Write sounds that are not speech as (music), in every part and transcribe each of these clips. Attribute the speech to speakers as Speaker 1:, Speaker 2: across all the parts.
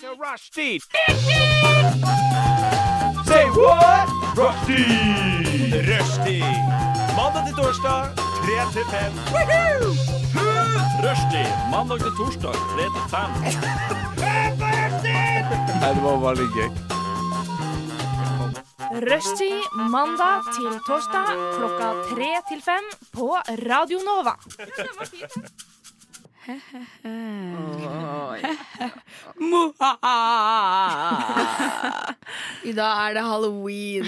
Speaker 1: to Rushdie. Say what? Rushdie! Rushdie. Mandag til torsdag, 3 til 5. Rushdie. Mandag til torsdag, 3 til 5.
Speaker 2: Rushtid mandag til torsdag klokka tre til fem på Radio Nova.
Speaker 3: I dag er det halloween.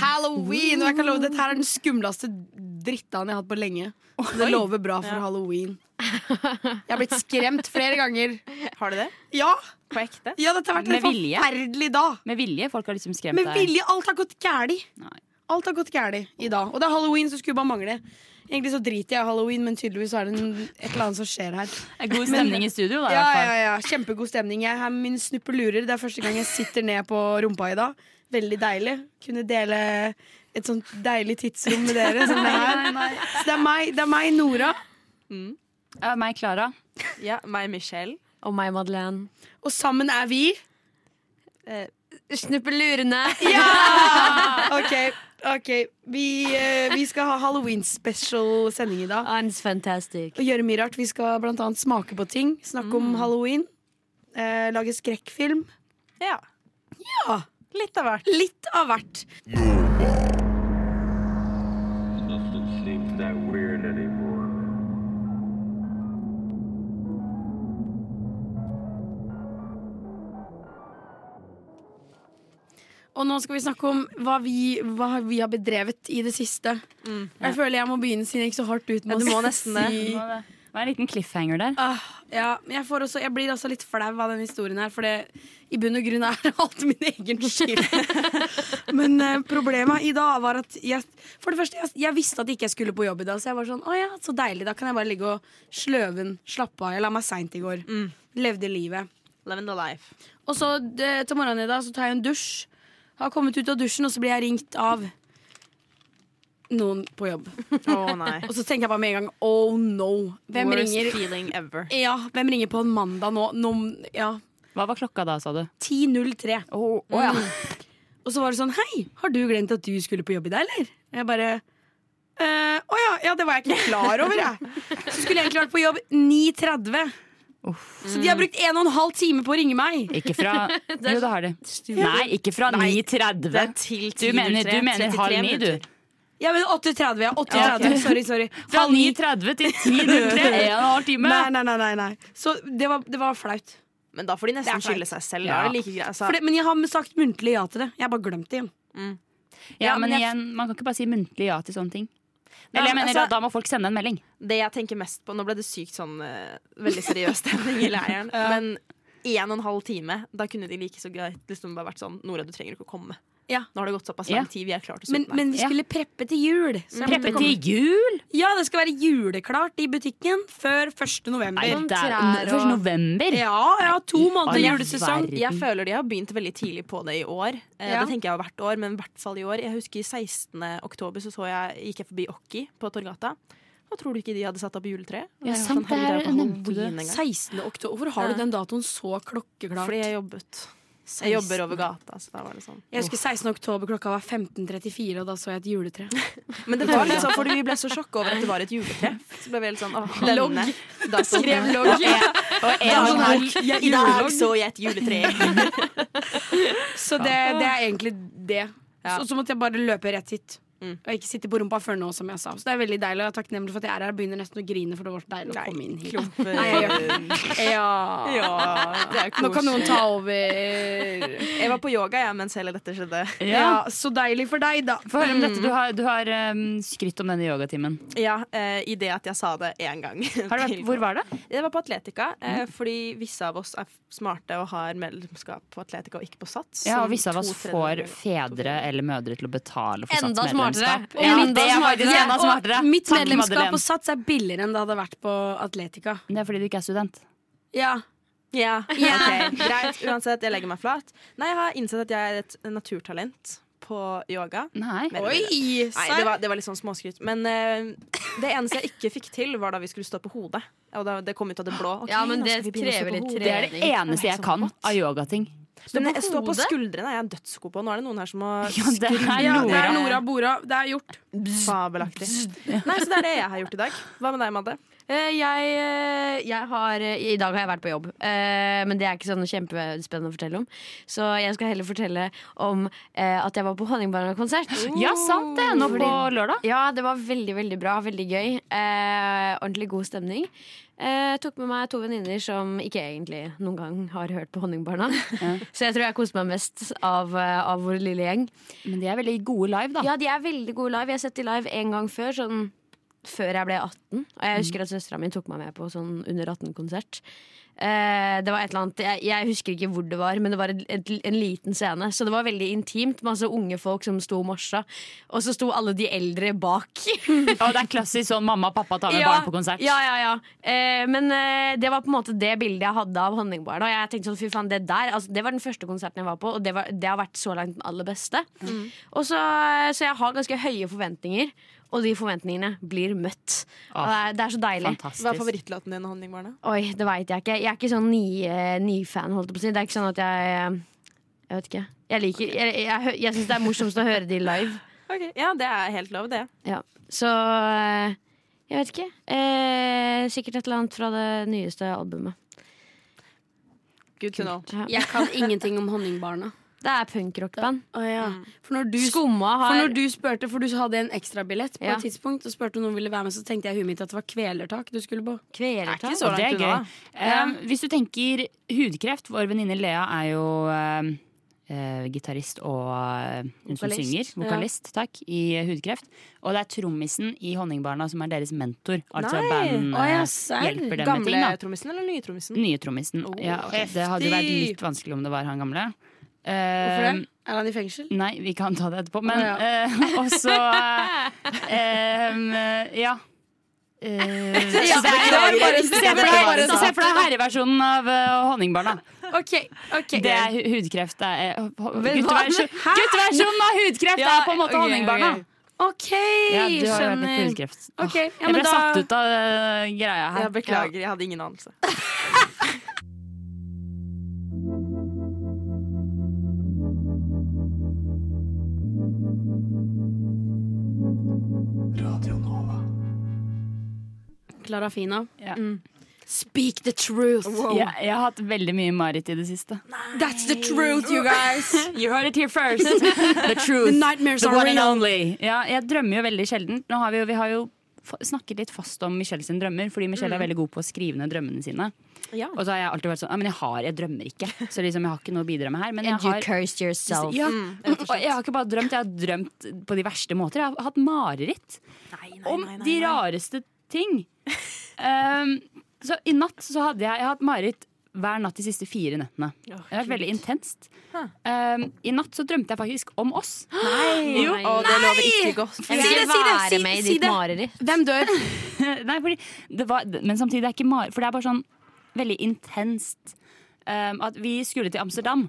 Speaker 3: Halloween! Og jeg kan love Dette her er den skumleste drittdagen jeg har hatt på lenge. Så det lover bra for halloween. Jeg har blitt skremt flere ganger.
Speaker 4: Har du det?
Speaker 3: Ja,
Speaker 4: På ekte?
Speaker 3: ja dette har vært en
Speaker 4: Med vilje?
Speaker 3: forferdelig dag.
Speaker 4: Med vilje? Folk har liksom skremt
Speaker 3: Med vilje. Alt har gått gæli.
Speaker 4: Nei.
Speaker 3: Alt har gått gæli i dag. Og det er halloween, så skulle bare mangle. Egentlig så driter jeg i halloween, men tydeligvis så er det en, et eller annet som skjer her.
Speaker 4: deg. God stemning i studio, da. i
Speaker 3: Ja,
Speaker 4: hvert fall.
Speaker 3: ja, ja, Kjempegod stemning. Jeg har mine snuppelurer. Det er første gang jeg sitter ned på rumpa i dag. Veldig deilig. Kunne dele et sånt deilig tidsrom med dere. Som det, er. Så det er meg, det er meg Nora.
Speaker 4: Ja, meg, Klara.
Speaker 5: Ja, meg Michelle.
Speaker 6: Og meg, Madeleine.
Speaker 3: Og sammen er vi
Speaker 5: Eh,
Speaker 3: (laughs)
Speaker 5: (laughs)
Speaker 6: Snuppelurene.
Speaker 3: OK. ok Vi, eh, vi skal ha halloween-special-sending i dag.
Speaker 5: Ah,
Speaker 6: It's fantastic.
Speaker 3: Og gjøre mye rart. Vi skal blant annet smake på ting. Snakke
Speaker 5: Mm.
Speaker 3: om halloween. Eh, lage skrekkfilm.
Speaker 5: Ja. Litt av hvert.
Speaker 3: Litt av hvert.
Speaker 7: doesn't seem that weird anymore.
Speaker 3: Og nå skal vi snakke om hva vi, hva vi har bedrevet i det siste. Jeg føler jeg må begynne siden jeg gikk så hardt ut med
Speaker 5: Mm. Ja, du må
Speaker 3: å
Speaker 5: nesten det.
Speaker 3: si
Speaker 4: Det var en liten cliffhanger der.
Speaker 3: Ah, ja, men jeg, får også, jeg blir også litt flau av denne historien her, for det, i bunn og grunn er alt min egen skyld. (laughs) men eh, problemet i dag var at jeg, For det første, jeg, jeg visste at jeg ikke skulle på jobb i dag, så jeg var sånn Å ja, så deilig. Da kan jeg bare ligge og sløven, slappe av. Jeg la meg seint i går. Levde livet.
Speaker 5: Mm. Living the life.
Speaker 3: Og så eh, til morgenen i dag så tar jeg en dusj. Har kommet ut av dusjen, og så blir jeg ringt av noen på jobb.
Speaker 5: Å nei.
Speaker 3: Og så tenker jeg bare med en gang oh no. Hvem
Speaker 5: Worst
Speaker 3: ringer,
Speaker 5: feeling ever.
Speaker 3: ja, hvem ringer på en mandag nå? nå ja,
Speaker 4: Hva var klokka da, sa du? Mm,
Speaker 3: 10.03.
Speaker 4: Å å ja.
Speaker 3: Og så var det sånn Hei, har du glemt at du skulle på jobb i dag, eller? Og Jeg bare «Eh, Å ja, ja, det var jeg ikke klar over, jeg. Så skulle jeg egentlig vært på jobb 9.30. Så de har brukt en og en halv time på å ringe meg.
Speaker 4: Ikke fra Jo, det har de. Nei, ikke fra
Speaker 5: Det
Speaker 4: 9.30.
Speaker 5: er til
Speaker 4: Du mener, du
Speaker 5: 10.03,
Speaker 4: mener halv
Speaker 5: 33
Speaker 4: ni,
Speaker 5: minutter.
Speaker 4: du.
Speaker 3: Ja, men 8.30, ja. 8.30.
Speaker 4: Ja, ok.
Speaker 3: Sorry,
Speaker 4: (laughs)
Speaker 3: sorry.
Speaker 4: Fra
Speaker 3: Halv ni.
Speaker 4: 9.30 til 10.03. En og en halv time.
Speaker 3: Nei, nei, nei, nei, nei. Så det var, det var flaut.
Speaker 5: Men da får de
Speaker 3: Det er
Speaker 5: nesten
Speaker 3: flaut.
Speaker 5: skylde seg selv.
Speaker 4: Ja.
Speaker 5: Da er det like greit. Altså,
Speaker 3: For det, men jeg har sagt muntlig ja til det. Jeg har bare glemt det igjen.
Speaker 4: Ja,
Speaker 5: Ja,
Speaker 4: men
Speaker 5: men jeg-
Speaker 4: igjen, man kan ikke bare si muntlig ja til sånne ting.
Speaker 5: Nei,
Speaker 4: Eller jeg
Speaker 5: men
Speaker 4: mener
Speaker 5: altså-
Speaker 4: at da må folk sende en melding.
Speaker 5: Det jeg tenker mest på Nå ble det sykt sånn eh, veldig seriøs stemning i leiren.
Speaker 4: (laughs)
Speaker 5: Men en og en halv time, da kunne de like så greit liksom bare vært sånn Nora, du trenger ikke å komme.
Speaker 3: Ja.
Speaker 5: Nå har det gått såpass
Speaker 4: Ja.
Speaker 5: lang tid, vi er klare til å
Speaker 3: Men,
Speaker 5: sulte
Speaker 3: men vi
Speaker 4: Ja.
Speaker 3: skulle preppe til jul. Så jeg måtte
Speaker 4: Preppe
Speaker 3: komme-
Speaker 4: til jul!
Speaker 3: Ja, det skal være juleklart i butikken før 1. november.
Speaker 4: Nei,
Speaker 6: Noen
Speaker 4: det er
Speaker 6: trær og-
Speaker 4: først november.
Speaker 3: Ja, ja, to måneder
Speaker 4: all
Speaker 3: julesesong.
Speaker 4: verden.
Speaker 5: Jeg føler de har begynt veldig tidlig på det i år. Eh,
Speaker 3: Ja.
Speaker 5: Det tenker jeg jo hvert år, men i hvert fall i år. Jeg husker 16. oktober så, så jeg, gikk jeg forbi Okki på Torgata. Og tror du ikke de hadde satt opp juletre? Og
Speaker 6: Ja,
Speaker 5: jeg var
Speaker 6: sant,
Speaker 5: herregud,
Speaker 6: det her
Speaker 5: er jo på
Speaker 6: nevnte du.
Speaker 5: Halloween en gang.
Speaker 3: 16. oktober. Hvorfor har du den datoen så klokkeklart?
Speaker 5: Fordi jeg jobbet. Jeg jobber over gata, så da var det sånn.
Speaker 3: Jeg husker 16. oktober klokka var 15.34, og da så jeg et juletre.
Speaker 5: Men det var litt sånn, fordi vi ble så sjokka over at det var et juletre. Så ble vi helt sånn, åh,
Speaker 3: Logg.
Speaker 5: denne datoen.
Speaker 3: Skrev logg.
Speaker 4: Og
Speaker 5: Det
Speaker 4: en
Speaker 5: var sånn her,
Speaker 4: halv-
Speaker 5: I dag så jeg et juletre.
Speaker 3: (laughs) Så det, det er egentlig det.
Speaker 5: Ja.
Speaker 3: Så, så måtte jeg bare løpe rett hit.
Speaker 5: Mm.
Speaker 3: Og ikke sitte på rumpa før nå, som jeg sa. Så det er veldig deilig. Og jeg er takknemlig for at jeg er her. Jeg begynner nesten å grine, for det var så deilig å komme inn hit.
Speaker 5: klumper.
Speaker 3: Nei, jeg Ja.
Speaker 5: Ja, det er
Speaker 3: Nå kan noen
Speaker 5: koselig.
Speaker 3: ta over.
Speaker 5: Jeg var på yoga jeg, mens hele dette skjedde.
Speaker 3: Ja,
Speaker 4: Ja.
Speaker 3: så deilig for deg, da.
Speaker 4: Få høre om dette. Du har, du har um, skrytt om denne yogatimen.
Speaker 5: Ja, eh, I det at jeg sa det én gang.
Speaker 4: Har du vært, hvor var Mhm. det?
Speaker 5: Det var på Atletica, eh, fordi visse av oss er f- smarte og har medlemskap på Atletica og ikke på Sats.
Speaker 4: Ja,
Speaker 5: som
Speaker 4: og Visse av oss
Speaker 5: to
Speaker 4: får
Speaker 5: tredjedeler.
Speaker 4: fedre eller mødre til å betale for
Speaker 6: Enda
Speaker 4: satsmedlemskap.
Speaker 6: smartere.
Speaker 4: Ja,
Speaker 3: Enda
Speaker 4: det er faktisk
Speaker 3: smartere.
Speaker 4: enda
Speaker 3: Og
Speaker 4: smartere.
Speaker 3: Mitt
Speaker 4: Takk,
Speaker 3: medlemskap
Speaker 4: Madeleine.
Speaker 3: på Sats er billigere enn det hadde vært på Atletica.
Speaker 4: Det er fordi du ikke er student.
Speaker 3: Ja.
Speaker 5: Ja,
Speaker 3: Ja.
Speaker 5: ok, greit. Uansett, jeg legger meg flat. Nei, jeg har innsett at jeg er et naturtalent på yoga.
Speaker 4: Nei.
Speaker 5: Men-
Speaker 3: Oi!
Speaker 5: Nei, det var, det var litt sånn småskryt. Men eh, det eneste jeg ikke fikk til, var da vi skulle stå på hodet. Og da, det kom ut av det blå. Ok,
Speaker 6: Ja, men
Speaker 5: nå skal
Speaker 6: det
Speaker 5: vi begynne å stå
Speaker 6: krever
Speaker 5: på
Speaker 6: litt
Speaker 5: hodet.
Speaker 4: Det er det eneste jeg kan av yogating.
Speaker 5: Men
Speaker 6: på
Speaker 5: jeg står på
Speaker 6: hodet?
Speaker 5: skuldrene. Jeg er dødsgod på. Nå er det noen her som må
Speaker 4: Ja, det er
Speaker 3: ja, det
Speaker 4: Nora.
Speaker 3: er Nora Bora. Det er gjort.
Speaker 5: Fabelaktig. Nei, så det er det jeg har gjort i dag. Hva med deg, Madde?
Speaker 6: Eh, jeg, eh, jeg har eh, I dag har jeg vært på jobb, eh, men det er ikke sånn kjempespennende å fortelle om. Så jeg skal heller fortelle om eh, at jeg var på Honningbarna-konsert.
Speaker 4: Ja, sant det. Nå på lørdag.
Speaker 6: Ja, det var veldig, veldig bra. Veldig gøy. Eh, ordentlig god stemning. Eh, tok med meg to venninner som ikke egentlig noen gang har hørt på Honningbarna. (laughs) Så jeg tror jeg koste meg mest av, eh, av vår lille gjeng.
Speaker 4: Men de er veldig gode live, da.
Speaker 6: Ja, de er veldig gode live. Jeg har sett de live en gang før, sånn før jeg ble 18. Og jeg husker at søstera mi tok meg med på sånn under 18-konsert. Eh, det var et eller annet, jeg, jeg husker ikke hvor det var, men det var et, et, en liten scene. Så det var veldig intimt. Masse unge folk som sto og morsa. Og så sto alle de eldre bak.
Speaker 4: Og det er klassisk sånn mamma og pappa tar med barn på konsert.
Speaker 6: Ja, ja, ja. Eh, men eh, det var på en måte det bildet jeg hadde av Honningbarna. Og jeg tenkte sånn, fy faen, det der altså, Det var den første konserten jeg var på, og det, var, det har vært så langt den aller beste.
Speaker 4: Mm.
Speaker 6: Og så, så jeg har ganske høye forventninger, og de forventningene blir møtt. Og det, er, det er så deilig.
Speaker 5: Hva er
Speaker 4: Ah, Fantastisk.
Speaker 5: favorittlåten din? Honningbarna?
Speaker 6: Oi, det veit jeg ikke. Jeg er ikke sånn ny, eh, ny-fan, holdt jeg på å si. Det er ikke sånn at jeg eh, Jeg vet ikke. Jeg liker Jeg, jeg, hø- jeg syns det er morsomst å høre de live.
Speaker 5: Ok, Ja, det er helt lov, det.
Speaker 6: Ja. Så eh, jeg vet ikke. Eh, sikkert et eller annet fra det nyeste albumet.
Speaker 5: Good to know.
Speaker 6: Ja.
Speaker 8: Jeg kan ingenting om honningbarna.
Speaker 6: Det er punkrockband.
Speaker 3: Å, ja.
Speaker 5: Mm.
Speaker 3: For når du
Speaker 6: Skumma
Speaker 3: For
Speaker 6: har
Speaker 3: når du spurte, for du hadde en ekstrabillett på
Speaker 6: Ja.
Speaker 3: et tidspunkt, og spurte om noen ville være med, så tenkte jeg i huet mitt at det var kvelertak du skulle på.
Speaker 6: kvelertak.
Speaker 5: så
Speaker 4: Og det er
Speaker 5: langt
Speaker 4: gøy.
Speaker 5: unna,
Speaker 4: Um, hvis du tenker hudkreft Vår venninne Lea er jo um, eh, gitarist og eh, hun som
Speaker 6: Vokalist.
Speaker 4: synger. Vokalist, takk. I eh, Hudkreft. Og det er trommisen i Honningbarna som er deres mentor. Altså
Speaker 5: Nei.
Speaker 4: band
Speaker 3: Å, ja,
Speaker 4: eh,
Speaker 3: serr.
Speaker 4: hjelper dem med ting.
Speaker 5: Gamle
Speaker 4: Da.
Speaker 5: trommisen eller nye trommisen?
Speaker 4: Nye trommisen. ja, det hadde jo vært litt vanskelig om det var han gamle.
Speaker 3: Hvorfor
Speaker 4: Uh,
Speaker 3: det? Er han i fengsel?
Speaker 4: (laughs) Nei, vi kan ta det etterpå. Men
Speaker 3: Å,
Speaker 4: (laughs) eh, også eh, em, eh, Ja. Eh, så det er- det er bare- sånn. Se for deg- så se for deg herreversjonen av eh, Honningbarna.
Speaker 3: sånn. OK. ok
Speaker 4: Det er hu- hudkreft. Det er, eh, ho-
Speaker 6: Men hva-
Speaker 4: gutteversjon- Gutteversjonen av hudkreft
Speaker 6: Ja,
Speaker 4: er på en måte
Speaker 6: ok,
Speaker 4: Honningbarna.
Speaker 6: ok.
Speaker 3: OK,
Speaker 4: Ja, du har jo vært litt på
Speaker 3: skjønner.
Speaker 4: hudkreft. Åh,
Speaker 3: Ok, ja,
Speaker 4: jeg
Speaker 3: men
Speaker 4: ble
Speaker 3: da-
Speaker 4: satt ut av eh, greia her.
Speaker 5: Jeg beklager, jeg hadde ingen anelse.
Speaker 3: Klarafina.
Speaker 4: Ja.
Speaker 3: Mm. Speak the truth.
Speaker 4: Ja, jeg, har hatt veldig mye mareritt i det siste.
Speaker 3: That's the truth, you guys.
Speaker 4: You heard it here first. The truth.
Speaker 3: Nightmares
Speaker 4: The
Speaker 3: are
Speaker 4: one and
Speaker 3: real.
Speaker 4: only. Ja, jeg drømmer jo veldig sjelden. Nå har vi, jo, vi har jo f- snakket litt fast om Michelle sin drømmer, fordi Michelle er veldig god på å skrive ned drømmene sine.
Speaker 5: Ja.
Speaker 4: Og så har jeg alltid vært sånn Ja, men jeg har, jeg drømmer ikke. Så liksom, jeg har ikke noe å bidra med her. Men jeg
Speaker 6: And you
Speaker 4: har
Speaker 6: cursed yourself.
Speaker 4: ja. Mm, Og jeg har ikke bare drømt, jeg har drømt på de verste måter. Jeg har hatt mareritt om de rareste (laughs) ting. Um, så i natt så hadde jeg, jeg har hatt mareritt hver natt de siste fire nettene. Det har vært veldig intenst. Um, I natt så drømte jeg faktisk om oss. Nei! (laughs) Jo,
Speaker 5: Og det lover ikke godt.
Speaker 6: Jeg vil ikke være med i ditt mareritt.
Speaker 3: Hvem dør?
Speaker 4: eh, Nei, fordi det var, men samtidig er det ikke mar... For det er bare sånn veldig intenst. Um, at vi skulle til Amsterdam,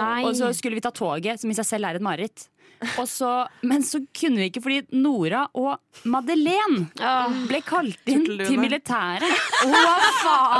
Speaker 6: Nei.
Speaker 4: og så skulle vi ta toget, som i seg selv er et mareritt. Og så- Men så kunne vi ikke fordi Nora og Madeleine ble kalt inn til militæret.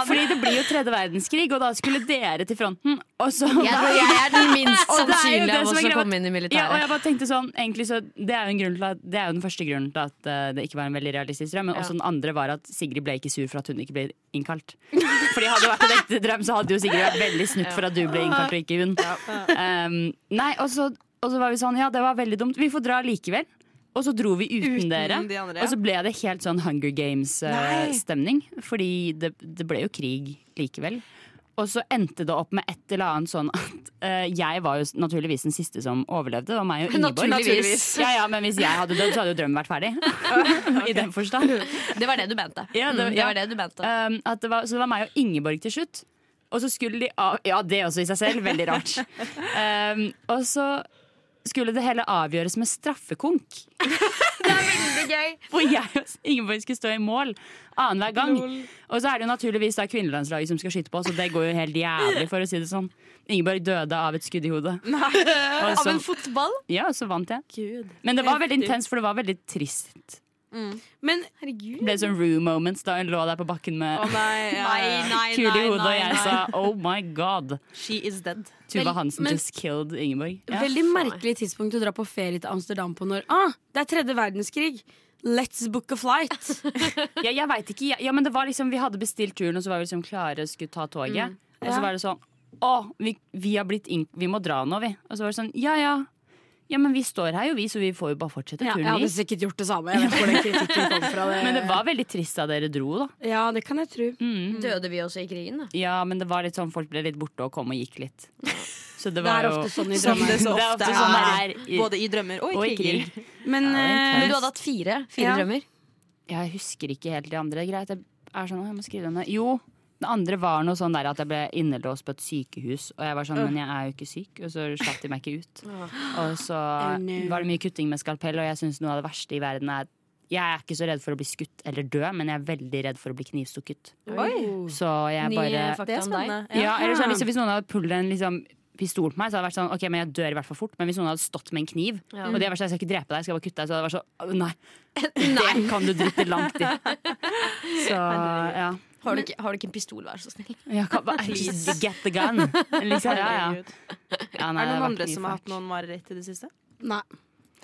Speaker 4: Fordi det blir jo tredje verdenskrig, og da skulle dere til fronten. Og så
Speaker 6: Jeg, tror jeg er (laughs) den minst
Speaker 4: Og det er jo
Speaker 6: sannsynlige
Speaker 4: det
Speaker 6: av
Speaker 4: som er
Speaker 6: oss å
Speaker 4: greia.
Speaker 6: komme inn i
Speaker 4: Ja, og jeg
Speaker 6: militæret.
Speaker 4: bare tenkte sånn egentlig så, det, er jo en grunn til at, det er jo den første grunnen til at eh, det ikke var en veldig realistisk drøm. Men også den andre var at Sigrid ble ikke sur for at hun ikke ble innkalt. Fordi hadde det vært en ekte drøm, så hadde jo Sigrid vært veldig snutt for at du ble innkalt og ikke hun. Um, nei, og så, og så var vi sånn ja, det var veldig dumt. Vi får dra likevel. Og så dro vi uten,
Speaker 5: Uten
Speaker 4: dere.
Speaker 5: de andre, ja.
Speaker 4: Og så ble det helt sånn Hunger Games-stemning. fordi det, det ble jo krig likevel. Og så endte det opp med et eller annet sånn at eh, jeg var jo s- naturligvis den siste som overlevde. Det var meg og Ingeborg.
Speaker 6: Naturligvis.
Speaker 4: Ja, ja, men hvis jeg hadde dødd, så hadde jo drømmen vært ferdig. (laughs) I den forstand.
Speaker 6: Det var det du mente.
Speaker 4: Ja, det-
Speaker 6: Mm, det
Speaker 4: ja.
Speaker 6: var det du mente.
Speaker 4: Um, at det var, så det var meg og Ingeborg til slutt. Og så skulle de av Ja, det også i seg selv. Veldig rart. Um, og så skulle det hele avgjøres med straffekonk.
Speaker 6: gøy!
Speaker 4: (laughs) hvor jeg og Ingeborg skulle stå i mål annenhver gang. Og så er det jo naturligvis da kvinnelandslaget som skal skyte på oss, og det går jo helt jævlig, for å si det sånn. Ingeborg døde av et skudd i hodet. (laughs) Og
Speaker 6: Av
Speaker 4: så,
Speaker 6: en fotball?
Speaker 4: ja, og så vant jeg. Men det var veldig intenst, for det var veldig trist.
Speaker 6: Mm.
Speaker 3: Men
Speaker 4: Det ble sånn room moments da hun lå der på bakken med
Speaker 5: Nei,
Speaker 6: Nei, nei,
Speaker 4: kule i
Speaker 6: nei,
Speaker 4: hodet, og jeg
Speaker 6: nei,
Speaker 4: sa oh my god.
Speaker 5: She is dead.
Speaker 4: Tuva
Speaker 3: Vel,
Speaker 4: Hansen
Speaker 3: men-
Speaker 4: just killed Ingeborg. Ja.
Speaker 3: veldig merkelig tidspunkt å dra på ferie til Amsterdam på når ah, det er tredje verdenskrig. Let's book a flight.
Speaker 4: Ja, jeg vet ikke. Ja, ja, men det var liksom, vi hadde bestilt turen, og så var vi liksom klare og skulle ta toget.
Speaker 3: Mm.
Speaker 4: Og så
Speaker 3: Ja.
Speaker 4: var det sånn Å, vi, vi har blitt inn... Vi må dra nå, vi. Og så var det sånn Ja, ja. Ja, men vi står her jo, vi, så vi får jo bare fortsette
Speaker 3: Ja, jeg
Speaker 4: turen,
Speaker 3: hadde
Speaker 4: vi.
Speaker 3: sikkert gjort det samme. Jeg vet hvor den kritikken kom fra. Det. Mm.
Speaker 4: Men det var veldig trist da dere dro, da. Mm.
Speaker 3: Ja, det kan jeg tro.
Speaker 6: Døde vi også i krigen, da?
Speaker 4: Ja, men det var litt sånn folk ble litt borte og kom og gikk
Speaker 3: (laughs)
Speaker 4: litt. Så det
Speaker 3: Det
Speaker 4: var
Speaker 3: er
Speaker 4: jo
Speaker 3: ofte sånn i
Speaker 5: Som det
Speaker 3: drømmer.
Speaker 5: så
Speaker 4: Det er
Speaker 5: ofte
Speaker 4: ofte
Speaker 5: er.
Speaker 4: sånn det er i-
Speaker 5: Både i drømmer og i
Speaker 4: Og i
Speaker 5: kriger.
Speaker 4: krig.
Speaker 3: Men eh,
Speaker 6: Men du hadde hatt fire? Fire
Speaker 3: Ja.
Speaker 6: drømmer?
Speaker 4: Jeg husker ikke helt de andre. Greit, jeg er sånn, «Å, jeg må skrive dem ned. Jo, det andre var noe sånn der at jeg ble innelåst på et sykehus. Og jeg var sånn, men jeg er jo ikke syk. Og så slapp de meg ikke ut. Og så
Speaker 3: no.
Speaker 4: var det mye kutting med skalpell, og jeg syns noe av det verste i verden er jeg er ikke så redd for å bli skutt eller dø, men jeg er veldig redd for å bli knivstukket.
Speaker 5: Oi.
Speaker 4: Så jeg
Speaker 6: Ny
Speaker 4: bare
Speaker 6: eh, fakta om deg?
Speaker 4: ja, eller sånn, hvis, hvis noen hadde pullet en liksom, pistol på meg, så hadde det vært sånn Ok, men jeg dør i hvert fall fort. Men hvis noen hadde stått med en kniv,
Speaker 6: Ja.
Speaker 4: og de hadde vært sånn Jeg skal ikke drepe deg, jeg skal bare kutte deg, så hadde det vært sånn Nei.
Speaker 6: (laughs)
Speaker 4: Det kan du drite langt i. Så ja.
Speaker 6: Har du, ikke, har du ikke en pistol, vær så snill?
Speaker 4: Jeg kan
Speaker 6: (laughs)
Speaker 4: bare Get the gun. Liksom, ja, ja.
Speaker 5: Herregud.
Speaker 4: Ja, nei, det
Speaker 5: Er det noen
Speaker 4: har vært
Speaker 5: andre
Speaker 4: mye
Speaker 5: som har hatt
Speaker 4: fælt.
Speaker 5: noen mareritt i det siste?
Speaker 3: nei.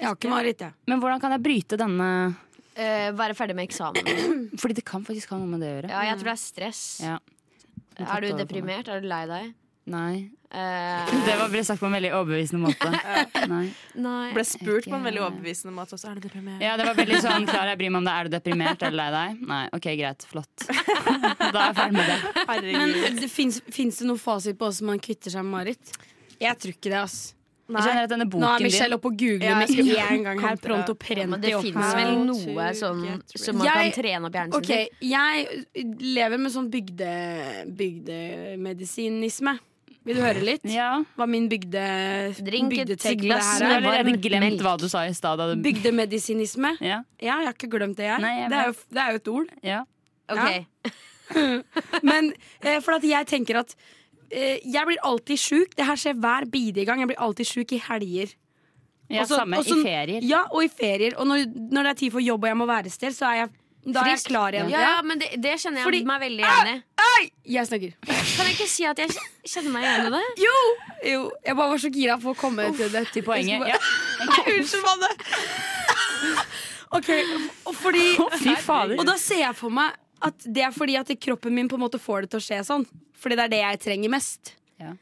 Speaker 3: Jeg har ikke mareritt, jeg.
Speaker 4: Men hvordan kan jeg bryte denne
Speaker 6: Eh, være ferdig med eksamen.
Speaker 4: Fordi det kan faktisk ha noe med det å gjøre.
Speaker 6: Ja, jeg tror det er stress.
Speaker 4: Ja.
Speaker 6: Er du deprimert? Er du lei deg?
Speaker 4: Nei.
Speaker 6: Eh,
Speaker 4: Det var ble sagt på en veldig overbevisende
Speaker 6: (laughs)
Speaker 4: måte. (laughs) Nei.
Speaker 6: nei.
Speaker 5: Ble spurt på en veldig overbevisende måte også. Er du deprimert?
Speaker 4: Ja, det var veldig sånn Klara, jeg bryr meg om deg. Er du deprimert eller lei deg? Nei. OK, greit.
Speaker 3: (laughs)
Speaker 4: Flott. Da er jeg ferdig med det.
Speaker 5: Herregud.
Speaker 3: Men det fins det noen fasit på hvordan man kvitter seg med mareritt? Jeg tror ikke det. ass
Speaker 4: Jeg kjenner at denne
Speaker 3: Nå er
Speaker 4: boken din
Speaker 3: Michelle oppe og googler
Speaker 5: Ja,
Speaker 3: med
Speaker 5: jeg
Speaker 3: en gang her. Pronto
Speaker 6: Ja, men
Speaker 3: prenti
Speaker 6: det
Speaker 3: opp
Speaker 6: fins
Speaker 3: her.
Speaker 6: vel
Speaker 5: How
Speaker 6: noe
Speaker 5: to
Speaker 6: som,
Speaker 5: get
Speaker 6: som man kan
Speaker 3: rich.
Speaker 6: trene opp hjernen sin
Speaker 3: Ok, jeg lever med sånn bygde, bygdemedisinisme. Vil du høre litt?
Speaker 4: Ja.
Speaker 3: Hva min bygde,
Speaker 6: Drink et
Speaker 3: bygdetek på det
Speaker 6: glass
Speaker 4: Du
Speaker 3: her
Speaker 4: har
Speaker 3: er?
Speaker 6: med-
Speaker 4: allerede
Speaker 6: varmt melk.
Speaker 4: glemt hva du sa i stad. da du-
Speaker 3: Bygdemedisinisme?
Speaker 4: Ja,
Speaker 3: Ja, jeg har ikke glemt det, jeg.
Speaker 4: Nei, jeg
Speaker 3: det, er
Speaker 4: vet.
Speaker 3: jo, det er jo et ord.
Speaker 4: ja.
Speaker 3: Ja.
Speaker 6: din. Ok.
Speaker 3: Men eh, for at jeg tenker at eh, jeg blir alltid sjuk. Det her skjer hver bidige gang. Jeg blir alltid sjuk i helger.
Speaker 4: ja
Speaker 3: Også-
Speaker 4: samme
Speaker 3: også-
Speaker 4: i ferier.
Speaker 3: Ja, og i ferier. Og når, når det er tid for jobb og jeg må være et sted, så er jeg, da er jeg
Speaker 6: Frisk.
Speaker 3: klar igjen.
Speaker 6: Ja, Ah! ja, men det, det kjenner jeg
Speaker 3: Fordi-
Speaker 6: meg veldig igjen i.
Speaker 3: Jeg snakker.
Speaker 6: Kan jeg ikke si at jeg kj- kjenner meg igjen i det?
Speaker 3: Jo! jo! Jeg bare var så gira på å komme til det.
Speaker 4: Til
Speaker 3: (laughs)
Speaker 4: poenget.
Speaker 3: Jeg
Speaker 4: Ja.
Speaker 5: (laughs)
Speaker 3: Unnskyld, Manne. OK. Og, fordi,
Speaker 4: Fy fader.
Speaker 3: og da ser jeg for meg at det er fordi at kroppen min på en måte får det til å skje sånn. Fordi det er det jeg trenger mest.
Speaker 4: Ja.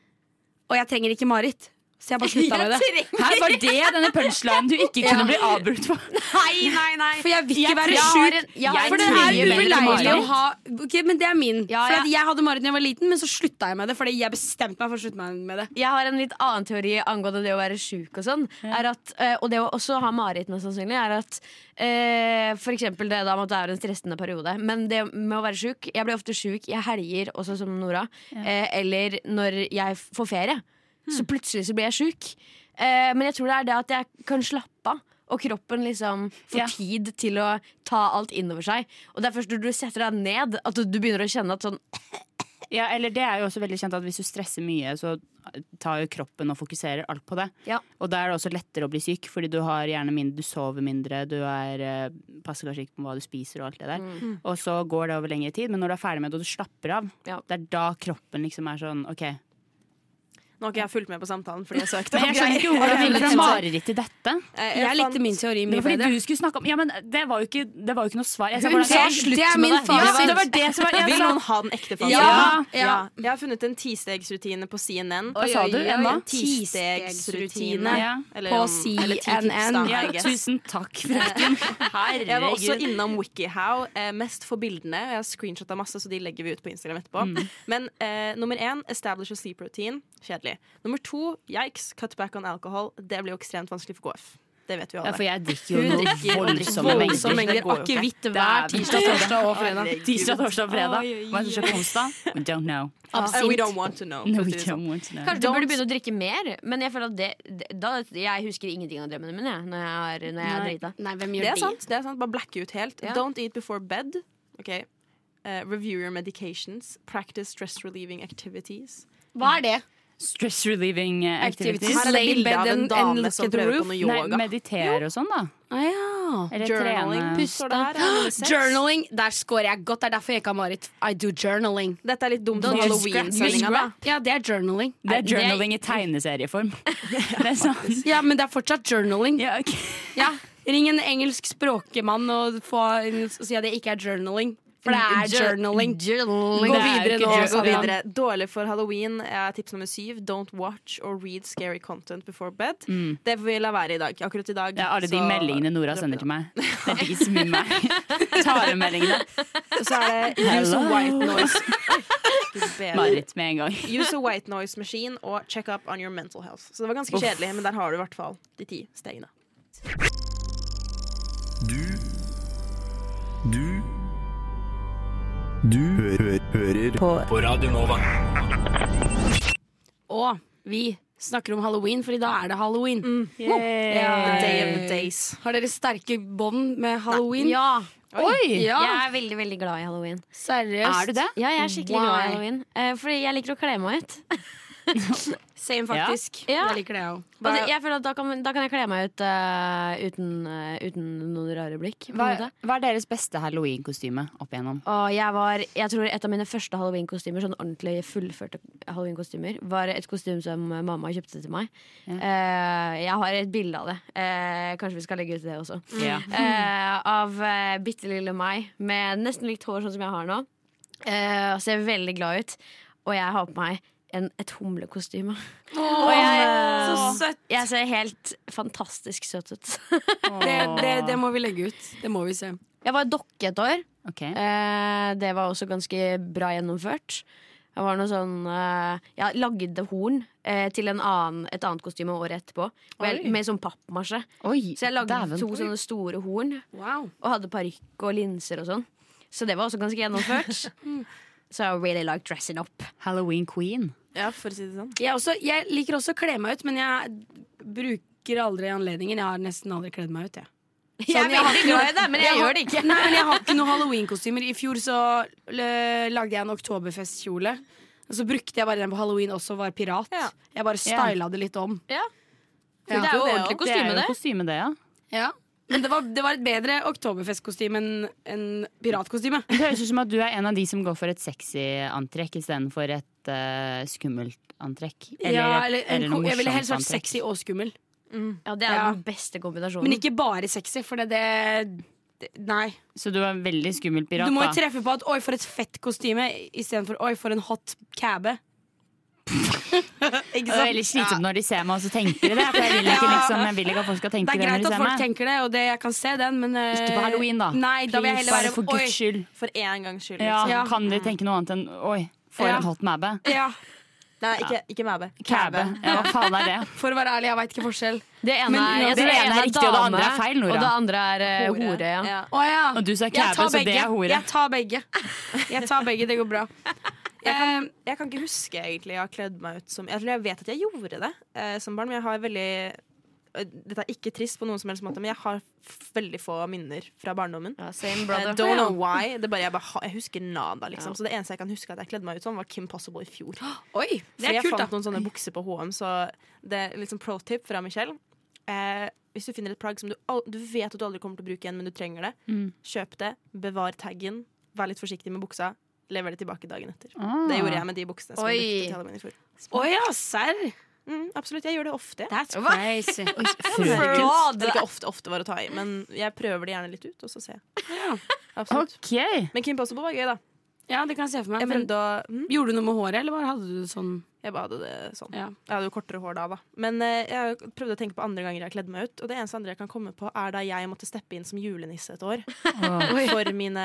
Speaker 3: Og jeg trenger ikke mareritt. Så jeg bare slutta med det.
Speaker 4: Her var det denne punchlinen du ikke kunne bli avbrutt for.
Speaker 6: Nei, nei, nei.
Speaker 3: For jeg vil ikke være
Speaker 6: jeg har en-
Speaker 3: sjuk.
Speaker 6: jeg har
Speaker 3: For det
Speaker 6: en
Speaker 3: er
Speaker 6: mye bedre
Speaker 3: ubeleilig å
Speaker 6: mareritt.
Speaker 3: ha Ok, Men det er min.
Speaker 6: Ja,
Speaker 3: For
Speaker 6: ja.
Speaker 3: at jeg hadde mareritt da jeg var liten, men så slutta jeg med det. Fordi jeg bestemte meg for å slutte meg med det.
Speaker 6: Jeg har en litt annen teori angående det å være sjuk og sånn. Er at, eh, og det å også ha mareritt, mest sannsynlig, er at eh, for eksempel det da med at det er en stressende periode. Men det med å være sjuk Jeg blir ofte sjuk i helger, også som Nora, eh, eller når jeg f- får ferie. Så plutselig så blir jeg sjuk. Eh, men jeg tror det er det at jeg kan slappe av. Og kroppen liksom får
Speaker 4: Ja.
Speaker 6: tid til å ta alt innover seg. Og det er først når du setter deg ned, at du, du begynner å kjenne at sånn
Speaker 4: Ja, eller det er jo også veldig kjent at Hvis du stresser mye, så tar jo kroppen og fokuserer alt på det.
Speaker 6: Ja.
Speaker 4: Og da er det også lettere å bli syk, fordi du har gjerne mindre, du sover mindre, du er, eh, passer kanskje ikke på hva du spiser og alt det der. Og så går det over lengre tid, men når du er ferdig med det og du slapper av,
Speaker 6: Ja.
Speaker 4: det er da kroppen liksom er sånn OK.
Speaker 5: Nå har ikke jeg fulgt med på samtalen fordi jeg søkte.
Speaker 4: Men jeg skjønner ikke hvordan vi gikk fra mareritt til dette.
Speaker 5: sånn, eh,
Speaker 3: Jeg, likte min teori
Speaker 4: Det
Speaker 3: mye
Speaker 4: var fordi
Speaker 3: bedre.
Speaker 4: du skulle snakke om Ja, men det var jo ikke, det var jo ikke noe svar. Jeg sa
Speaker 6: Hun
Speaker 4: hvordan-
Speaker 6: sa
Speaker 4: Ja,
Speaker 6: slutt
Speaker 4: det er
Speaker 6: med
Speaker 4: min
Speaker 6: det.
Speaker 4: fasit.
Speaker 6: Ja,
Speaker 4: det var det som var jeg
Speaker 5: Vil
Speaker 4: sa-
Speaker 5: noen ha den ekte fasiten?
Speaker 4: sånn- Ja,
Speaker 5: Jeg har funnet en tistegsrutine på CNN.
Speaker 4: Hva sa du? En hva?
Speaker 5: Tistegsrutine.
Speaker 4: Ja.
Speaker 5: Eller
Speaker 3: På
Speaker 5: om- eller ti tips,
Speaker 3: CNN.
Speaker 5: da,
Speaker 4: Ja,
Speaker 5: I guess.
Speaker 4: tusen takk, frøken.
Speaker 5: Jeg var også
Speaker 4: Herregud.
Speaker 5: innom WikiHow, eh, mest for bildene. og Jeg har screenshotta masse, så de legger vi ut på Instagram etterpå.
Speaker 4: Mm.
Speaker 5: Men eh, nummer én, establish a sleep routine. Kjedelig. Nummer to, yikes, cut back on alcohol. Det blir jo ekstremt vanskelig for KF. Det vet vi jo
Speaker 4: Ja,
Speaker 5: alle.
Speaker 4: for jeg drikker
Speaker 5: Hun
Speaker 4: jo noe
Speaker 5: drikker-
Speaker 4: voldsomme
Speaker 5: voldsomme
Speaker 4: mengder.
Speaker 5: mengder
Speaker 9: mengder akevitt hver
Speaker 4: Det er-
Speaker 9: tirsdag, torsdag og fredag.
Speaker 5: Herregud.
Speaker 4: Tirsdag, torsdag og fredag. Hva er det som skjer på onsdag? We don't know.
Speaker 5: Uh, we don't want to know.
Speaker 4: No,
Speaker 5: for å
Speaker 4: we
Speaker 5: si det sånn.
Speaker 4: don't want to know.
Speaker 6: Kanskje du burde begynne å drikke mer, men jeg føler at det, det da, Jeg husker ingenting av drømmene mine jeg, når jeg, har- når jeg er drita.
Speaker 3: Nei, hvem gjør
Speaker 5: Det
Speaker 3: det?
Speaker 5: er sant. det er sant Bare blacke ut helt.
Speaker 6: Ja.
Speaker 5: Don't eat before bed. Ok Eh, Review your medications. Practice stress relieving activities.
Speaker 3: Hva er det?
Speaker 4: Stress relieving eh,
Speaker 5: Her
Speaker 4: activities.
Speaker 5: er det
Speaker 9: Lay in
Speaker 5: bilde
Speaker 9: bed
Speaker 5: av en
Speaker 9: and- and
Speaker 5: dame
Speaker 9: look
Speaker 5: som
Speaker 9: at the
Speaker 5: prøver
Speaker 9: roof.
Speaker 5: på noe
Speaker 4: Nei,
Speaker 5: yoga.
Speaker 4: meditere og sånn, da.
Speaker 9: Ah, ja.
Speaker 4: Eller
Speaker 5: Journaling.
Speaker 4: trene.
Speaker 5: Puste.
Speaker 3: Journaling. Der scorer jeg godt. Det er derfor jeg ikke har Marit. I do journaling.
Speaker 5: Dette er litt dumt
Speaker 4: Don't
Speaker 5: for
Speaker 4: use scratch.
Speaker 5: halloween-sendinga, da.
Speaker 3: Ja, det er journaling.
Speaker 4: Det er journaling i tegneserieform. Det er sånn.
Speaker 3: Ja, men det er fortsatt journaling.
Speaker 4: Ja, ok.
Speaker 3: Ja, Ring en engelsk språkemann og få en, og si at det ikke er journaling. For det er journaling.
Speaker 6: Journaling.
Speaker 3: Gå
Speaker 4: Det er
Speaker 3: videre nå.
Speaker 4: ikke jour-
Speaker 5: Gå
Speaker 3: Sandra.
Speaker 5: videre. Dårlig for halloween er tips nummer syv. Don't watch or read scary content before bed. Det får vi la være i dag. Akkurat i dag.
Speaker 4: Det er Mm. alle de
Speaker 5: så-
Speaker 4: meldingene Nora sender til meg. Det er ikke så mye meg. Talemeldingene.
Speaker 5: Og så er det use a
Speaker 4: Hello.
Speaker 5: white noise. Gud bedre.
Speaker 4: Marit med en gang.
Speaker 5: Use a white noise machine og check up on your mental health. Så det var ganske kjedelig, men der har du i hvert fall de ti stegene.
Speaker 1: Du Du Du hø hø hører på. på Radio Nova.
Speaker 3: Og vi snakker om halloween, for i dag er det halloween.
Speaker 4: Mm,
Speaker 5: The day of days.
Speaker 3: Har dere sterke bånd med halloween?
Speaker 6: Ja.
Speaker 3: Oi! Ja.
Speaker 6: Jeg er veldig veldig glad i halloween.
Speaker 3: Seriøst?
Speaker 4: Er du det?
Speaker 6: Ja, jeg er skikkelig glad i
Speaker 3: Why?
Speaker 6: halloween. Eh, fordi jeg liker å kle meg ut.
Speaker 3: Same, faktisk.
Speaker 6: Ja.
Speaker 3: Jeg liker det òg.
Speaker 6: Og det, Altså, jeg føler at da kan, da kan jeg kle meg ut eh, uten, eh, uten noen rare blikk. på en
Speaker 4: Hva,
Speaker 6: måte.
Speaker 4: hva er deres beste halloween-kostyme opp igjennom?
Speaker 6: Og jeg var, jeg tror et av mine første halloween-kostymer Sånn ordentlig fullførte halloween-kostymer Var et kostyme som mamma kjøpte til meg Eh, Jeg har et bilde av det Eh, Kanskje vi skal legge ut det også
Speaker 4: Ja.
Speaker 6: Eh, Av uh, bittelille meg Med nesten likt hår sånn som jeg har nå Eh, Og ser veldig glad ut Og jeg har på meg en, et humlekostyme Og jeg,
Speaker 9: Så søtt.
Speaker 6: jeg ser helt fantastisk søt ut
Speaker 9: Det, det, det må vi legge ut. Det må vi se.
Speaker 6: Jeg var dokke et år
Speaker 4: Ok.
Speaker 6: Eh, det var også ganske bra gjennomført. Jeg var noe sånn eh, Jeg lagde horn eh, til en annen, et annet kostyme året etterpå. Med,
Speaker 4: Oi.
Speaker 6: med sånn pappmasje.
Speaker 4: Oi,
Speaker 6: Så jeg lagde
Speaker 4: dæven.
Speaker 6: to sånne store horn,
Speaker 3: Wow.
Speaker 6: og hadde parykk og linser og sånn. Så det var også ganske (laughs) gjennomført. Så I really like dressing up.
Speaker 4: Halloween queen.
Speaker 5: Ja, for å si det sånn.
Speaker 3: Jeg, også, jeg liker også å kle meg ut, men jeg bruker aldri anledningen. Jeg har nesten aldri kledd meg ut, jeg.
Speaker 6: (laughs) Sånn, jeg er
Speaker 3: jeg har
Speaker 6: veldig
Speaker 3: ikke noe-
Speaker 6: glad i det, men jeg, gjør det ikke.
Speaker 3: (laughs) Nei, men jeg har ikke noen halloween-kostymer. I fjor så eh, lagde jeg en oktoberfestkjole. Og Så brukte jeg bare den på halloween også og var pirat.
Speaker 5: Ja.
Speaker 3: Jeg bare styla det litt om.
Speaker 6: Men det
Speaker 5: Det er
Speaker 6: er jo
Speaker 5: jo-
Speaker 6: ordentlig
Speaker 4: Det er
Speaker 6: kostyme,
Speaker 4: jo
Speaker 6: det.
Speaker 4: kostyme, det, ja.
Speaker 3: Men det var, det var et bedre oktoberfestkostyme enn enn piratkostyme.
Speaker 4: Det høres ut som at du er en av de som går for et sexy antrekk istedenfor et eh, skummelt antrekk.
Speaker 3: ja,
Speaker 4: et-
Speaker 3: eller en,
Speaker 4: noe
Speaker 3: ko- jeg ville
Speaker 4: morsomt
Speaker 3: helst vært
Speaker 4: antrekk.
Speaker 3: sexy og skummel.
Speaker 6: Ja, det er
Speaker 3: Ja.
Speaker 6: den beste kombinasjonen.
Speaker 3: Men ikke bare sexy, for det, det, det Nei.
Speaker 4: Så du var en veldig skummel pirat,
Speaker 3: Du må jo
Speaker 4: da.
Speaker 3: treffe på at 'oi, for et fett kostyme', istedenfor 'oi, for en hot cabbe'.
Speaker 4: Det
Speaker 3: sånn.
Speaker 4: er veldig slitsomt når de ser meg, og så tenker de det. For jeg vil ikke, liksom, jeg vil ikke at folk skal
Speaker 3: Det
Speaker 4: tenke
Speaker 3: er
Speaker 4: det når
Speaker 3: greit
Speaker 4: de
Speaker 3: at
Speaker 4: ser
Speaker 3: folk
Speaker 4: meg.
Speaker 3: tenker det, og det, jeg kan se den, men eh,
Speaker 4: Ikke på halloween, da.
Speaker 3: Nei, da vil jeg heller
Speaker 4: Bare
Speaker 3: være
Speaker 4: for guds
Speaker 3: Oi.
Speaker 4: skyld.
Speaker 5: For én gangs skyld.
Speaker 4: Ja,
Speaker 5: Liksom.
Speaker 3: Ja.
Speaker 4: Kan dere tenke noe annet enn oi, for
Speaker 3: Ja.
Speaker 4: en hot mabbe?
Speaker 3: (laughs) Ja,
Speaker 5: Nei, ikke, ikke mæbe.
Speaker 4: Kæbe. Ja, hva faen er det?
Speaker 3: for å være ærlig, jeg veit ikke forskjell.
Speaker 6: Det ene,
Speaker 3: Men
Speaker 6: er- jeg
Speaker 4: det
Speaker 6: tror
Speaker 4: ene er riktig, og det
Speaker 6: dame,
Speaker 4: andre er feil, Nora.
Speaker 6: Og det andre er eh, hore, ja.
Speaker 5: Ja.
Speaker 3: Å ja.
Speaker 4: Og du sa
Speaker 3: Jeg
Speaker 4: kæbe,
Speaker 3: tar
Speaker 4: så det
Speaker 3: begge.
Speaker 4: er hore.
Speaker 3: Jeg tar begge. Jeg tar begge, det går (laughs) bra. Eh,
Speaker 5: Jeg kan ikke huske egentlig jeg har kledd meg ut som Jeg tror jeg vet at jeg gjorde det eh, som barn, men jeg har veldig eh, dette er ikke trist på noen som helst måte, men jeg har f veldig få minner fra barndommen.
Speaker 6: ja same
Speaker 5: Eh,
Speaker 6: brother.
Speaker 5: don't know why. Det er bare, jeg, bare, ha- jeg husker nada, liksom.
Speaker 6: Ja.
Speaker 5: Så det eneste jeg kan huske at jeg kledde meg ut som, var Kim Possible i fjor.
Speaker 3: oi, det
Speaker 5: For
Speaker 3: er
Speaker 5: jeg
Speaker 3: kult,
Speaker 5: fant
Speaker 3: da.
Speaker 5: noen sånne bukser på HM, så det er liksom pro tip fra Michelle. Eh, hvis du finner et plagg som du, al- du vet at du aldri kommer til å bruke igjen, men du trenger det, kjøp det, bevar taggen, vær litt forsiktig med buksa, lever det tilbake dagen etter.
Speaker 4: Ah.
Speaker 5: Det gjorde jeg med de buksene som jeg
Speaker 6: Oi.
Speaker 5: brukte til Halloween i fjor.
Speaker 3: Å ja, serr.
Speaker 5: Mm, absolutt, jeg gjør det ofte.
Speaker 3: That's
Speaker 6: (laughs) Hva?
Speaker 3: crazy.
Speaker 4: Ah,
Speaker 5: Fraud! Det er ikke ofte ofte var å ta i, men jeg prøver det gjerne litt ut, og så ser jeg. Absolutt.
Speaker 4: OK.
Speaker 5: Men Kim Possible var gøy, da.
Speaker 3: Ja, det kan jeg se for meg.
Speaker 5: Jeg
Speaker 3: Men
Speaker 5: prøvde å mm,
Speaker 3: gjorde du noe med håret, eller bare hadde du det sånn?
Speaker 5: Jeg bare hadde det sånn.
Speaker 3: Ja.
Speaker 5: Jeg hadde jo kortere hår da, da. Men eh, jeg prøvde å tenke på andre ganger jeg kledde meg ut. Og det eneste andre jeg kan komme på, er da jeg måtte steppe inn som julenisse et år. For mine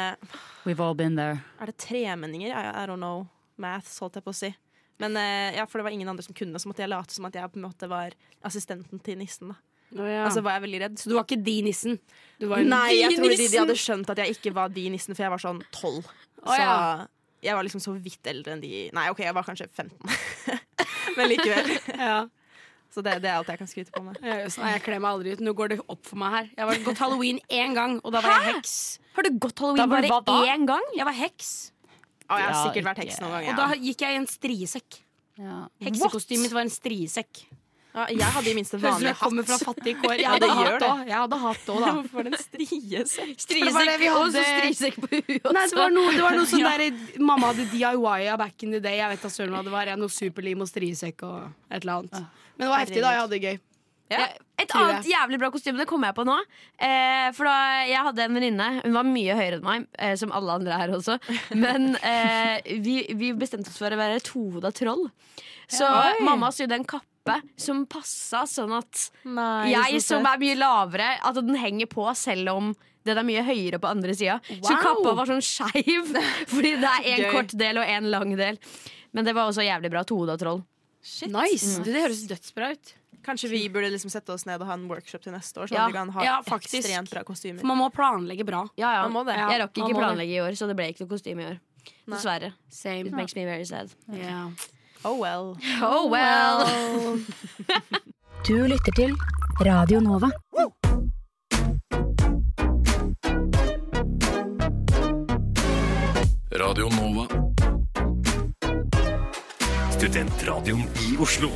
Speaker 4: We've all been there.
Speaker 5: Er det tremenninger? I, I don't know. Maths, holdt jeg på å si. Men eh, ja, For det var ingen andre som kunne, så måtte jeg late som at jeg på en måte var assistenten til nissen. da Og så var jeg veldig redd.
Speaker 3: Altså, Så du var ikke de nissen? Du var
Speaker 5: Nei, jeg
Speaker 3: de
Speaker 5: tror de, de
Speaker 3: nissen!
Speaker 5: hadde skjønt at jeg ikke var de nissen, for jeg var sånn tolv.
Speaker 3: Å,
Speaker 5: Så
Speaker 3: ja.
Speaker 5: jeg var liksom så vidt eldre enn de Nei, OK, jeg var kanskje 15, (laughs) men likevel.
Speaker 3: (laughs) Ja.
Speaker 5: Så det, det er alt jeg kan skryte på med.
Speaker 3: Jeg gjør sånn, Nei, jeg kler meg aldri ut. Nå går det opp for meg her. Jeg har gått halloween én gang, og da var jeg heks.
Speaker 6: Har du gått halloween
Speaker 4: Da var det
Speaker 6: bare
Speaker 4: hva da?
Speaker 6: én gang?
Speaker 3: Jeg var heks,
Speaker 5: Og jeg har
Speaker 4: Ja,
Speaker 5: sikkert vært
Speaker 4: ikke-
Speaker 5: heks noen
Speaker 3: og
Speaker 5: ganger.
Speaker 3: da
Speaker 5: Ja.
Speaker 3: gikk jeg i en striesekk.
Speaker 4: Ja.
Speaker 3: Heksekostymet mitt var en striesekk.
Speaker 5: Ja, jeg hadde i minste
Speaker 3: Høres ut som
Speaker 5: vanlig
Speaker 3: jeg kommer fra fattige (laughs) kår. Jeg
Speaker 5: Ja,
Speaker 3: hadde
Speaker 5: det gjør
Speaker 3: hatt
Speaker 5: det.
Speaker 3: òg. Jeg hadde hatt òg, (laughs) da.
Speaker 5: Hvorfor en
Speaker 3: (laughs)
Speaker 5: striesekk?
Speaker 3: Striesekk, og så
Speaker 6: Strisekk på huet
Speaker 3: Nei, det var noe, det var noe (laughs) sånn der Mamma hadde DIY-a back in the day. Jeg vet da søren hva det var. Jeg Noe superlim og striesekk og et eller annet. Men det var heftig, da. Jeg hadde det gøy.
Speaker 5: Ja.
Speaker 6: Eh, Et
Speaker 3: tror jeg.
Speaker 6: annet jævlig bra kostyme, det kommer jeg på nå. Eh, for da jeg hadde en venninne, hun var mye høyere enn meg, eh, som alle andre her også. Men eh, vi, vi bestemte oss for å være tohoda troll. Så mamma sydde en kappe som passa sånn at jeg som er mye lavere, at den henger på selv om den er mye høyere på andre sida. Så kappa var sånn skeiv, (laughs) fordi det er en
Speaker 5: Gøy.
Speaker 6: kort del og en lang del. Men det var også jævlig bra. Tohoda troll.
Speaker 3: Nice! Du, det høres dødsbra ut.
Speaker 5: Kanskje vi burde liksom sette oss ned og ha en workshop til neste år, sånn
Speaker 6: Ja.
Speaker 5: at vi kan ha
Speaker 3: Ja, faktisk.
Speaker 5: ekstremt bra kostymer.
Speaker 3: For man må planlegge bra.
Speaker 6: Ja, ja.
Speaker 5: Man må det.
Speaker 6: Jeg rakk
Speaker 3: man må
Speaker 6: ikke
Speaker 3: det.
Speaker 6: planlegge i år, så det ble ikke noe kostyme i år. Dessverre.
Speaker 3: Same.
Speaker 6: It makes me very sad.
Speaker 3: Ja.
Speaker 5: Oh well.
Speaker 6: Oh well!
Speaker 2: Du lytter til Radio Nova.
Speaker 10: Radio Nova.
Speaker 1: Studentradioen i Oslo.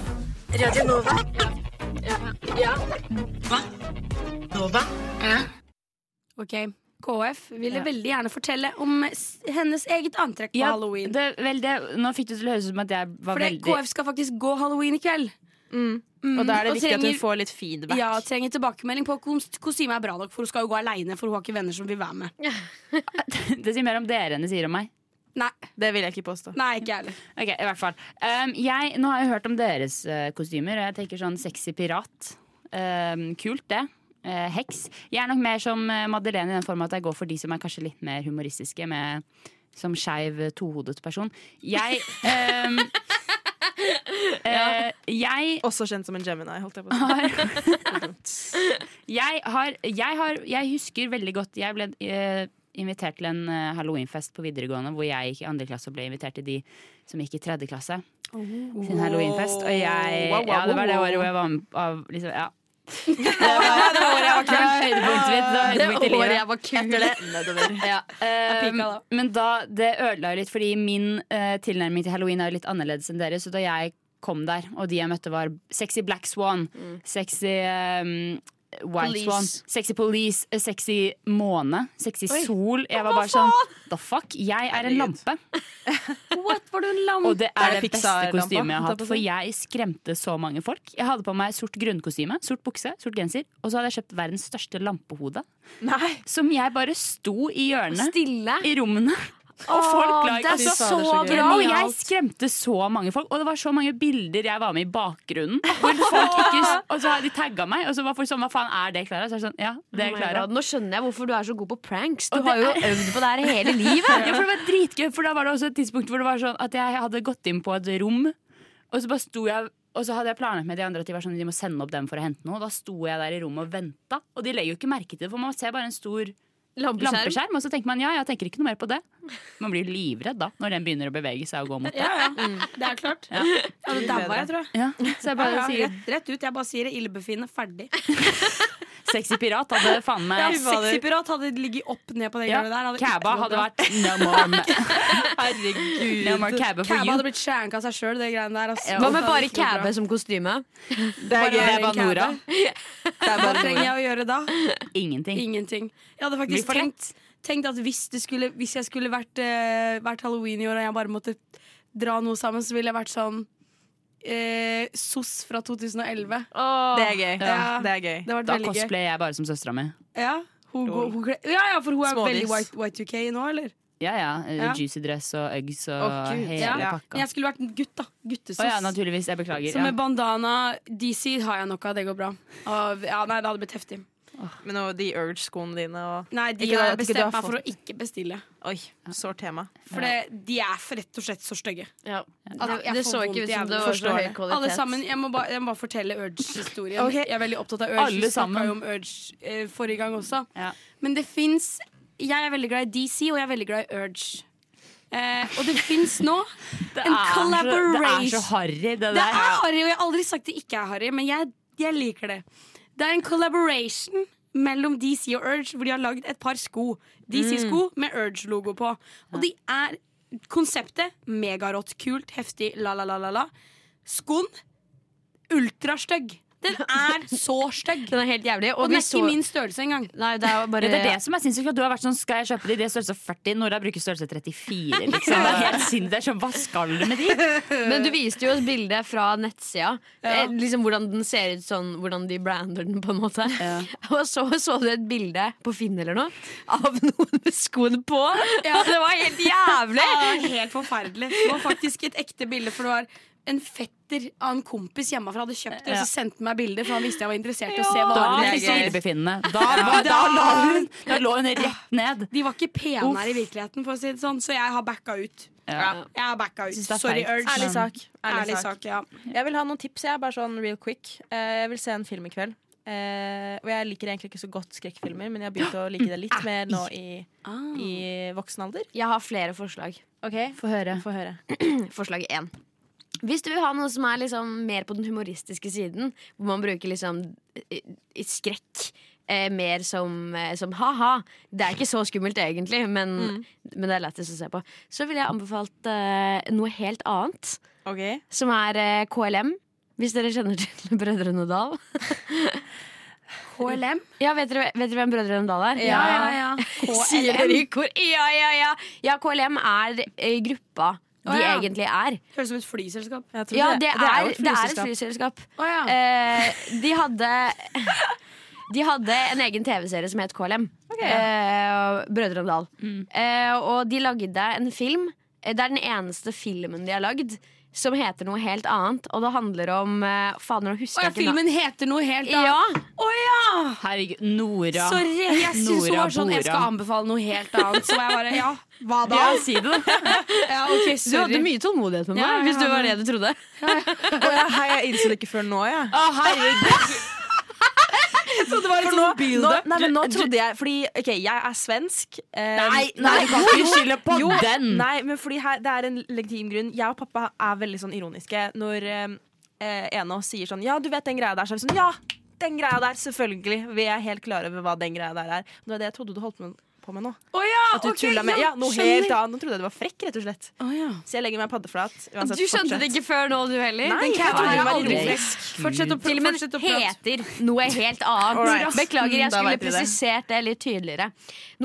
Speaker 3: Ok, KF ville veldig gjerne fortelle om s- hennes eget antrekk på
Speaker 4: Ja,
Speaker 3: halloween.
Speaker 4: det, vel, det, nå fikk det til å høres ut som at jeg var
Speaker 3: For det,
Speaker 4: veldig
Speaker 3: KF skal faktisk gå halloween i kveld.
Speaker 5: Mm.
Speaker 3: Mm,
Speaker 5: Og da er det viktig at
Speaker 3: trenger-
Speaker 5: hun får litt feedback.
Speaker 3: ja, trenger tilbakemelding på at kostymet er bra nok, for hun skal jo gå aleine. For hun har ikke venner som vil være med.
Speaker 4: (laughs) Det sier mer om dere enn det sier om meg.
Speaker 3: Nei,
Speaker 5: Det vil jeg ikke påstå.
Speaker 3: nei ikke jeg heller.
Speaker 4: Ok, i hvert fall um, jeg, Nå har jeg hørt om deres eh, kostymer, og jeg tenker sånn sexy pirat. Um, kult, det. Eh, heks. Jeg er nok mer som eh, Madeleine i den form at jeg går for de som er kanskje litt mer humoristiske, med, som skeiv, eh, tohodet person.
Speaker 3: (laughs)
Speaker 4: Jeg um, eh, Jeg
Speaker 5: Også kjent som en Gemini, holdt jeg på å si. (laughs)
Speaker 4: har jeg, har, jeg har Jeg husker veldig godt Jeg ble eh, invitert til en eh, halloweenfest på videregående hvor jeg gikk i andre klasse og ble invitert til de som gikk i tredje klasse sin halloweenfest. Og jeg Ja, det var det året hvor jeg var med av liksom, ja. Det var det var året jeg var kul. Det var høydepunktet mitt. Det var høydepunktet i livet.
Speaker 6: var kul.
Speaker 4: (laughs) Ja, eh, men da, det ødela jo litt, fordi min eh, tilnærming til halloween er jo litt annerledes enn deres. Så da jeg kom der, og de jeg møtte var sexy black swan,
Speaker 5: Mm.
Speaker 4: sexy eh, white
Speaker 6: Police.
Speaker 4: swan, sexy police, eh, sexy måne, sexy sol Jeg var bare sånn the fuck? Jeg er en
Speaker 5: Herregud.
Speaker 4: lampe.
Speaker 3: What, var du en lam?
Speaker 4: Og det er
Speaker 5: Er
Speaker 4: det
Speaker 5: det
Speaker 4: beste
Speaker 5: Pixar-lampa,
Speaker 4: kostymet jeg har
Speaker 5: holdt jeg på
Speaker 4: hatt,
Speaker 5: å
Speaker 4: for
Speaker 5: si?
Speaker 4: jeg skremte så mange folk. Jeg hadde på meg sort grunnkostyme, sort bukse, sort genser, og så hadde jeg kjøpt verdens største lampehode,
Speaker 5: Nei.
Speaker 4: som jeg bare sto i hjørnet
Speaker 6: Stille.
Speaker 4: i rommene. Og folk la
Speaker 6: det er
Speaker 4: altså,
Speaker 6: så
Speaker 5: så gøy.
Speaker 6: bra.
Speaker 4: ja, og jeg skremte så mange folk, og det var så mange bilder jeg var med i bakgrunnen. Hvor folk ikke, og så hadde de tagga meg, og så var folk sånn Hva faen, er det Klara? Så er det sånn, ja, det
Speaker 6: Oh
Speaker 4: er
Speaker 6: my
Speaker 4: Klara.
Speaker 6: God, Nå skjønner jeg hvorfor du er så god på pranks. Du
Speaker 4: Og det
Speaker 6: har jo øvd på det her hele
Speaker 4: (laughs)
Speaker 6: livet.
Speaker 4: (laughs) Ja, for det var dritgøy, for da var det også et tidspunkt hvor det var sånn at jeg hadde gått inn på et rom, og så bare sto jeg og så hadde jeg planlagt med de andre at de var sånn, de må sende opp dem for å hente noe. Da sto jeg der i rommet og venta, og de legger jo ikke merke til det, for man ser bare en stor
Speaker 6: Lampeskjerm.
Speaker 4: lampeskjerm, og så tenker man ja, jeg tenker ikke noe mer på det. Man blir jo livredd da, når den begynner å bevege seg og gå mot deg.
Speaker 3: Ja, ja. Det er klart. Mm. Ja. det daua jeg, tror jeg.
Speaker 4: Ja, så jeg
Speaker 3: Ja,
Speaker 4: bare
Speaker 3: ja,
Speaker 4: sier
Speaker 3: rett, rett ut. Jeg bare sier det. Illebefinnende. Ferdig.
Speaker 4: sexy pirat hadde faen
Speaker 3: Ja,
Speaker 4: meg
Speaker 3: Sexy pirat hadde ligget opp ned på det
Speaker 4: ja,
Speaker 3: gulvet der. Hadde
Speaker 4: Cabba
Speaker 3: ikke gått
Speaker 4: hadde
Speaker 3: bra.
Speaker 4: vært no
Speaker 3: (laughs)
Speaker 4: more,
Speaker 5: Herregud.
Speaker 4: no more cabba for
Speaker 3: Cabba
Speaker 4: you.
Speaker 3: hadde blitt skjænka av seg sjøl, det greiene der. Altså.
Speaker 6: Hva med bare
Speaker 3: Det hadde ikke gått bra.
Speaker 6: cabbe som kostyme?
Speaker 5: Det er
Speaker 3: Bare
Speaker 5: gøy.
Speaker 3: være en
Speaker 4: Nora.
Speaker 3: cabbe. Hva trenger jeg å gjøre da?
Speaker 4: Ingenting.
Speaker 3: (laughs) Ingenting. Jeg hadde
Speaker 4: Blir
Speaker 3: faktisk
Speaker 4: for
Speaker 3: tenkt, tenkt at hvis, det skulle, hvis jeg skulle vært, eh, vært halloween i år, og jeg bare måtte dra noe sammen, så ville jeg vært sånn eh, SOS fra 2011.
Speaker 5: Det er gøy.
Speaker 3: Ja.
Speaker 5: Det er gøy.
Speaker 3: Det hadde vært
Speaker 4: Da
Speaker 3: veldig gøy.
Speaker 4: cosplayer jeg bare som søstera mi.
Speaker 3: Ja, hun går, hun, kle- ja, ja, for hun er
Speaker 5: Smådis.
Speaker 3: veldig white, Y2K nå, eller?
Speaker 4: Ja, ja. eh,
Speaker 3: Ja.
Speaker 4: Juicy dress og eggs og
Speaker 5: Å, Gud,
Speaker 4: hele
Speaker 3: ja. Men
Speaker 4: pakka.
Speaker 3: jeg skulle vært en gutt, da. Guttesos.
Speaker 4: Å ja, naturligvis. Jeg beklager.
Speaker 3: så med
Speaker 4: Ja.
Speaker 3: bandana DC har jeg nok av, det går bra. Og, ja, nei, det hadde blitt heftig.
Speaker 5: Men og de Urge-skoene dine og
Speaker 3: Nei, de
Speaker 5: Ikke det,
Speaker 3: har
Speaker 5: at ikke du
Speaker 3: bestemt
Speaker 5: har
Speaker 3: meg for å
Speaker 5: fått-
Speaker 3: ikke bestille.
Speaker 5: Oi, sårt tema.
Speaker 3: For det- de er for rett og slett så stygge.
Speaker 6: Ja.
Speaker 3: At
Speaker 6: Det,
Speaker 3: jeg
Speaker 6: det
Speaker 3: får
Speaker 6: så ikke
Speaker 3: vondt
Speaker 6: ut
Speaker 3: i jævlen.
Speaker 6: som det var så høy
Speaker 3: Forstår det.
Speaker 6: kvalitet.
Speaker 3: Alle sammen, jeg må, bare, jeg må bare fortelle Urge-historien.
Speaker 5: Ok.
Speaker 3: Jeg er veldig opptatt av Urge.
Speaker 4: Alle
Speaker 3: Vi snakka
Speaker 4: sammen.
Speaker 3: jo om Urge eh, forrige gang også.
Speaker 4: Ja.
Speaker 3: Men det fins Jeg er veldig glad i DC, og jeg er veldig glad i Urge. Eh, og det fins nå en
Speaker 4: Det er så
Speaker 3: collaboration.
Speaker 4: harry, det der.
Speaker 3: Det er harry, og jeg har aldri sagt det ikke er harry, men jeg, jeg liker det. Det er en collaboration mellom DC og Urge, hvor de har lagd et par sko.
Speaker 6: Mm.
Speaker 3: DC-sko med Urge-logo på. Og de er konseptet megarått, kult, heftig, la-la-la-la-la. Skoen ultrastygg. Den
Speaker 6: (laughs)
Speaker 3: er så stygg.
Speaker 6: Den er helt jævlig. Og,
Speaker 3: Og den
Speaker 6: vi
Speaker 3: er
Speaker 6: så
Speaker 3: ikke min størrelse engang.
Speaker 6: Nei, det er jo bare
Speaker 4: Ja, det er det som er sinnssykt. at Du har vært sånn, skal jeg kjøpe de? De er størrelse 40. Nora bruker størrelse 34. Liksom. Det er helt sinnssykt. Det er sånn, Hva skal du med de?
Speaker 6: Men du viste jo oss bildet fra nettsida. Eh, Liksom Hvordan den ser ut sånn, hvordan de brander den, på en måte. (laughs) Og så så du et bilde på Finn eller noe av noen med skoene på! Og det var helt jævlig!
Speaker 3: Det var helt forferdelig. Det var faktisk et ekte bilde, for det var en fetter av en kompis hjemmefra hadde kjøpt det, og så sendte han meg bilde, for han visste jeg var interessert i å se
Speaker 4: Da
Speaker 3: varene.
Speaker 4: fikk hun
Speaker 3: Jeg-
Speaker 4: illebefinnende. Da, var- da, la hun- da lå hun rett ned.
Speaker 3: De var ikke penere i virkeligheten, for å si det sånn, så jeg har backa ut.
Speaker 4: Ja.
Speaker 3: Jeg har backa ut.
Speaker 4: Synes det er
Speaker 3: Sorry,
Speaker 4: teit.
Speaker 3: Urge.
Speaker 5: Ærlig sak.
Speaker 3: Ærlig sak, ja.
Speaker 5: Jeg vil ha noen tips, jeg. Bare sånn real quick. Eh, jeg vil se en film i kveld. Eh, og jeg liker egentlig ikke så godt skrekkfilmer, men jeg har begynt å like det litt mer nå i, Ah. i voksen alder.
Speaker 6: Jeg har flere forslag.
Speaker 5: Ok,
Speaker 6: Få høre.
Speaker 5: Få høre.
Speaker 6: Forslag én. Hvis du vil ha noe som er liksom mer på den humoristiske siden, hvor man bruker liksom eh, skrekk eh, mer som, eh, som ha-ha Det er ikke så skummelt egentlig, men, men det er lættis å se på. Så ville jeg anbefalt eh, noe helt annet,
Speaker 5: Ok.
Speaker 6: som er eh, KLM. Hvis dere kjenner til (laughs) Brødrene Dal.
Speaker 3: KLM.
Speaker 6: Ja, vet dere, vet dere hvem Brødrene Dal er?
Speaker 3: Ja, ja, ja.
Speaker 6: Sier dere i kor? Ja, ja, ja! Ja, KLM er eh, gruppa de
Speaker 3: Å, ja.
Speaker 6: egentlig er.
Speaker 3: Høres ut som et flyselskap.
Speaker 5: Jeg tror
Speaker 6: Ja, det er,
Speaker 5: jo
Speaker 6: det er et
Speaker 5: flyselskap.
Speaker 6: flyselskap.
Speaker 3: Å ja.
Speaker 6: Eh, de hadde (laughs) De hadde en egen TV-serie som het KLM. Eh, Brødrene Dal. Eh, og de lagde en film. Eh, Det er den eneste filmen de har lagd som heter noe helt annet. Og det handler om eh, Fader, nå
Speaker 3: Å
Speaker 6: husker
Speaker 3: ja,
Speaker 6: jeg ikke
Speaker 3: filmen heter noe helt
Speaker 6: na-
Speaker 3: annet.
Speaker 6: Ja,
Speaker 3: Å ja!
Speaker 4: Herregud, Nora.
Speaker 3: Sorry, jeg syns hun
Speaker 4: Nora
Speaker 3: var sånn Jeg skal
Speaker 4: Bora.
Speaker 3: anbefale noe helt annet. Så var jeg bare Ja, (laughs) hva da?
Speaker 4: Ja, si det, da.
Speaker 3: (laughs) Ja, ok,
Speaker 6: Du hadde
Speaker 3: sorry.
Speaker 6: mye tålmodighet med meg,
Speaker 3: Ja, jeg
Speaker 6: hvis det var det
Speaker 3: hadde-
Speaker 6: du trodde.
Speaker 5: Å ja, hei, jeg innså det ikke før nå, jeg.
Speaker 4: Å, herregud.
Speaker 5: (laughs) For nå, nå, nei, men nå trodde jeg Fordi ok, jeg er svensk. eh,
Speaker 4: Nei, nei, du kan ikke skylde på
Speaker 5: jo,
Speaker 4: den.
Speaker 5: Nei, men fordi her, det er en legitim grunn. Jeg og pappa er veldig sånn ironiske når eh, eh, en av oss sier sånn Ja, du vet den greia der? Så er vi sånn Ja, den greia der, selvfølgelig. Vi er helt klare over hva den greia der er. Det var det jeg trodde du holdt med, på med nå.
Speaker 3: Å ja,
Speaker 5: At du
Speaker 3: Ah, ok,
Speaker 5: tullet med Ja, noe
Speaker 3: skjønner.
Speaker 5: helt annet. Nå trodde jeg du var frekk, rett og slett.
Speaker 3: Å ja.
Speaker 5: Så jeg legger meg paddeflat. Uansett,
Speaker 6: Du skjønte det
Speaker 5: fortsett.
Speaker 6: ikke før nå, du heller.
Speaker 5: Nei,
Speaker 6: Den
Speaker 5: jeg
Speaker 6: kan
Speaker 5: trodde
Speaker 6: være
Speaker 5: du var
Speaker 6: aldri
Speaker 5: ironisk.
Speaker 6: frekk.
Speaker 3: Fortsett å
Speaker 6: Til og med
Speaker 3: fortsett å prate.
Speaker 6: Mm.
Speaker 3: Mm,
Speaker 6: heter noe helt annet.
Speaker 5: Alright.
Speaker 6: Beklager, jeg
Speaker 5: Da
Speaker 6: skulle
Speaker 5: vet vi det.
Speaker 6: presisert det litt tydeligere.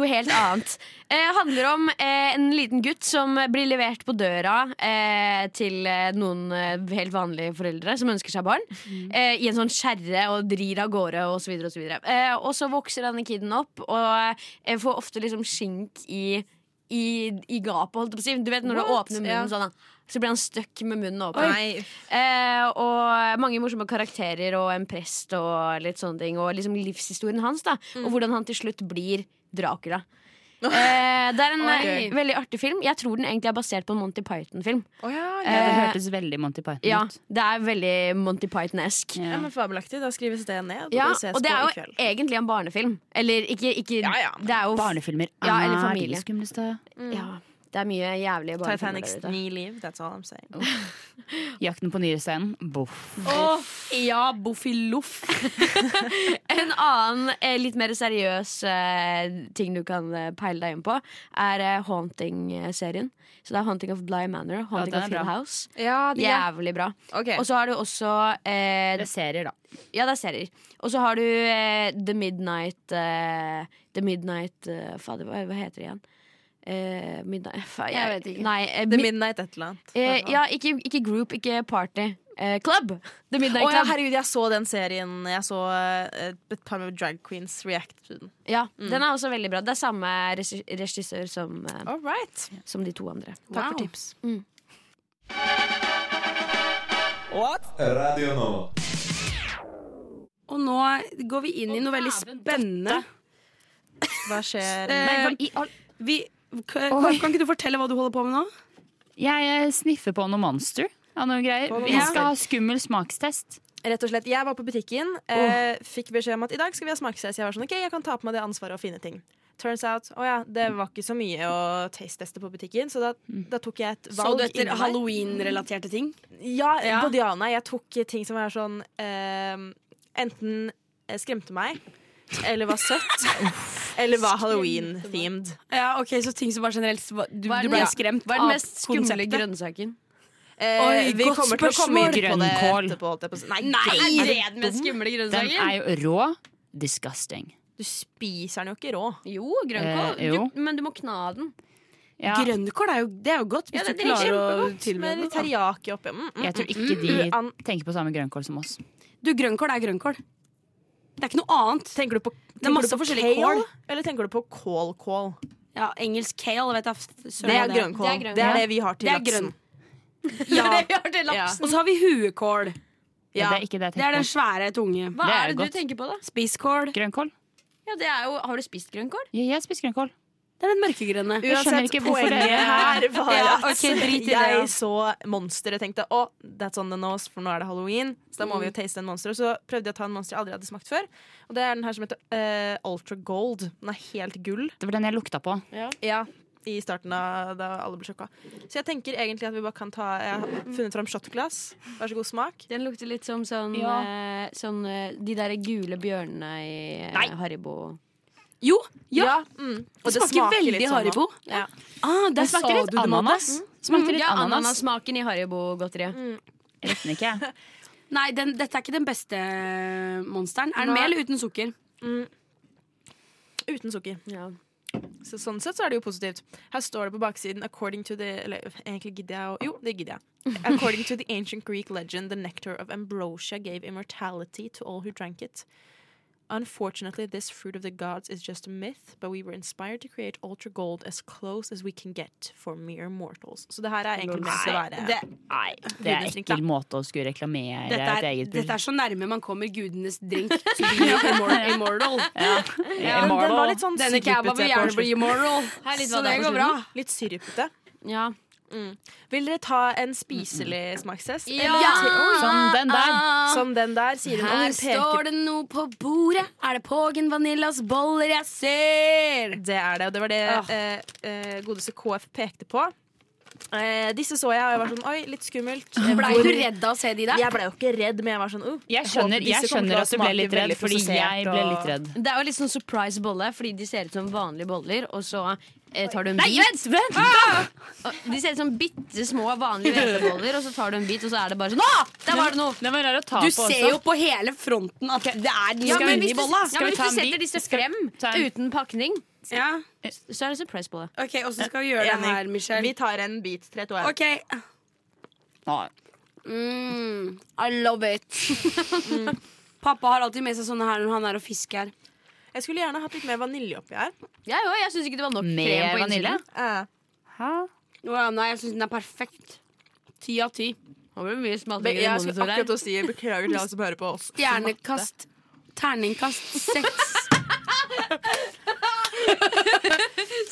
Speaker 6: Noe helt annet. Eh, handler om eh, en liten gutt som blir levert på døra eh, til eh, noen eh, helt vanlige foreldre som ønsker seg barn.
Speaker 3: Mm.
Speaker 6: Eh, I en sånn kjerre og drir av gårde og så videre og så videre. Eh, og så vokser denne kiden opp og eh, får ofte liksom skink i i, i gapet, holdt jeg på å si. Du vet når du
Speaker 3: What?
Speaker 6: åpner
Speaker 3: Ja.
Speaker 6: munnen sånn, så blir han stuck med munnen åpen.
Speaker 5: Nei,
Speaker 6: Eh, og mange morsomme karakterer og en prest og litt sånne ting. Og liksom livshistorien hans, da.
Speaker 5: Mm.
Speaker 6: Og hvordan han til slutt blir Dracula. Eh, det er en eh, veldig artig film. Jeg tror den egentlig er basert på en Monty Python-film.
Speaker 4: Ja,
Speaker 5: Eh,
Speaker 4: det hørtes veldig Monty Python
Speaker 6: Ja,
Speaker 4: ut.
Speaker 6: det er veldig Monty Python-esk.
Speaker 5: Ja, men Fabelaktig. Da skrives det ned.
Speaker 6: Ja,
Speaker 5: det ses
Speaker 6: og det
Speaker 5: på
Speaker 6: er
Speaker 5: i
Speaker 6: jo
Speaker 5: kveld.
Speaker 6: egentlig en barnefilm. Eller ikke, ikke
Speaker 5: Ja, ja, men
Speaker 6: Det er jo
Speaker 4: Barnefilmer
Speaker 6: Ja, eller
Speaker 4: er
Speaker 6: familie.
Speaker 4: de skumleste.
Speaker 6: Ja, det er mye jævlige barnefilmer
Speaker 5: Titanics
Speaker 6: der ute. Oh.
Speaker 5: ni liv. That's all I'm saying.
Speaker 4: Jakten på nyresteinen. Boff.
Speaker 3: Ja, (laughs) boffiloff.
Speaker 6: En annen eh, litt mer seriøs eh, ting du kan eh, peile deg inn på, er eh, Haunting-serien. Så det er Haunting of Bly Manor, Haunting
Speaker 4: den er
Speaker 6: of
Speaker 4: bra.
Speaker 6: Hill House.
Speaker 5: Ja,
Speaker 6: Jævlig bra. Og så har du også eh,
Speaker 4: Det er serier, da.
Speaker 6: Ja, det er serier. Og så har du eh, The Midnight eh, The Midnight eh, Fader, hva, hva heter det igjen? Eh, midnight fa, jeg,
Speaker 3: Jeg vet ikke.
Speaker 6: Nei, eh,
Speaker 5: The
Speaker 6: mi-
Speaker 5: Midnight et eller annet.
Speaker 6: eh, ja, ikke, ikke group, ikke party. Eh, club! The Midnight
Speaker 5: Å ja,
Speaker 6: Club.
Speaker 5: herregud, jeg så den serien. Jeg så eh, et par med drag queens react to den.
Speaker 6: Ja, Den er også veldig bra. Det er samme regi- regissør som, eh,
Speaker 5: All right.
Speaker 6: som de to andre.
Speaker 5: Takk for tips.
Speaker 3: Og nå går vi inn i noe veldig spennende.
Speaker 5: Hva skjer?
Speaker 3: Eh,
Speaker 4: Nei, hva i all
Speaker 3: vi, kan, kan ikke du fortelle hva du holder på med nå?
Speaker 4: Jeg eh, sniffer på noe monster av noen greier.
Speaker 5: På noe
Speaker 4: Vi
Speaker 5: Monster.
Speaker 4: skal ha skummel smakstest.
Speaker 5: Rett og slett, Jeg var på butikken, eh, fikk beskjed om at i dag skal vi ha smakstest. Jeg var sånn, ok, jeg kan ta på meg det ansvaret og finne ting. Turns out, å ja, det var ikke så mye å taste-teste på butikken, så da,
Speaker 6: Mm.
Speaker 5: da tok jeg et
Speaker 3: Så
Speaker 5: valg.
Speaker 3: du etter
Speaker 5: inni meg.
Speaker 3: halloween-relaterte ting?
Speaker 5: Ja,
Speaker 3: Ja.
Speaker 5: både ja og nei. Jeg tok ting som var sånn eh, Enten eh, skremte meg, eller var søtt, eller var halloween-themed.
Speaker 3: Ja, ok, Så ting som bare generelt var- Du,
Speaker 6: Hva er
Speaker 3: du
Speaker 6: den-
Speaker 3: ble
Speaker 6: ja.
Speaker 3: skremt
Speaker 6: Hva er
Speaker 3: av
Speaker 6: den mest skumle
Speaker 3: konseptet?
Speaker 6: grønnsaken?
Speaker 5: Eh,
Speaker 3: Oi,
Speaker 5: vi
Speaker 3: godt
Speaker 5: kommer til å komme inn på det
Speaker 4: spørsmål.
Speaker 5: etterpå. Holdt jeg på. å si. Nei,
Speaker 6: Er
Speaker 5: nei!
Speaker 6: det den mest
Speaker 4: Den
Speaker 6: skumle grønnsaken?
Speaker 4: er jo rå. Disgusting.
Speaker 5: Du spiser den jo ikke rå.
Speaker 6: Jo, grønnkål.
Speaker 4: Eh, jo.
Speaker 6: Du, men du må kna den. (laughs)
Speaker 4: Ja,
Speaker 3: Grønnkål er jo, det er jo godt, hvis
Speaker 6: Ja, det
Speaker 3: du
Speaker 6: er
Speaker 3: klarer å
Speaker 5: Godt, med
Speaker 3: tilberede det.
Speaker 5: litt
Speaker 3: da.
Speaker 5: teriyaki oppi. Mm, mm,
Speaker 4: jeg tror ikke de
Speaker 5: mm. An-
Speaker 4: tenker på samme grønnkål som oss.
Speaker 3: Du, grønnkål er grønnkål. Det er ikke noe annet.
Speaker 5: Tenker du på,
Speaker 3: Det er
Speaker 5: tenker
Speaker 3: masse
Speaker 5: du på
Speaker 3: forskjellig
Speaker 5: kale,
Speaker 3: kål.
Speaker 5: eller tenker du på kålkål?
Speaker 3: Ja, engelsk kale, vet jeg. søren
Speaker 5: Det
Speaker 3: hva
Speaker 5: er grønnkål.
Speaker 6: Det er grønn-
Speaker 5: Det
Speaker 4: Ja.
Speaker 5: er det vi har til
Speaker 3: Det er
Speaker 5: laksen.
Speaker 3: grønn. (laughs)
Speaker 6: (laughs)
Speaker 3: Ja.
Speaker 5: Ja.
Speaker 3: Og så har vi huekål.
Speaker 4: Ja.
Speaker 5: Ja.
Speaker 4: Det er ikke det jeg
Speaker 3: Det er
Speaker 4: tenker
Speaker 3: den
Speaker 4: på.
Speaker 3: svære tunge.
Speaker 6: Hva
Speaker 4: Det er
Speaker 6: er, det
Speaker 4: godt.
Speaker 6: du tenker på, da?
Speaker 3: Spisskål.
Speaker 4: Grønnkål?
Speaker 6: Ja, det er jo, har du spist grønnkål?
Speaker 4: Ja, jeg spiser grønnkål.
Speaker 3: Det er den mørkegrønne.
Speaker 4: Jeg skjønner ikke hvorfor
Speaker 5: poenget
Speaker 4: det-
Speaker 5: her var
Speaker 6: (laughs)
Speaker 3: Ja,
Speaker 5: at
Speaker 6: altså,
Speaker 3: ok, drit i det, ja.
Speaker 5: jeg så monsteret og tenkte å, that's on the nose, for nå er det halloween. Så da må vi jo taste en monster. Og så prøvde jeg å ta en monster jeg aldri hadde smakt før. Og det er den her som heter eh, Ultra Gold. Den er helt gull.
Speaker 4: Det var den jeg lukta på.
Speaker 5: Ja, i starten av da alle ble sjokka. Så jeg tenker egentlig at vi bare kan ta Jeg har funnet fram shotglass. Vær så god, smak.
Speaker 6: Den lukter litt som sånn, eh, sånn eh, de der gule bjørnene i eh, Haribo.
Speaker 3: Jo, ja.
Speaker 5: Mm. Og
Speaker 3: Det smaker veldig
Speaker 5: sånn nå.
Speaker 3: Haribo.
Speaker 5: Ja.
Speaker 3: Ah, der
Speaker 4: Det
Speaker 3: sa
Speaker 4: smakte litt
Speaker 3: du det, Madde.
Speaker 4: ananas. Smakte litt
Speaker 6: Ja,
Speaker 4: ananas.
Speaker 6: ananassmaken i Haribo-godteriet.
Speaker 4: Jeg likte den ikke.
Speaker 3: Nei, den, dette er ikke den beste eh, monsteren. Er den med
Speaker 5: Nei.
Speaker 3: eller uten sukker?
Speaker 5: Uten sukker.
Speaker 6: Ja.
Speaker 5: Så sånn sett så er det jo positivt. Her står det på baksiden According to the Eller øh, egentlig gidder jeg å Jo, det gidder jeg. According to the ancient Greek legend, the nectar of ambrosia gave immortality to all who drank it. Unfortunately, this fruit of the gods is just a myth, but we were inspired to create ultra gold as close as we can get for mere mortals. Så det her er egentlig ment å være
Speaker 3: Det,
Speaker 4: Nei, det er
Speaker 5: Gudesnytt, da.
Speaker 4: ekkel måte å skulle reklamere
Speaker 3: dette,
Speaker 4: et
Speaker 3: er,
Speaker 4: eget
Speaker 3: dette er så nærme man kommer gudenes drink. To be
Speaker 4: (laughs)
Speaker 3: immor- immortal.
Speaker 4: Ja,
Speaker 5: Den, den var litt sånn
Speaker 3: Denne kebab
Speaker 5: sirupete
Speaker 3: vil
Speaker 5: på
Speaker 3: gjerne bli
Speaker 5: slutten.
Speaker 3: immoral.
Speaker 6: Her er litt hva
Speaker 3: Så
Speaker 6: det
Speaker 3: det
Speaker 6: er på
Speaker 3: går bra.
Speaker 5: Ah, Litt syrupete.
Speaker 6: Ja.
Speaker 5: Vil dere ta en spiselig smakstest?
Speaker 4: Som den der.
Speaker 5: Som den der, sier hun. og hun
Speaker 3: Her
Speaker 5: peker
Speaker 3: står det noe på bordet. Er det Pågen Vanillas boller jeg ser?
Speaker 5: Det er det, og det var det
Speaker 3: Ah.
Speaker 5: eh, eh, godeste KF pekte på. Eh, disse så jeg, og jeg var sånn Oi, litt skummelt. Eh,
Speaker 3: Blei
Speaker 5: hvor-
Speaker 3: du redd av å se de der?
Speaker 5: Jeg ble jo ikke redd, men jeg var sånn uh,
Speaker 4: Jeg skjønner,
Speaker 5: håper
Speaker 4: jeg
Speaker 5: disse kommer til
Speaker 4: skjønner
Speaker 5: å
Speaker 4: at du ble
Speaker 5: smake
Speaker 4: litt redd,
Speaker 5: veldig
Speaker 4: fordi jeg
Speaker 5: prosessert,
Speaker 4: ble
Speaker 5: og-
Speaker 4: litt redd.
Speaker 6: Det er jo litt sånn surprise bolle, fordi de ser ut som vanlige boller, og så eh, tar du en bit. Ah!
Speaker 4: vent!
Speaker 6: Og De ser ut som bitte små vanlige hveteboller, og så tar du en bit, og så er det bare sånn Å! Der var det noe!
Speaker 4: Den var rar å ta
Speaker 3: Du
Speaker 4: på også.
Speaker 3: ser jo på hele fronten at det er de
Speaker 6: Ja,
Speaker 3: som
Speaker 6: men
Speaker 3: er inni
Speaker 6: hvis du,
Speaker 3: bolla.
Speaker 6: ja,
Speaker 4: vi
Speaker 6: men hvis
Speaker 4: ta en bit?
Speaker 6: du setter disse
Speaker 4: Skal vi
Speaker 6: frem
Speaker 4: ta en-
Speaker 6: uten pakning,
Speaker 3: Ja,
Speaker 6: så er det surprise bolle.
Speaker 3: ok, Åssen skal vi gjøre det her, Michelle?
Speaker 5: Vi tar en bit. Tre, to, en.
Speaker 3: Ok,
Speaker 4: Nei.
Speaker 3: Mm, I love it. (laughs) Mm. Pappa har alltid med seg sånne her når han er og fisker.
Speaker 5: Jeg skulle gjerne hatt litt mer vanilje oppi her.
Speaker 6: Ja, jo, jeg syns ikke det var nok
Speaker 4: Med
Speaker 6: krem på
Speaker 4: vanilje?
Speaker 6: innsiden.
Speaker 5: Eh,
Speaker 3: Å ja, nei, jeg syns den er perfekt. Ti av ti.
Speaker 6: Det ble mye
Speaker 5: be-
Speaker 6: smaltere
Speaker 5: jeg skulle
Speaker 6: monitor
Speaker 5: akkurat
Speaker 6: her.
Speaker 5: å si beklager til alle som hører på oss.
Speaker 3: (laughs) Stjernekast. Terningkast seks.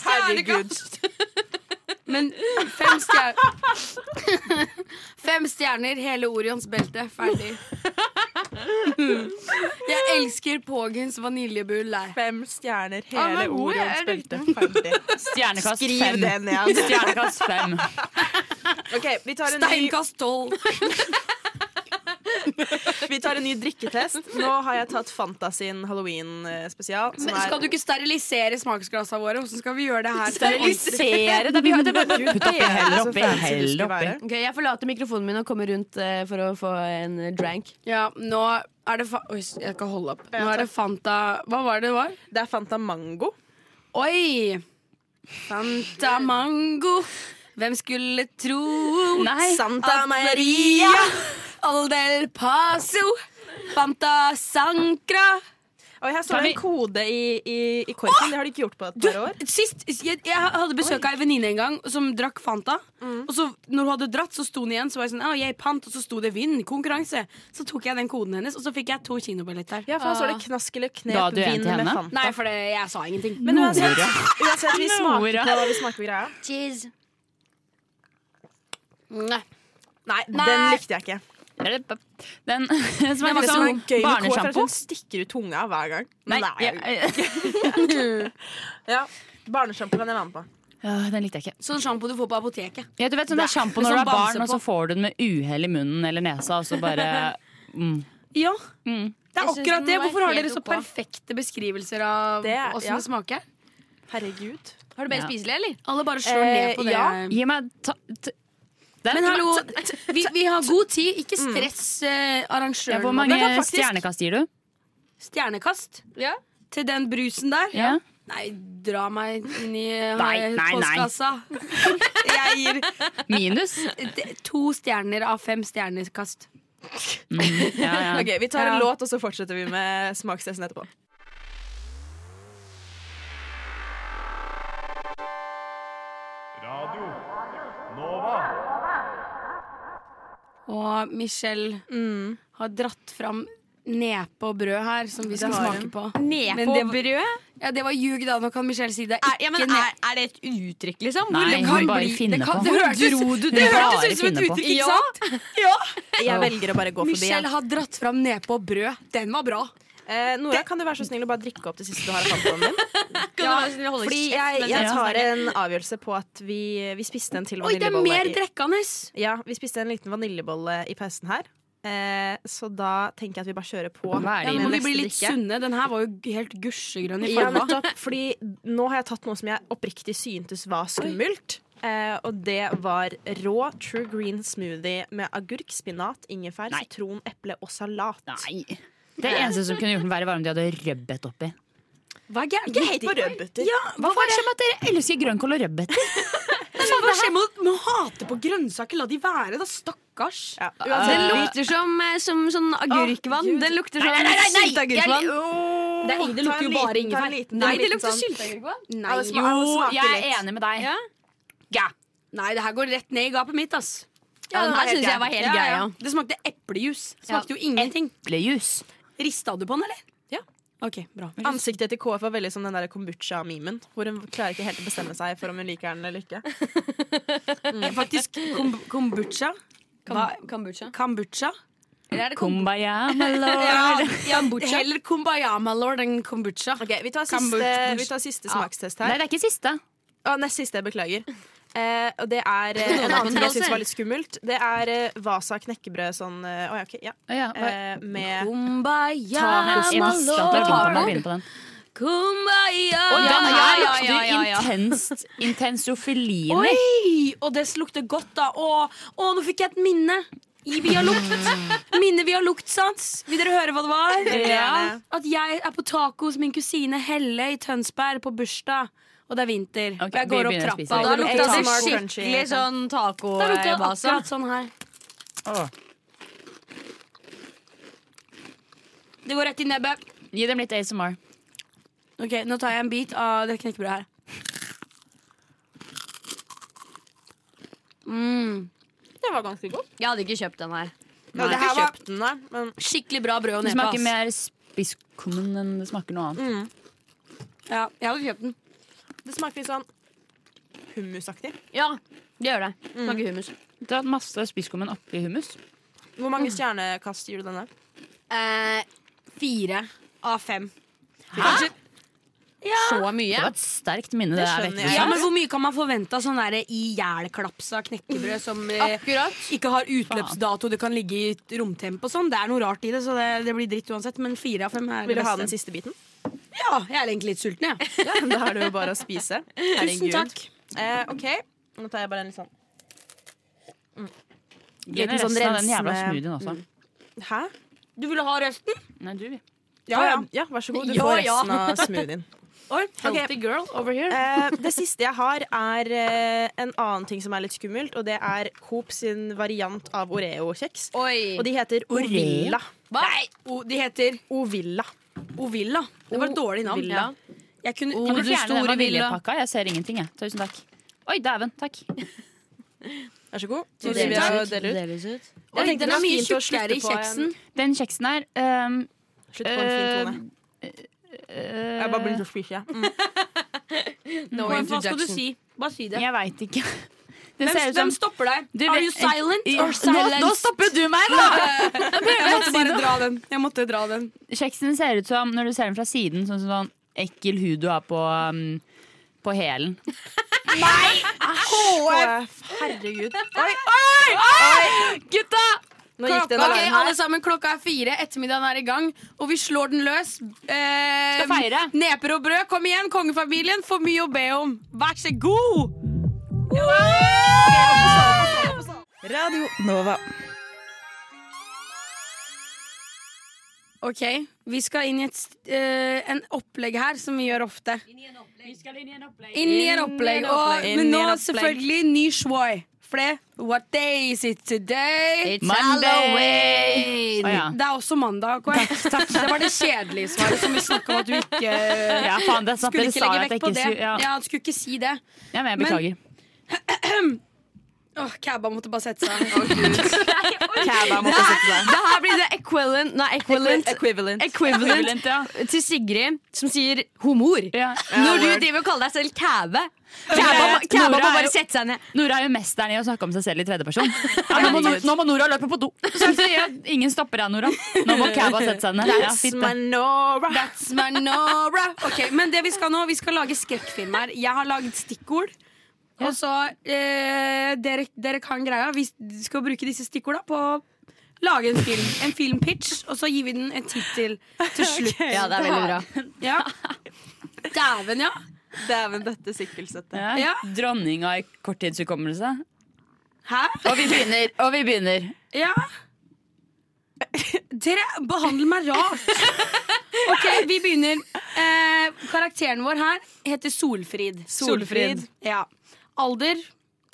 Speaker 5: Herregud.
Speaker 3: Men uh, fem stjerner (laughs) Fem stjerner, hele Orions belte. Ferdig. Hmm. Jeg elsker Pågens vaniljebuller.
Speaker 5: Fem stjerner,
Speaker 6: Ah,
Speaker 5: hele
Speaker 6: men hvor
Speaker 5: ordet
Speaker 6: er det?
Speaker 5: spilte ferdig.
Speaker 4: Stjernekast
Speaker 5: Skriv
Speaker 4: fem.
Speaker 5: det ned. altså.
Speaker 4: Stjernekast fem.
Speaker 5: Ok, vi tar en ny
Speaker 3: Steinkast tolv.
Speaker 5: Vi tar en ny drikketest. Nå har jeg tatt Fanta sin eh, halloween-spesial.
Speaker 3: (laughs) Men Skal du ikke sterilisere smaksglassene våre? Hvordan skal vi gjøre det her?
Speaker 4: Sterilisere det, vi har det bare putt oppi, hell oppi, hell oppi.
Speaker 6: Ok, jeg forlater mikrofonen min og kommer rundt eh, for å få en eh, drank.
Speaker 3: Ja, nå er det fa Oi, jeg skal holde opp. Nå er det Fanta Hva var det det var?
Speaker 5: Det er Fanta Mango.
Speaker 3: Oi! Fanta Mango. Hvem skulle tro?
Speaker 4: Nei.
Speaker 3: Santa Maria. Old El Paso. Fanta Sankra.
Speaker 5: Og her står det en kode i, i, i korken. Det har de ikke gjort på et
Speaker 3: Du,
Speaker 5: par år.
Speaker 3: sist, jeg, jeg hadde besøk av ei venninne en gang som drakk Fanta. Og så når hun hadde dratt, så sto hun igjen. Så var jeg sånn, «Å, jeg pant, og så sto det vinn, konkurranse. Så tok jeg den koden hennes, og så fikk jeg to kinobilletter.
Speaker 5: Ja, for her står det knask eller
Speaker 4: Da
Speaker 5: knep,
Speaker 4: hadde du en
Speaker 5: vinn
Speaker 4: til
Speaker 5: med
Speaker 4: henne.
Speaker 5: fanta.
Speaker 3: Nei, for det, jeg sa ingenting.
Speaker 5: Men uansett,
Speaker 4: Nora.
Speaker 5: uansett vi, smaker
Speaker 4: Nora.
Speaker 5: på, vi smaker på greia.
Speaker 6: Cheese.
Speaker 3: Nei.
Speaker 5: Nei, den likte jeg ikke.
Speaker 4: Den smaker
Speaker 5: Det som er
Speaker 4: som sånn
Speaker 5: gøy med kål, er at
Speaker 4: barnesjampo.
Speaker 5: hun stikker ut tunga hver gang.
Speaker 4: Nei,
Speaker 5: jeg-
Speaker 4: jeg-
Speaker 5: ja. Barnesjampo kan jeg være med på.
Speaker 4: ja, den likte jeg ikke.
Speaker 3: Sånn sjampo du får på apoteket.
Speaker 4: Ja, du vet sånn det er sjampo når du
Speaker 3: Sånn
Speaker 4: er barn,
Speaker 3: bamse
Speaker 4: og så
Speaker 3: på.
Speaker 4: får du den med uhell i munnen eller nesa, og så bare mm.
Speaker 3: Ja,
Speaker 4: Mm.
Speaker 3: det
Speaker 6: Jeg
Speaker 3: er
Speaker 6: synes
Speaker 3: akkurat
Speaker 6: den
Speaker 3: det.
Speaker 6: var
Speaker 3: Hvorfor har
Speaker 6: helt
Speaker 3: dere så
Speaker 6: ok.
Speaker 3: perfekte beskrivelser av
Speaker 5: Det er-
Speaker 3: åssen
Speaker 5: ja.
Speaker 3: det smaker?
Speaker 5: Herregud.
Speaker 6: Har du bare
Speaker 4: Ja.
Speaker 6: spiselig, eller?
Speaker 3: Alle bare slår
Speaker 5: Eh,
Speaker 3: ned på det.
Speaker 5: ja.
Speaker 4: Gi meg ta, t den.
Speaker 3: Men hallo, vi, vi har god tid. Ikke
Speaker 6: Mm.
Speaker 3: stress eh,
Speaker 4: ja,
Speaker 3: arrangøren.
Speaker 4: Hvor
Speaker 3: nå.
Speaker 4: mange
Speaker 3: Det kan faktisk-
Speaker 4: stjernekast gir du?
Speaker 3: Stjernekast
Speaker 6: Ja.
Speaker 3: til den brusen der?
Speaker 4: Ja.
Speaker 3: Nei, dra meg inn i eh,
Speaker 4: Nei, nei, nei. (laughs)
Speaker 3: postkassa. Jeg gir
Speaker 4: Minus?
Speaker 3: eh, to stjerner av fem stjernekast.
Speaker 4: Ja, ja.
Speaker 5: Ok, Vi tar en
Speaker 3: Ja.
Speaker 5: låt, og så fortsetter vi med smakstesten etterpå.
Speaker 11: Radio Nova.
Speaker 3: Og Michelle
Speaker 6: Mm.
Speaker 3: har dratt fram nepe og brød her, som vi skal smake på.
Speaker 6: Nepe
Speaker 3: Men det-
Speaker 6: og brød?
Speaker 3: Ja, Det var ljug, da. Nå kan Michelle si det. er
Speaker 6: Er, ja,
Speaker 3: Ikke
Speaker 6: men
Speaker 3: nepe.
Speaker 6: er, er det et uttrykk, liksom?
Speaker 4: Nei,
Speaker 6: det
Speaker 4: hun bare finner
Speaker 6: det
Speaker 4: på.
Speaker 6: det
Speaker 3: Hvor
Speaker 6: hørtes-
Speaker 3: dro du
Speaker 4: det?
Speaker 6: det?
Speaker 4: Bare
Speaker 6: hørtes ut som et
Speaker 4: finner på.
Speaker 6: uttrykk, ikke
Speaker 3: Ja.
Speaker 6: sant?
Speaker 5: Jeg velger å bare gå forbi.
Speaker 3: Michelle
Speaker 5: jeg.
Speaker 3: har dratt fram nepe og brød. Den var bra.
Speaker 5: Eh, Nora, kan du være så snill å bare drikke opp det siste du har av fantoen din?
Speaker 6: Kan du bare holde
Speaker 5: (laughs) Fordi
Speaker 6: kjeft
Speaker 5: jeg,
Speaker 6: mens
Speaker 5: jeg
Speaker 6: snakker?
Speaker 5: tar en avgjørelse på at vi, vi spiste en til
Speaker 3: Oi, det er
Speaker 5: vaniljebolle.
Speaker 3: mer
Speaker 5: i-
Speaker 3: drekkende!
Speaker 5: Ja, vi spiste en liten vaniljebolle i pausen her. Eh, så da tenker jeg at vi bare kjører på.
Speaker 4: Hva er det
Speaker 3: Ja,
Speaker 4: i
Speaker 5: med
Speaker 3: må vi
Speaker 5: neste
Speaker 3: bli litt
Speaker 5: drikke.
Speaker 3: sunne. Den her var jo helt gusjegrønn i
Speaker 5: Ja,
Speaker 3: fargen.
Speaker 5: nettopp. Fordi nå har jeg tatt noe som jeg oppriktig syntes var skummelt. Eh, og det var rå true green smoothie med agurk, spinat, ingefær,
Speaker 4: Nei.
Speaker 5: sitron, eple og salat.
Speaker 4: Nei. Det eneste som kunne gjort den verre, var om de hadde rødbet oppi.
Speaker 3: Hva er gærent?
Speaker 5: Ikke hate på rødbeter.
Speaker 4: Hva er det som at dere elsker grønnkål og rødbeter?
Speaker 3: Hva skjer med å- med å hate på grønnsaker? La de være, da. Stakkars.
Speaker 5: Ja,
Speaker 6: Den
Speaker 5: uansett,
Speaker 6: lukter som, eh, som sånn agurkvann.
Speaker 5: Gud.
Speaker 6: den lukter som sylteagurkvann.
Speaker 5: Det,
Speaker 3: er- det lukter jo bare ingefær.
Speaker 6: Nei, det lukter sylteagurkvann.
Speaker 3: sånn- Nei.
Speaker 5: Alle smaker-
Speaker 3: Jo.
Speaker 5: alle smaker
Speaker 4: jeg er
Speaker 5: litt.
Speaker 4: enig med deg.
Speaker 6: Ja.
Speaker 3: Nei, det her går rett ned i gapet mitt, ass.
Speaker 6: Ja, den
Speaker 3: var
Speaker 6: her
Speaker 3: helt
Speaker 6: synes jeg
Speaker 3: gæren.
Speaker 6: var helt gæren, ja.
Speaker 3: Det smakte eplejus. Smakte jo ingenting.
Speaker 4: Eplejus.
Speaker 3: Rista du på den, eller?
Speaker 5: Ja.
Speaker 3: Ok, bra.
Speaker 5: Ansiktet til KF var veldig som den der kombucha-memen. Hvor hun klarer ikke helt å bestemme seg for om hun liker den eller ikke. Mm.
Speaker 3: Faktisk, kom kombucha Hva-
Speaker 6: Kombucha.
Speaker 3: Kombucha?
Speaker 6: Eller er det kombucha?
Speaker 4: Kumbaya, (laughs) my lord.
Speaker 3: Heller kumbaya, my lord, enn kombucha.
Speaker 5: Ok, Vi tar siste,
Speaker 3: Kombucha.
Speaker 5: vi tar siste smakstest
Speaker 4: Nei,
Speaker 5: her.
Speaker 4: det er ikke siste.
Speaker 5: Å, nest siste, jeg beklager. Eh, og det er eh, en annen ting jeg syns var litt skummelt. Det er eh, Vasa knekkebrød sånn eh, Å ja, OK. Ja.
Speaker 4: Å, ja.
Speaker 5: Eh, med
Speaker 6: Kumbaya,
Speaker 4: Jeg visste at det var fint å begynne på den.
Speaker 6: Kumbaya.
Speaker 4: Og den
Speaker 6: Ja,
Speaker 4: her
Speaker 6: ja,
Speaker 4: lukter
Speaker 6: ja, ja, ja.
Speaker 4: intenst intensofiline.
Speaker 3: Oi! Og det lukter godt, da. Å, å nå fikk jeg et minne. I via lukt. Minne via luktsans. Vil dere høre hva det var?
Speaker 5: Ja.
Speaker 3: At jeg er på taco hos min kusine Helle i Tønsberg på bursdag. Og det er vinter.
Speaker 4: Ok,
Speaker 3: og jeg
Speaker 4: vi
Speaker 3: går opp
Speaker 4: begynner å spise.
Speaker 3: trappa. og
Speaker 6: Da
Speaker 3: det
Speaker 6: lukta det
Speaker 3: taco.
Speaker 5: crunchy,
Speaker 6: skikkelig sånn
Speaker 3: Da lukta det
Speaker 6: taco-basa.
Speaker 3: akkurat sånn her. Det går rett i nebbet.
Speaker 4: Gi dem litt ASMR.
Speaker 3: Ok, Nå tar jeg en bit av det knekkebrødet her. Mm.
Speaker 5: Det var ganske godt.
Speaker 6: Jeg hadde ikke kjøpt den her.
Speaker 5: Ja, det her var, nei, men
Speaker 3: Skikkelig bra brød og
Speaker 4: Det
Speaker 3: nepe.
Speaker 4: smaker
Speaker 3: ass.
Speaker 4: mer spisskummen enn det smaker noe annet.
Speaker 3: Ja, jeg hadde kjøpt den.
Speaker 5: det smaker litt sånn hummusaktig.
Speaker 6: Ja, det gjør det. Smaker hummus.
Speaker 4: Det er masse spisskummen oppi hummus.
Speaker 5: Hvor mange stjernekast gir du denne?
Speaker 3: fire av fem.
Speaker 6: Så
Speaker 4: Det
Speaker 6: mye.
Speaker 4: var et sterkt minne. Det,
Speaker 5: Det
Speaker 4: er
Speaker 5: skjønner
Speaker 4: virkelig.
Speaker 3: Ja, men Hvor mye kan man forvente av sånn derre ihjelklapsa knekkebrød som eh,
Speaker 6: Akkurat.
Speaker 3: ikke har utløpsdato, det kan ligge i romtempo og sånn? Det er noe rart i det, så det, det blir dritt uansett. Men fire av fem er
Speaker 5: Vil du
Speaker 3: det
Speaker 5: ha
Speaker 3: beste.
Speaker 5: den siste biten?
Speaker 3: Ja, jeg er egentlig litt sulten, jeg.
Speaker 5: Ja, Da (laughs) er det jo bare å spise.
Speaker 3: Tusen takk.
Speaker 5: Eh, OK, nå tar jeg bare en litt sånn
Speaker 4: Gi henne
Speaker 5: Liten sånn
Speaker 4: resten av den jævla
Speaker 5: rensende-
Speaker 4: smoothien også.
Speaker 5: Hæ?
Speaker 3: Du ville ha resten?
Speaker 4: Nei, du.
Speaker 5: Ja, ja. ja vær så god. Du
Speaker 3: Ja,
Speaker 5: får
Speaker 3: ja.
Speaker 5: resten av (laughs) smoothien.
Speaker 3: Oi,
Speaker 5: Ok.
Speaker 3: Healthy girl over here.
Speaker 5: Eh, det siste jeg har, er eh, en annen ting som er litt skummelt, og det er Coop sin variant av Oreo-kjeks.
Speaker 6: Oi.
Speaker 5: Og de heter Ovilla.
Speaker 6: Nei.
Speaker 3: Oh, de heter
Speaker 5: Ovilla.
Speaker 3: Ovilla. Det var et dårlig navn.
Speaker 8: Villa.
Speaker 3: Jeg kunne,
Speaker 4: Kan du
Speaker 8: Hvor
Speaker 4: fjerne
Speaker 8: store
Speaker 4: den
Speaker 8: villa?
Speaker 4: vaniljepakka? Jeg ser ingenting, jeg. Tusen takk. Oi, dæven. Takk.
Speaker 5: Vær så god.
Speaker 6: Det
Speaker 5: Så driver jeg og deler ut.
Speaker 6: deles ut.
Speaker 3: Jeg tenkte det
Speaker 5: den er
Speaker 3: var mye
Speaker 5: fin til å
Speaker 3: tjukkere i
Speaker 5: slutte på en-
Speaker 3: kjeksen.
Speaker 4: Den kjeksen her ehm,
Speaker 5: Slutt på en fin tone.
Speaker 4: eh,
Speaker 5: Jeg bare blir så spisig, jeg. Mm.
Speaker 3: Hva hva skal du si? Bare si det.
Speaker 4: eh, Jeg veit ikke. (laughs) Det
Speaker 3: Hvem,
Speaker 4: ser ut som
Speaker 3: hvem stopper deg?
Speaker 4: Du
Speaker 3: Are
Speaker 4: vet-
Speaker 3: you silent
Speaker 4: Ja,
Speaker 3: or silent?
Speaker 4: Nå, nå stopper du meg, da!
Speaker 3: jeg måtte bare dra den. Jeg måtte dra den.
Speaker 4: Kjeksen ser ut som, når du ser den fra siden, sånn som sånn ekkel hud du har på, um, på hælen.
Speaker 5: HF! Herregud. Oi,
Speaker 4: Gutta!
Speaker 5: nå gikk det en
Speaker 3: Ok,
Speaker 5: alarm
Speaker 3: alle
Speaker 5: her.
Speaker 3: sammen, Klokka er fire, ettermiddagen er i gang, og vi slår den løs. Eh,
Speaker 4: Skal feire.
Speaker 3: Neper og brød, kom igjen, kongefamilien. For mye å be om. Vær så god!
Speaker 12: Radio Nova.
Speaker 3: Ok, Vi skal inn i et st- eh, en opplegg her, som vi gjør ofte. Inn i en opplegg. Og,
Speaker 5: Inn i
Speaker 3: men
Speaker 5: en
Speaker 3: nå
Speaker 5: opplegg.
Speaker 3: selvfølgelig ny shwai. For det What day is it today?
Speaker 4: Monday! (laughs) Å, ja.
Speaker 3: Det er også mandag. Kåre. Det var det kjedelige svaret som vi snakka om at du ikke
Speaker 4: (laughs) ja, faen, det er sant.
Speaker 3: skulle
Speaker 4: Dere
Speaker 3: ikke
Speaker 4: sa jo
Speaker 3: legge
Speaker 4: at jeg
Speaker 3: vekt på
Speaker 4: ikke
Speaker 3: det.
Speaker 4: skulle ja.
Speaker 3: Ja, du skulle ikke si det.
Speaker 4: ja, men jeg (laughs) beklager.
Speaker 3: Åh, Kæba måtte bare sette seg.
Speaker 5: Kæba måtte sette seg.
Speaker 6: Det her blir det equivalent, nei, equivalent,
Speaker 5: Equivalent.
Speaker 6: equivalent
Speaker 4: Equivalent, ja.
Speaker 6: til Sigrid som sier homor.
Speaker 4: Ja.
Speaker 6: Når du driver og kaller deg selv kæve. Kæba kæba
Speaker 4: Nora
Speaker 6: må
Speaker 4: er jo-
Speaker 6: bare sette seg ned.
Speaker 4: Nora er jo mesteren i å snakke om seg selv i (laughs) tredjeperson. Ja, nå, må, nå må Nora løpe på do! (laughs) Så jeg sier, ingen stopper deg, Nora. Nå må Kæba sette seg ned. Ja, fint, det.
Speaker 5: Manora.
Speaker 3: That's my Nora. Ok, men det vi skal nå, vi skal lage skrekkfilm her. Jeg har lagd stikkord. Og så eh, dere, dere kan greia. Vi skal bruke disse stikkorda på å lage en film. En filmpitch, og så gir vi den en tittel
Speaker 4: (laughs)
Speaker 3: til slutt.
Speaker 6: Ja, det er veldig bra.
Speaker 3: Ja. Dæven, ja.
Speaker 5: Dæven døtte sikkelsøtte.
Speaker 4: Ja.
Speaker 3: Ja.
Speaker 4: Dronninga i korttidshukommelse.
Speaker 3: Hæ?
Speaker 4: Og vi begynner. Og vi begynner.
Speaker 3: Ja. Dere behandler meg rart. Ok, vi begynner. Eh, karakteren vår her heter Solfrid.
Speaker 5: Solfrid.
Speaker 3: Ja. Alder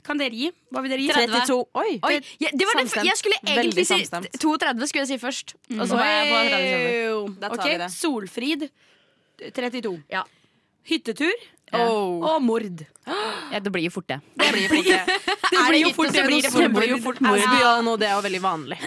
Speaker 3: kan dere gi. Hva vil dere gi?
Speaker 5: 32. Oi!
Speaker 6: Oi, jeg, det var det,
Speaker 5: Samstemt.
Speaker 6: jeg skulle egentlig
Speaker 5: Veldig
Speaker 6: si
Speaker 5: samstemt.
Speaker 6: 32, skulle jeg si først. Og så var jeg på 30 sommer.
Speaker 3: Wow.
Speaker 5: Da tar
Speaker 3: Ok,
Speaker 5: vi det.
Speaker 3: Solfrid 32.
Speaker 6: Ja.
Speaker 3: Hyttetur
Speaker 5: Oh.
Speaker 3: og mord.
Speaker 4: Ja, det blir jo fort, det.
Speaker 5: Det blir fort det.
Speaker 3: Det blir jo fort det.
Speaker 5: blir
Speaker 3: blir
Speaker 5: det
Speaker 3: jo
Speaker 5: fort,
Speaker 3: fort-
Speaker 5: blir jo fort mord. Asbjørn, og det er jo veldig vanlig.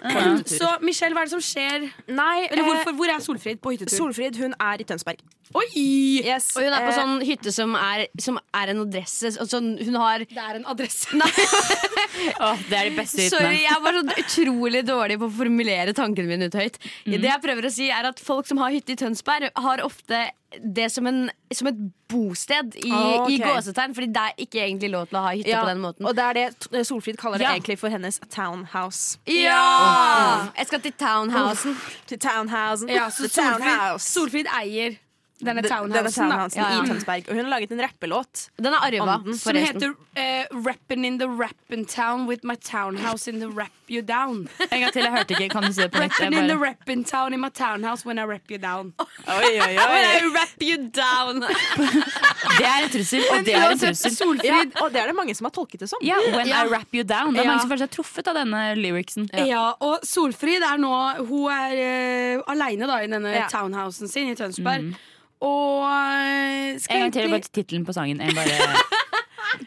Speaker 3: Så Michelle, hva er det som skjer?
Speaker 5: Nei, eh,
Speaker 3: Eller hvorfor, hvor er Solfrid på hyttetur?
Speaker 5: Solfrid hun er i Tønsberg.
Speaker 3: Oi!
Speaker 5: Yes.
Speaker 6: Og hun er på
Speaker 5: eh,
Speaker 6: sånn hytte som er, som er en adresse. Og sånn, hun har
Speaker 3: Det er en adresse.
Speaker 4: Åh, det er de beste hyttene.
Speaker 6: Sorry, jeg er bare så utrolig dårlig på å formulere tankene mine ut høyt.
Speaker 5: Mm.
Speaker 6: Det jeg prøver å si er at Folk som har hytte i Tønsberg, har ofte det som, en, som et bosted i,
Speaker 5: Ah, ok.
Speaker 6: i gåsetegn, fordi det er ikke egentlig lov til å ha hytte
Speaker 5: ja,
Speaker 6: på den måten.
Speaker 5: Og det er det t- eh, Solfrid kaller det
Speaker 4: Ja.
Speaker 5: egentlig for hennes townhouse.
Speaker 6: ja! Jeg skal til townhousen.
Speaker 5: Til townhousen.
Speaker 3: Ja, så
Speaker 5: The
Speaker 3: Solfrid,
Speaker 5: townhouse.
Speaker 3: Solfrid eier denne
Speaker 5: The- Denne
Speaker 3: townhousen, da.
Speaker 5: townhousen i Tønsberg. Og hun har laget en rappelåt.
Speaker 6: Den er arva,
Speaker 5: Anden,
Speaker 3: Som
Speaker 6: forresten.
Speaker 3: heter eh, Rappin' in the rappin' town with my townhouse in the rap you down.
Speaker 4: En gang til, jeg hørte ikke. Kan du si det på nytt? Jeg
Speaker 3: Rappin' in the
Speaker 4: bare-
Speaker 3: rappin' town in my townhouse when I rap you down.
Speaker 5: Oi, oi, oi.
Speaker 6: Wrap you down.
Speaker 4: Det er en trussel, og det er en trussel.
Speaker 5: Ja, og det er det mange som har tolket det som.
Speaker 4: Ja, When I Wrap You Down. Det er
Speaker 3: Ja.
Speaker 4: mange som føler seg truffet av denne lyricsen.
Speaker 3: Ja. og Solfrid er nå Hun er eh, aleine da, i denne
Speaker 5: Ja.
Speaker 3: townhousen sin i Tønsberg. Og eh, skal
Speaker 4: En gang til, bare
Speaker 3: egentlig
Speaker 4: tittelen på sangen.
Speaker 3: (laughs)
Speaker 4: Jeg bare...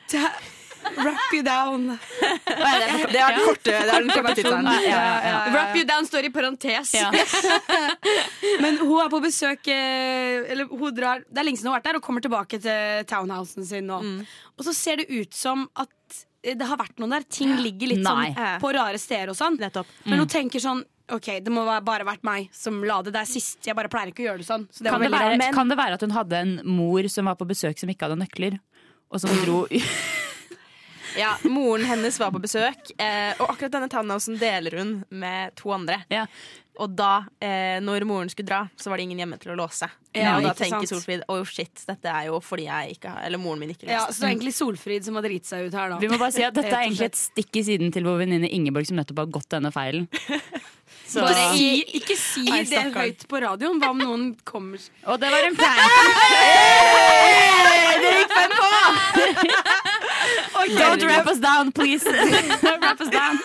Speaker 3: ta- Wrap you down.
Speaker 5: Det
Speaker 3: (laughs)
Speaker 5: er den korte, det er den (laughs) korte tittelen.
Speaker 4: Ja, ja, ja.
Speaker 6: Wrap you down står i parentes.
Speaker 4: Ja.
Speaker 3: Men hun er på besøk eh, Eller hun drar Det er lenge siden hun har vært der, og kommer tilbake til townhousen sin nå.
Speaker 4: Mm.
Speaker 3: Og så ser det ut som at eh, det har vært noen der. Ting ligger litt
Speaker 4: Nei. Mm.
Speaker 3: sånn på rare steder og sånn.
Speaker 5: Nettopp.
Speaker 3: Men hun tenker sånn OK, det må være- bare vært meg som la det der sist. Jeg bare pleier ikke å gjøre det sånn. Så det
Speaker 4: Kan,
Speaker 3: var
Speaker 4: det
Speaker 3: veldig rart.
Speaker 4: være,
Speaker 3: Men-
Speaker 4: kan det være at hun hadde en mor som var på besøk som ikke hadde nøkler? Og som
Speaker 3: (laughs)
Speaker 4: dro
Speaker 5: Ja, moren hennes var på besøk, eh, og akkurat denne townhousen deler hun med to andre.
Speaker 4: ja.
Speaker 5: Og da, eh, når moren skulle dra, så var det ingen hjemme til å låse.
Speaker 3: Ja,
Speaker 5: og da
Speaker 3: ikke
Speaker 5: tenker
Speaker 3: sant.
Speaker 5: Solfrid oh shit, dette er jo fordi jeg ikke har, eller moren min ikke
Speaker 3: Ja,
Speaker 5: låste.
Speaker 3: så det er egentlig Solfrid som har driti seg ut her, da.
Speaker 4: Vi må bare si at dette
Speaker 3: Rett og
Speaker 4: er egentlig et stikk i siden til vår venninne Ingeborg som nettopp har gått denne
Speaker 3: (laughs)
Speaker 4: feilen. Så,
Speaker 3: Bare si, ikke si
Speaker 5: Nei,
Speaker 3: det
Speaker 5: stakkaren.
Speaker 3: høyt på radioen. Hva om noen kommer
Speaker 4: og det var en prank. (laughs) (laughs) Don't wrap us down, please. wrap us down.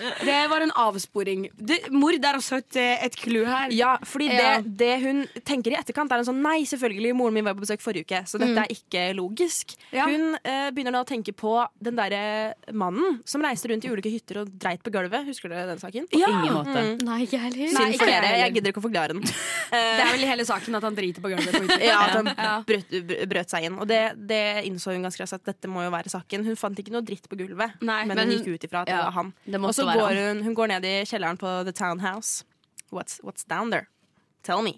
Speaker 3: Det var en avsporing. Det, mord er også et, eh, et clou her.
Speaker 5: Ja, fordi det,
Speaker 3: Ja.
Speaker 5: det hun tenker i etterkant, er en sånn Nei, selvfølgelig, moren min var på besøk forrige uke, så dette er ikke logisk.
Speaker 3: Ja.
Speaker 5: Hun eh, begynner da å tenke på den derre mannen som reiste rundt i ulike hytter og dreit på gulvet. Husker dere den saken?
Speaker 4: På ingen måte.
Speaker 5: Mm.
Speaker 6: Nei, ikke heller.
Speaker 5: Synd for
Speaker 3: ikke jeg
Speaker 5: dere.
Speaker 3: heller.
Speaker 5: Jeg gidder ikke å forklare den.
Speaker 3: Det er vel hele saken at han driter på gulvet. på hytta.
Speaker 5: Ja, at han brøt, br- brøt seg inn. Og det, det innså hun ganske raskt at dette må jo være saken. Hun fant ikke noe dritt på gulvet,
Speaker 3: Nei,
Speaker 5: men,
Speaker 6: men
Speaker 5: hun
Speaker 6: hun-
Speaker 5: gikk ut ifra at det
Speaker 6: ja,
Speaker 5: var han.
Speaker 6: det måtte
Speaker 5: Og så
Speaker 6: være
Speaker 5: går hun, hun går ned i kjelleren på The Townhouse. What's, what's down there? Tell me.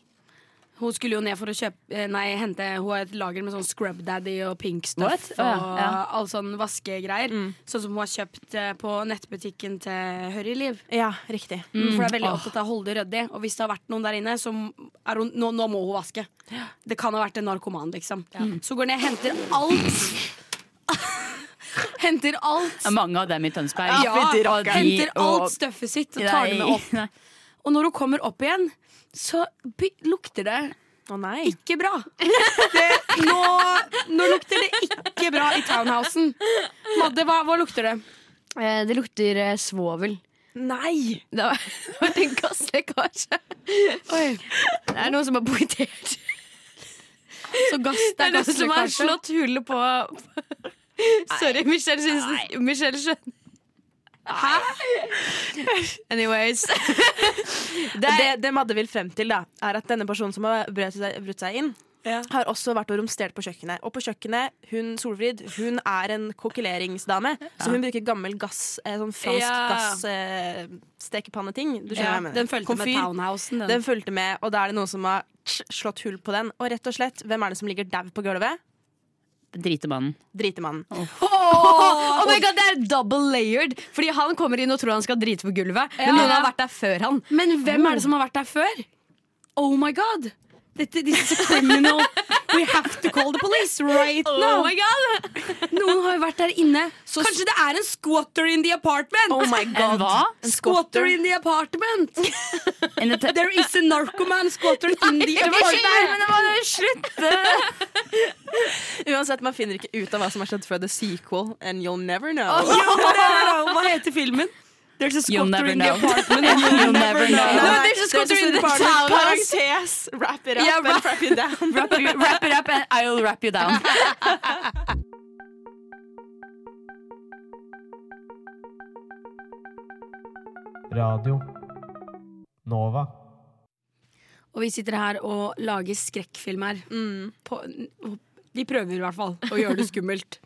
Speaker 3: Hun skulle jo ned for å kjøpe eh, Nei, hente Hun har et lager med sånn Scrub Daddy og Pink Stuff
Speaker 4: What? Å, ja, Mm.
Speaker 3: og
Speaker 4: ja.
Speaker 3: all sånn vaskegreier. Sånn som hun har kjøpt eh, på nettbutikken til Hurry Liv.
Speaker 5: Ja, riktig.
Speaker 4: Mm.
Speaker 3: For hun er veldig opptatt av å holde det ryddig. Og hvis det har vært noen der inne, så er hun, nå, nå må hun vaske. Det kan ha vært en narkoman, liksom. Så går hun ned, henter
Speaker 4: (laughs)
Speaker 3: alt. henter alt.
Speaker 4: Det er mange av dem i Tønsberg.
Speaker 3: Ja,
Speaker 4: Og de-
Speaker 3: henter
Speaker 4: og-
Speaker 3: alt støffet sitt og tar det med opp.
Speaker 4: (laughs) Nei.
Speaker 3: Og når hun kommer opp igjen, så by lukter det
Speaker 5: Å nei.
Speaker 3: ikke bra. Det, nå, nå lukter det ikke bra i townhousen. Madde, hva, hva lukter det?
Speaker 6: Eh, Det lukter eh, svovel.
Speaker 5: Nei!
Speaker 6: Det har vært en gasslekkasje. Det er noen som har punktert.
Speaker 3: Så gass,
Speaker 6: Det er noen som har slått hull på Sorry, Michelle, synes, Michelle skjønner. Anyways.
Speaker 5: Det, det, Madde vil frem til, da, er at denne personen som har brutt seg, brutt seg inn, har også vært og romstert på kjøkkenet. Og på kjøkkenet, hun Solfrid, hun er en kokkeleringsdame, så hun bruker gammel gass, eh, sånn fransk
Speaker 3: Ja.
Speaker 5: gass eh, stekepanneting. Du
Speaker 3: Ja,
Speaker 5: skjønner hva jeg mener.
Speaker 3: den fulgte med
Speaker 5: Komfyr.
Speaker 3: townhousen. Den.
Speaker 5: Den fulgte med, og da er det noen som har tsk, slått hull på den. Og rett og slett, hvem er det som ligger dau på gulvet?
Speaker 4: Dritemannen.
Speaker 5: Dritemannen.
Speaker 6: Oh, my god, Det er double layered! Fordi han kommer inn og tror han skal drite på gulvet. Men noen har vært der før han.
Speaker 3: Men hvem
Speaker 5: Mm.
Speaker 3: er det som har vært der før? Oh my god! Dette, this is a criminal. We have to call the police right
Speaker 5: Oh.
Speaker 3: now. Noen har jo vært der inne. Så Kanskje det er en squatter in the apartment!
Speaker 5: Oh my
Speaker 4: En
Speaker 5: (laughs) god.
Speaker 4: hva?
Speaker 3: Squatter in the apartment!
Speaker 4: En et-
Speaker 3: There is a narcoman squatter in
Speaker 5: (laughs)
Speaker 3: the apartment!
Speaker 5: Uansett, man finner ikke ut av hva som har skjedd før the sequel, and you'll never
Speaker 3: Oh.
Speaker 5: know.
Speaker 3: Hva heter filmen? There's a squatter
Speaker 4: You'll never
Speaker 3: in the
Speaker 4: know.
Speaker 3: apartment.
Speaker 4: (laughs) You'll never know.
Speaker 5: Nei,
Speaker 6: there's a
Speaker 5: det er
Speaker 6: squatter in the
Speaker 5: sånn (laughs)
Speaker 6: town.
Speaker 5: Parentes. Wrap it up
Speaker 6: Ja,
Speaker 5: and wrap it down.
Speaker 4: Wrap, you- wrap it up and I'll wrap you down.
Speaker 1: Radio Nova.
Speaker 3: Og vi sitter her og lager skrekkfilmer. På, vi prøver i hvert fall å gjøre det skummelt.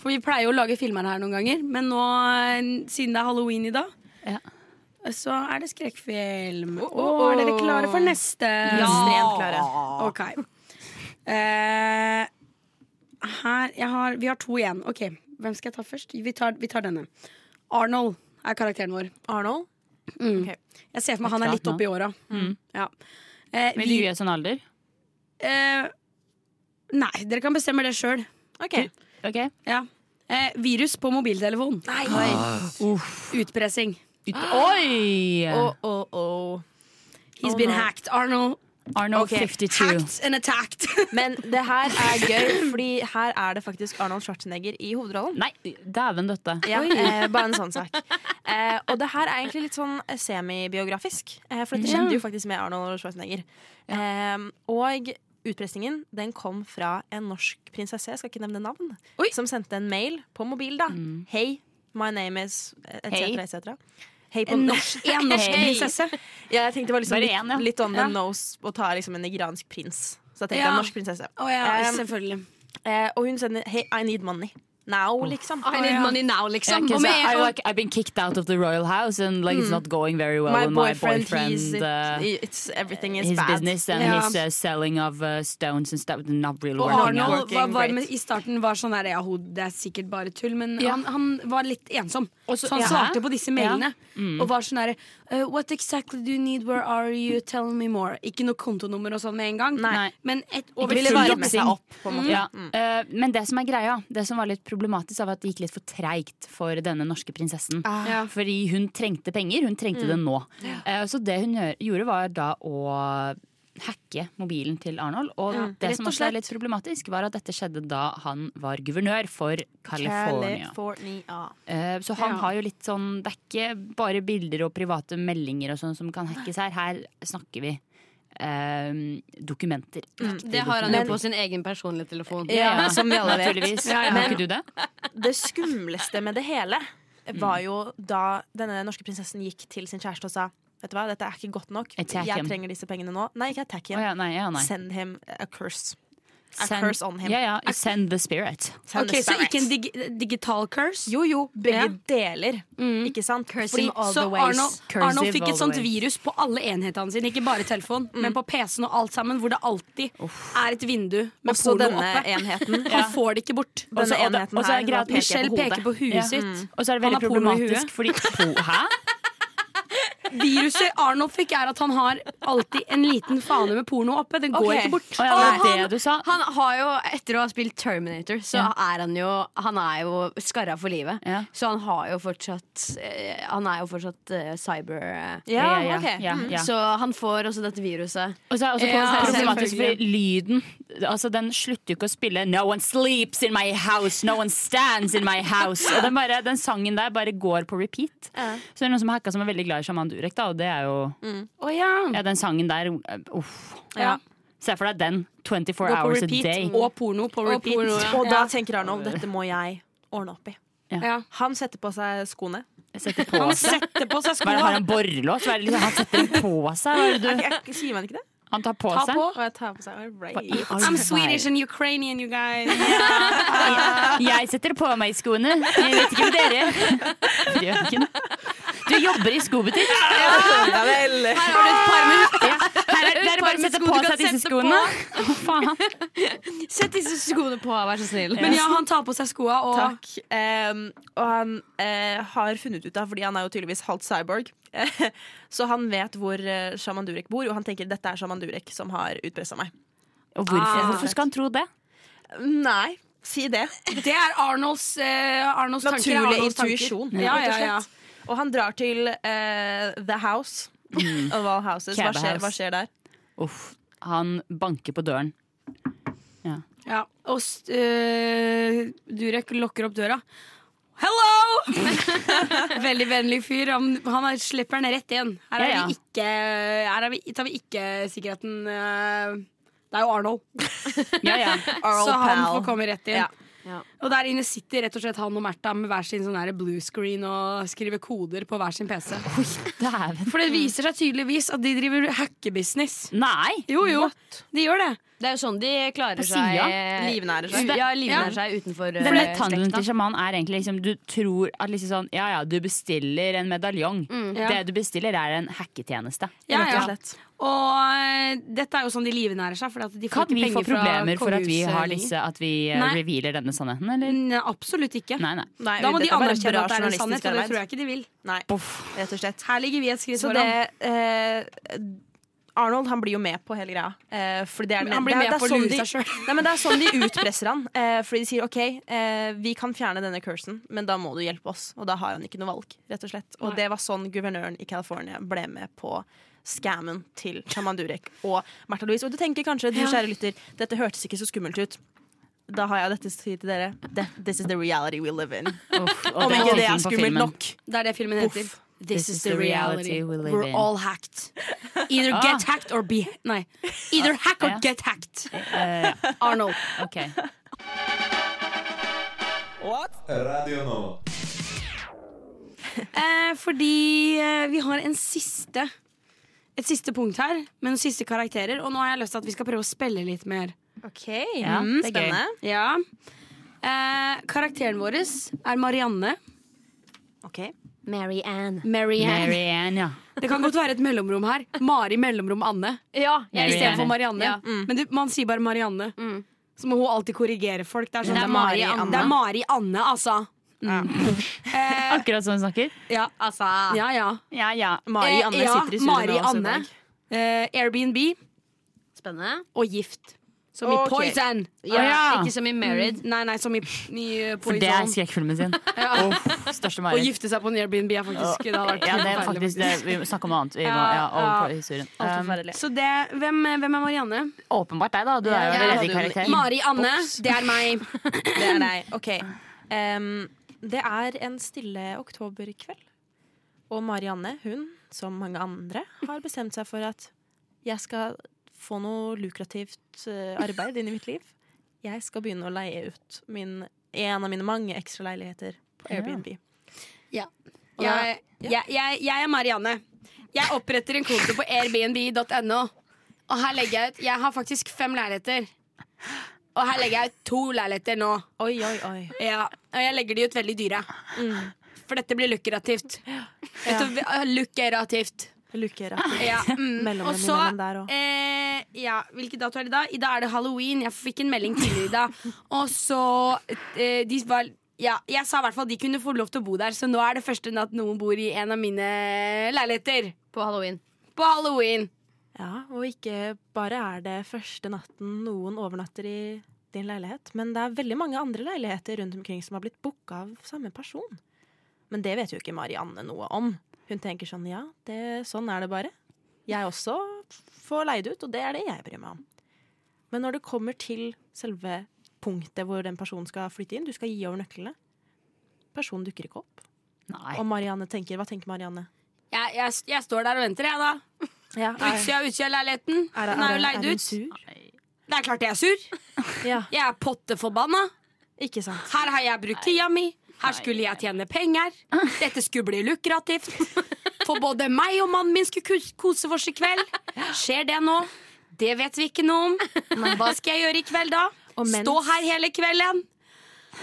Speaker 3: For vi pleier jo å lage filmer her noen ganger, men nå, eh, siden det er halloween i dag,
Speaker 4: Ja.
Speaker 3: så er det skrekkfilm. Og er dere klare for neste?
Speaker 5: Ekstremt klare.
Speaker 3: Ok. Eh, her, jeg har, vi har to igjen. Ok, Hvem skal jeg ta først? Vi tar, vi tar denne. Arnold er karakteren vår.
Speaker 5: Arnold?
Speaker 3: Mm.
Speaker 5: Ok.
Speaker 3: Jeg ser for meg han er
Speaker 4: Klart
Speaker 3: litt oppi åra. Ja. Eh,
Speaker 4: Vil du
Speaker 3: vi-
Speaker 4: gi oss en alder?
Speaker 3: eh, nei, dere kan bestemme det sjøl.
Speaker 5: Ok.
Speaker 4: Ok.
Speaker 3: Ja. Eh, virus på mobiltelefon. Utpressing.
Speaker 4: Ut Oi!
Speaker 5: oh, oh.
Speaker 3: He's
Speaker 5: Oh,
Speaker 3: been
Speaker 5: no.
Speaker 3: hacked. Arnold
Speaker 4: Arnold
Speaker 5: Ok,
Speaker 4: 52.
Speaker 3: hacked and attacked.
Speaker 5: Men det her er gøy, Fordi her er det faktisk Arnold Schwarzenegger i hovedrollen.
Speaker 4: Nei, dæven døtte.
Speaker 5: Ja, eh, bare en sånn sak. Eh, og det her er egentlig litt sånn eh, semibiografisk, eh, for dette skjedde jo faktisk med Arnold Schwarzenegger. Eh, og utpressingen den kom fra en norsk prinsesse, jeg skal ikke nevne navn,
Speaker 3: Oi.
Speaker 5: som sendte en mail på mobil, da. Hei, my name is etc.,
Speaker 4: Hei.
Speaker 5: etc. Hei på
Speaker 3: En
Speaker 5: norsk.
Speaker 3: norsk, en norsk
Speaker 4: Hey.
Speaker 3: prinsesse.
Speaker 5: Ja, jeg tenkte det var liksom
Speaker 4: Bare
Speaker 5: litt,
Speaker 4: en, ja.
Speaker 5: litt on the
Speaker 3: Ja.
Speaker 5: nose å ta liksom en nigeriansk prins. Så jeg tenkte
Speaker 3: Ja.
Speaker 5: en norsk prinsesse.
Speaker 3: Å ja,
Speaker 5: Um,
Speaker 3: selvfølgelig.
Speaker 5: Eh, og hun sender Hey, I need money. Now, liksom.
Speaker 3: Ah.
Speaker 6: I need money now, liksom.
Speaker 4: Yeah, 'cause
Speaker 6: Og med
Speaker 4: I,
Speaker 6: en gang-
Speaker 4: like, I've been kicked out of the royal house and like it's not going very well.
Speaker 5: My
Speaker 4: and
Speaker 5: boyfriend,
Speaker 4: my boyfriend
Speaker 5: he's it,
Speaker 4: uh,
Speaker 5: it's, Everything is
Speaker 4: his
Speaker 5: bad.
Speaker 4: business and
Speaker 3: Ja.
Speaker 4: his uh, selling of uh, stones and stuff. Not really
Speaker 3: Og
Speaker 4: working out.
Speaker 3: Arnold
Speaker 5: working
Speaker 3: var, var
Speaker 5: great.
Speaker 3: med, i starten var sånn der, ja, ho, det er sikkert bare tull, men
Speaker 4: Ja.
Speaker 3: han, han var litt ensom.
Speaker 4: Og så-
Speaker 3: så han
Speaker 4: ja.
Speaker 3: svarte på disse mailene.
Speaker 4: Mm.
Speaker 3: Og var sånn derre uh, What exactly do you need? Where are you? Tell me more. Ikke noe kontonummer og sånn med en gang.
Speaker 4: Nei.
Speaker 3: Men et,
Speaker 4: Ikke
Speaker 3: over
Speaker 4: ville
Speaker 3: full
Speaker 4: varme
Speaker 3: jobbing.
Speaker 4: seg opp, Ja.
Speaker 5: Mm.
Speaker 4: Eh, men det som er greia, det som var litt problematisk, var at det gikk litt for treigt for denne norske prinsessen.
Speaker 5: Ah.
Speaker 3: Ja.
Speaker 4: Fordi
Speaker 5: Mm.
Speaker 4: hun trengte penger. Hun trengte det nå. Eh, så det hun gjør- gjorde, var da å hacke mobilen til Arnold. Og
Speaker 5: Ja.
Speaker 4: det
Speaker 5: Rett
Speaker 4: som
Speaker 5: og
Speaker 4: også
Speaker 5: slett.
Speaker 4: er litt problematisk, var at dette skjedde da han var guvernør for Mm. California.
Speaker 5: California.
Speaker 4: Eh, Så han
Speaker 5: Ja.
Speaker 4: har jo litt sånn Det er ikke bare bilder og private meldinger og sånn som kan hackes her. Her snakker vi eh, dokumenter. Ekte
Speaker 6: Det har han jo
Speaker 4: dokumenter.
Speaker 6: på sin egen personlige telefon.
Speaker 5: (laughs)
Speaker 4: Ja, som vi alle vet. Naturligvis. Har ikke du det?
Speaker 5: det skumleste med det hele var jo da denne norske prinsessen gikk til sin kjæreste og sa Vet du hva, dette er ikke godt nok.
Speaker 4: Attack
Speaker 5: jeg
Speaker 4: him.
Speaker 5: trenger disse pengene nå. Nei, ikke attack him.
Speaker 4: Å ja, nei, ja, nei.
Speaker 5: Send him a curse. A
Speaker 4: Send-
Speaker 5: curse on him.
Speaker 4: Ja, ja. Send the spirit.
Speaker 5: Send
Speaker 3: Ok,
Speaker 5: the
Speaker 3: Så
Speaker 5: spirit.
Speaker 3: ikke en dig digital curse?
Speaker 5: Jo, jo. Begge
Speaker 3: Ja.
Speaker 5: deler. Ikke sant?
Speaker 3: Fordi,
Speaker 5: Fordi-
Speaker 3: så Arnold,
Speaker 4: Cursive
Speaker 3: Arnold fikk
Speaker 4: all
Speaker 3: et
Speaker 4: the Mm.
Speaker 3: sånt
Speaker 4: ways.
Speaker 3: virus på alle enhetene sine, ikke bare telefonen, men på PC-en og alt sammen, hvor det alltid er et vindu med
Speaker 5: Også
Speaker 3: porno
Speaker 5: denne
Speaker 3: oppe.
Speaker 5: enheten.
Speaker 3: Han får det ikke bort.
Speaker 5: Denne
Speaker 4: Også- og det-
Speaker 5: enheten
Speaker 4: og så er
Speaker 5: her
Speaker 4: greia at
Speaker 5: nå peker
Speaker 3: Michelle
Speaker 5: på hodet.
Speaker 3: peker på huet sitt.
Speaker 4: Og så er det
Speaker 3: Han
Speaker 4: veldig
Speaker 3: har porno i
Speaker 4: problematisk fordi po- Hæ?
Speaker 3: Viruset Arnold fikk, er at han har alltid en liten fane med porno oppe. Den går
Speaker 6: Ok.
Speaker 3: ikke bort.
Speaker 4: Å ja,
Speaker 6: Og
Speaker 4: det var det du sa.
Speaker 6: Han har jo, etter å ha spilt Terminator, så er han jo Han er jo skarra for livet.
Speaker 4: Ja.
Speaker 6: Så han har jo fortsatt eh, Han er jo fortsatt eh, cyber... eh,
Speaker 5: Ja,
Speaker 4: Ja, ja,
Speaker 5: ok.
Speaker 4: ja,
Speaker 5: Mm.
Speaker 4: ja.
Speaker 6: Så han får også dette viruset.
Speaker 4: Og så er det også
Speaker 6: Ja,
Speaker 4: problematisk fordi lyden Altså Den slutter jo ikke å spille 'No one sleeps in my house, no one stands in my house'. Og den, bare, den sangen der bare går på repeat. Så det er noen som har hacka som er veldig glad i Shaman Durek, da, og det er jo
Speaker 3: Å ja.
Speaker 4: Ja, den sangen der uh, Uff.
Speaker 3: Ja.
Speaker 4: Se for deg den 24
Speaker 3: Går på
Speaker 4: hours a day.
Speaker 3: repeat. Og porno på repeat.
Speaker 5: Og da tenker Arnold dette må jeg ordne opp i.
Speaker 3: Ja.
Speaker 5: Han setter på seg skoene.
Speaker 4: Setter på seg.
Speaker 5: Setter på seg
Speaker 4: Hva er det, har
Speaker 5: skoene.
Speaker 4: han borrelås? Hva er det liksom, han setter den på seg? Hva er det du
Speaker 5: Jeg- jeg- Sier man ikke det?
Speaker 4: Han tar på
Speaker 5: Ta
Speaker 4: seg?
Speaker 5: på, og jeg tar på seg. All right.
Speaker 3: I'm Swedish and Ukrainian, you guys.
Speaker 4: Jeg setter på meg skoene. Jeg vet ikke med dere. Frøken. Du jobber i skobutikk.
Speaker 5: Ja vel.
Speaker 6: Her har du et par minutter. (laughs)
Speaker 4: Ja. Her er, det er bare å sette på seg disse skoene. Å, faen.
Speaker 6: (laughs) Sett disse skoene på, vær så snill.
Speaker 3: Men ja, han tar på seg skoa og
Speaker 5: Takk. Ehm, og han eh, har funnet ut av, fordi han er jo tydeligvis halvt cyborg, (laughs) så han vet hvor eh, Shaman Durek bor, og han tenker dette er Shaman Durek som har utpressa meg.
Speaker 4: Og hvorfor, hvorfor skal han tro det?
Speaker 5: Nei, si det.
Speaker 3: Det er Arnolds, eh, Arnolds tanker.
Speaker 5: Naturlig
Speaker 3: Arnolds tanker.
Speaker 5: intuisjon,
Speaker 3: Ja, ja,
Speaker 5: rett og
Speaker 3: ja.
Speaker 5: slett. Og han drar til eh, The House.
Speaker 3: Mm.
Speaker 5: (laughs) Of all houses. Hva
Speaker 4: Cabba
Speaker 5: skjer,
Speaker 4: House.
Speaker 5: hva skjer der?
Speaker 4: Uff. Han banker på døren.
Speaker 3: ja. Og s- eh, Durek lukker opp døra. Hello! (laughs) Veldig vennlig fyr. Han, han er, slipper den rett inn. Her, er
Speaker 4: Ja, ja.
Speaker 3: Vi ikke, her er vi, tar vi ikke sikkerheten eh, Det er jo Arnold,
Speaker 4: Ja, ja.
Speaker 3: så han
Speaker 5: pal.
Speaker 3: får komme rett inn.
Speaker 5: Ja.
Speaker 6: Ja.
Speaker 3: Og der inne sitter rett og slett han og Märtha med hver sin sånn der blue screen og skriver koder på hver sin PC.
Speaker 4: Oi, dæven.
Speaker 3: For det viser seg tydeligvis at de driver hackebusiness.
Speaker 4: Nei!
Speaker 3: Jo, jo, de gjør det.
Speaker 6: Det er jo sånn de klarer
Speaker 4: På
Speaker 6: seg.
Speaker 4: siden.
Speaker 5: Livnærer seg.
Speaker 6: Ja, livnærer
Speaker 3: Ja.
Speaker 6: seg utenfor eh,
Speaker 4: Den netthandelen til
Speaker 6: slekta.
Speaker 4: sjaman er egentlig liksom Du tror at liksom sånn Ja ja, du bestiller en medaljong.
Speaker 3: Ja.
Speaker 4: Det du bestiller, er en hacketjeneste.
Speaker 3: Ja,
Speaker 5: Rett
Speaker 3: ja.
Speaker 5: og slett.
Speaker 3: Og eh, dette er jo sånn de livnærer seg. For at de får
Speaker 4: Kan vi
Speaker 3: ikke
Speaker 4: få
Speaker 3: penger fra
Speaker 4: problemer for at vi
Speaker 3: kongehuset
Speaker 4: har
Speaker 3: lenger.
Speaker 4: disse At vi eh,
Speaker 3: Nei.
Speaker 4: revealer denne sannheten, eller?
Speaker 3: Nei, absolutt ikke.
Speaker 4: Nei, nei.
Speaker 5: Nei,
Speaker 3: Da må de
Speaker 5: dette er
Speaker 3: anerkjenne
Speaker 5: bare bra
Speaker 3: at det er en
Speaker 5: journalistisk
Speaker 3: sannhet, og det
Speaker 5: arbeid.
Speaker 3: tror jeg ikke de vil.
Speaker 5: Nei,
Speaker 4: Boff.
Speaker 5: rett og slett.
Speaker 3: Her ligger vi et skritt
Speaker 5: Så
Speaker 3: foran.
Speaker 5: det eh, Arnold han blir jo med på hele greia. Eh, fordi det er den-
Speaker 3: Han blir
Speaker 5: det
Speaker 3: med
Speaker 5: er- det er
Speaker 3: på å
Speaker 5: sånn
Speaker 3: lure
Speaker 5: de-
Speaker 3: seg sjøl.
Speaker 5: (laughs) Nei, men Det er sånn de utpresser han. Eh, fordi de sier OK, eh, vi kan fjerne denne cursen, men da må du hjelpe oss. Og da har han ikke noe valg, rett og slett. Og
Speaker 3: Nei.
Speaker 5: det var sånn guvernøren i California ble med på scammen til Shaman Durek og Märtha Louise. Og du tenker kanskje, du kjære lytter, dette hørtes ikke så skummelt ut. Da har jeg dette å si til dere. That- This is the reality we live in.
Speaker 4: Uff, og det
Speaker 5: Om
Speaker 4: er
Speaker 5: ikke det er
Speaker 4: tittelen på
Speaker 5: skummelt
Speaker 4: filmen.
Speaker 5: nok.
Speaker 3: Det er det filmen heter. This, is the reality.
Speaker 4: we live
Speaker 3: We're
Speaker 4: in.
Speaker 3: all hacked. Either
Speaker 4: Ah.
Speaker 3: get hacked or be Nei. Either hack or
Speaker 4: Ja.
Speaker 3: get hacked.
Speaker 4: Eh, ja,
Speaker 3: Arnold.
Speaker 4: ok.
Speaker 13: Radio Nova.
Speaker 3: Eh, fordi eh, vi har en siste et siste punkt her, med noen siste karakterer. Og nå har jeg lyst til at vi skal prøve å spille litt mer.
Speaker 5: OK,
Speaker 4: Ja,
Speaker 5: mm,
Speaker 4: det er gøy.
Speaker 5: spennende.
Speaker 3: Ja. Eh, karakteren vår er Marianne.
Speaker 5: Ok.
Speaker 6: Mary Ann.
Speaker 3: Marianne.
Speaker 4: Marianne, ja.
Speaker 3: Det kan godt være et mellomrom her. Mari mellomrom Anne
Speaker 6: Ja, jeg
Speaker 4: Mary
Speaker 6: er enig.
Speaker 3: istedenfor Marianne.
Speaker 6: Ja.
Speaker 4: Mm.
Speaker 3: Men du, man sier bare Marianne.
Speaker 6: Mm.
Speaker 3: Så må hun alltid korrigere folk. Det er, sånn,
Speaker 6: Det er Mari Anne.
Speaker 3: Det er Mari Anne, altså. Eh,
Speaker 4: Akkurat som hun snakker.
Speaker 3: ja.
Speaker 6: Altså
Speaker 3: ja, ja.
Speaker 4: Ja, ja.
Speaker 5: Mari
Speaker 3: Eh,
Speaker 5: Anne
Speaker 3: ja,
Speaker 5: sitter i studio
Speaker 3: Mari
Speaker 5: med oss i
Speaker 3: Anne.
Speaker 5: dag.
Speaker 3: Eh, Airbnb
Speaker 6: Spennende.
Speaker 3: og gift. Som i
Speaker 5: Ok.
Speaker 3: Poison! Mm.
Speaker 6: Ja, Ikke som i Married.
Speaker 3: Nei, nei, som i, i eh,
Speaker 4: For det er
Speaker 3: Poison.
Speaker 4: skrekkfilmen sin. Uff,
Speaker 3: Å
Speaker 4: største mareritt.
Speaker 3: gifte seg på en Airbnb er faktisk Det hadde vært
Speaker 4: Ja, det er
Speaker 3: forferdelig,
Speaker 4: faktisk det. Vi må snakke om noe annet. Vi må,
Speaker 3: Ja,
Speaker 4: ja,
Speaker 3: ja.
Speaker 4: over på historien. Um,
Speaker 3: Så det, hvem, hvem er Marianne?
Speaker 4: åpenbart deg, da. Du er jo en
Speaker 5: Ja,
Speaker 4: redig
Speaker 5: du-
Speaker 4: karakter.
Speaker 3: Mari Anne. Det er meg.
Speaker 5: Det er deg. OK. Em, det er en stille oktoberkveld, og Marianne, hun, som mange andre, har bestemt seg for at jeg skal få noe lukrativt eh, arbeid inn i mitt liv. Jeg skal begynne å leie ut min, en av mine mange ekstra leiligheter på Airbnb. Og da-
Speaker 3: Jeg, jeg, jeg, jeg er Marianne. Jeg oppretter en konto på airbnb.no. Og her legger jeg ut Jeg har faktisk fem leiligheter. Og her legger jeg ut to leiligheter nå.
Speaker 5: Oi, oi, oi.
Speaker 3: Ja, og jeg legger de ut veldig dyre. For dette blir lukrativt. Dette- Lukrativt.
Speaker 5: Lukker (laughs)
Speaker 3: Ja, mm.
Speaker 5: mellom
Speaker 3: Og
Speaker 5: dem
Speaker 3: så
Speaker 5: imellom der òg.
Speaker 3: eh, ja, Hvilken dato er det i dag? I dag er det halloween. Jeg fikk en melding tidligere i
Speaker 5: (laughs)
Speaker 3: dag. Og så eh, de var, ja, Jeg sa i hvert fall de kunne få lov til å bo der, så nå er det første natt noen bor i en av mine leiligheter.
Speaker 6: På halloween.
Speaker 3: På halloween.
Speaker 5: Ja, og ikke bare er det første natten noen overnatter i din leilighet, men det er veldig mange andre leiligheter rundt omkring som har blitt booka av samme person. Men det vet jo ikke Marianne noe om. Hun tenker sånn ja, det, sånn er det bare. Jeg også får leid ut, og det er det jeg bryr meg om. Men når det kommer til selve punktet hvor den personen skal flytte inn, du skal gi over nøklene, personen dukker ikke opp.
Speaker 4: Nei.
Speaker 5: Og Marianne tenker, hva tenker Marianne?
Speaker 3: Jeg, jeg, jeg står der og venter, jeg, da.
Speaker 5: Ja,
Speaker 3: På utsida av utsida av leiligheten. Den er jo leid
Speaker 5: hun
Speaker 3: ut.
Speaker 5: sur?
Speaker 3: Det er klart jeg er sur.
Speaker 5: (laughs) Ja,
Speaker 3: Jeg er potteforbanna.
Speaker 5: ikke sant.
Speaker 3: Her har jeg brukt tida mi. Her skulle jeg tjene penger.
Speaker 5: Ah.
Speaker 3: Dette skulle bli lukrativt. For både meg og mannen min skulle kus- kose oss i kveld. Skjer det nå? Det vet vi ikke noe om. Hva skal jeg gjøre i kveld, da?
Speaker 5: Og mens-
Speaker 3: Stå her hele kvelden?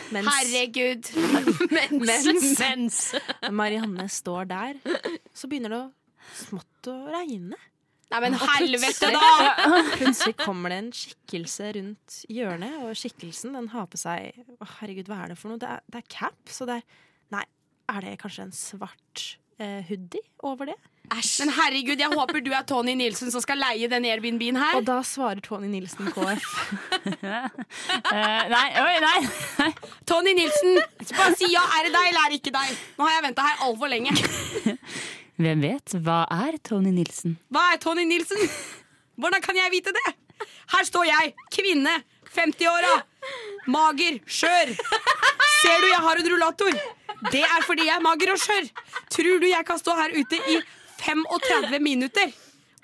Speaker 5: Mens
Speaker 3: Herregud.
Speaker 5: Mens, Marianne står der, så begynner det å smått å regne.
Speaker 3: Nei, men helvete, da!
Speaker 5: Plutselig kommer det en skikkelse rundt hjørnet, og skikkelsen den har på seg Å, herregud, hva er det for noe? Det er, det er caps, og det er Nei, er det kanskje en svart eh, hoodie over det?
Speaker 3: Men herregud, jeg håper du er Tony Nilsen som skal leie denne Airbnb-en her.
Speaker 5: Og da svarer Tony Nilsen KF.
Speaker 4: (laughs) Eh, nei, oi, nei. (laughs)
Speaker 3: Tony Nilsen, bare si ja, er det deg eller er det ikke deg? Nå har jeg venta her altfor lenge.
Speaker 4: Hvem vet? Hva er Tony Nilsen?
Speaker 3: Hva er Tony Nilsen? (laughs) Hvordan kan jeg vite det? Her står jeg, kvinne, 50-åra, mager, skjør. Ser du jeg har en rullator? Det er fordi jeg er mager og skjør. Tror du jeg kan stå her ute i 35 minutter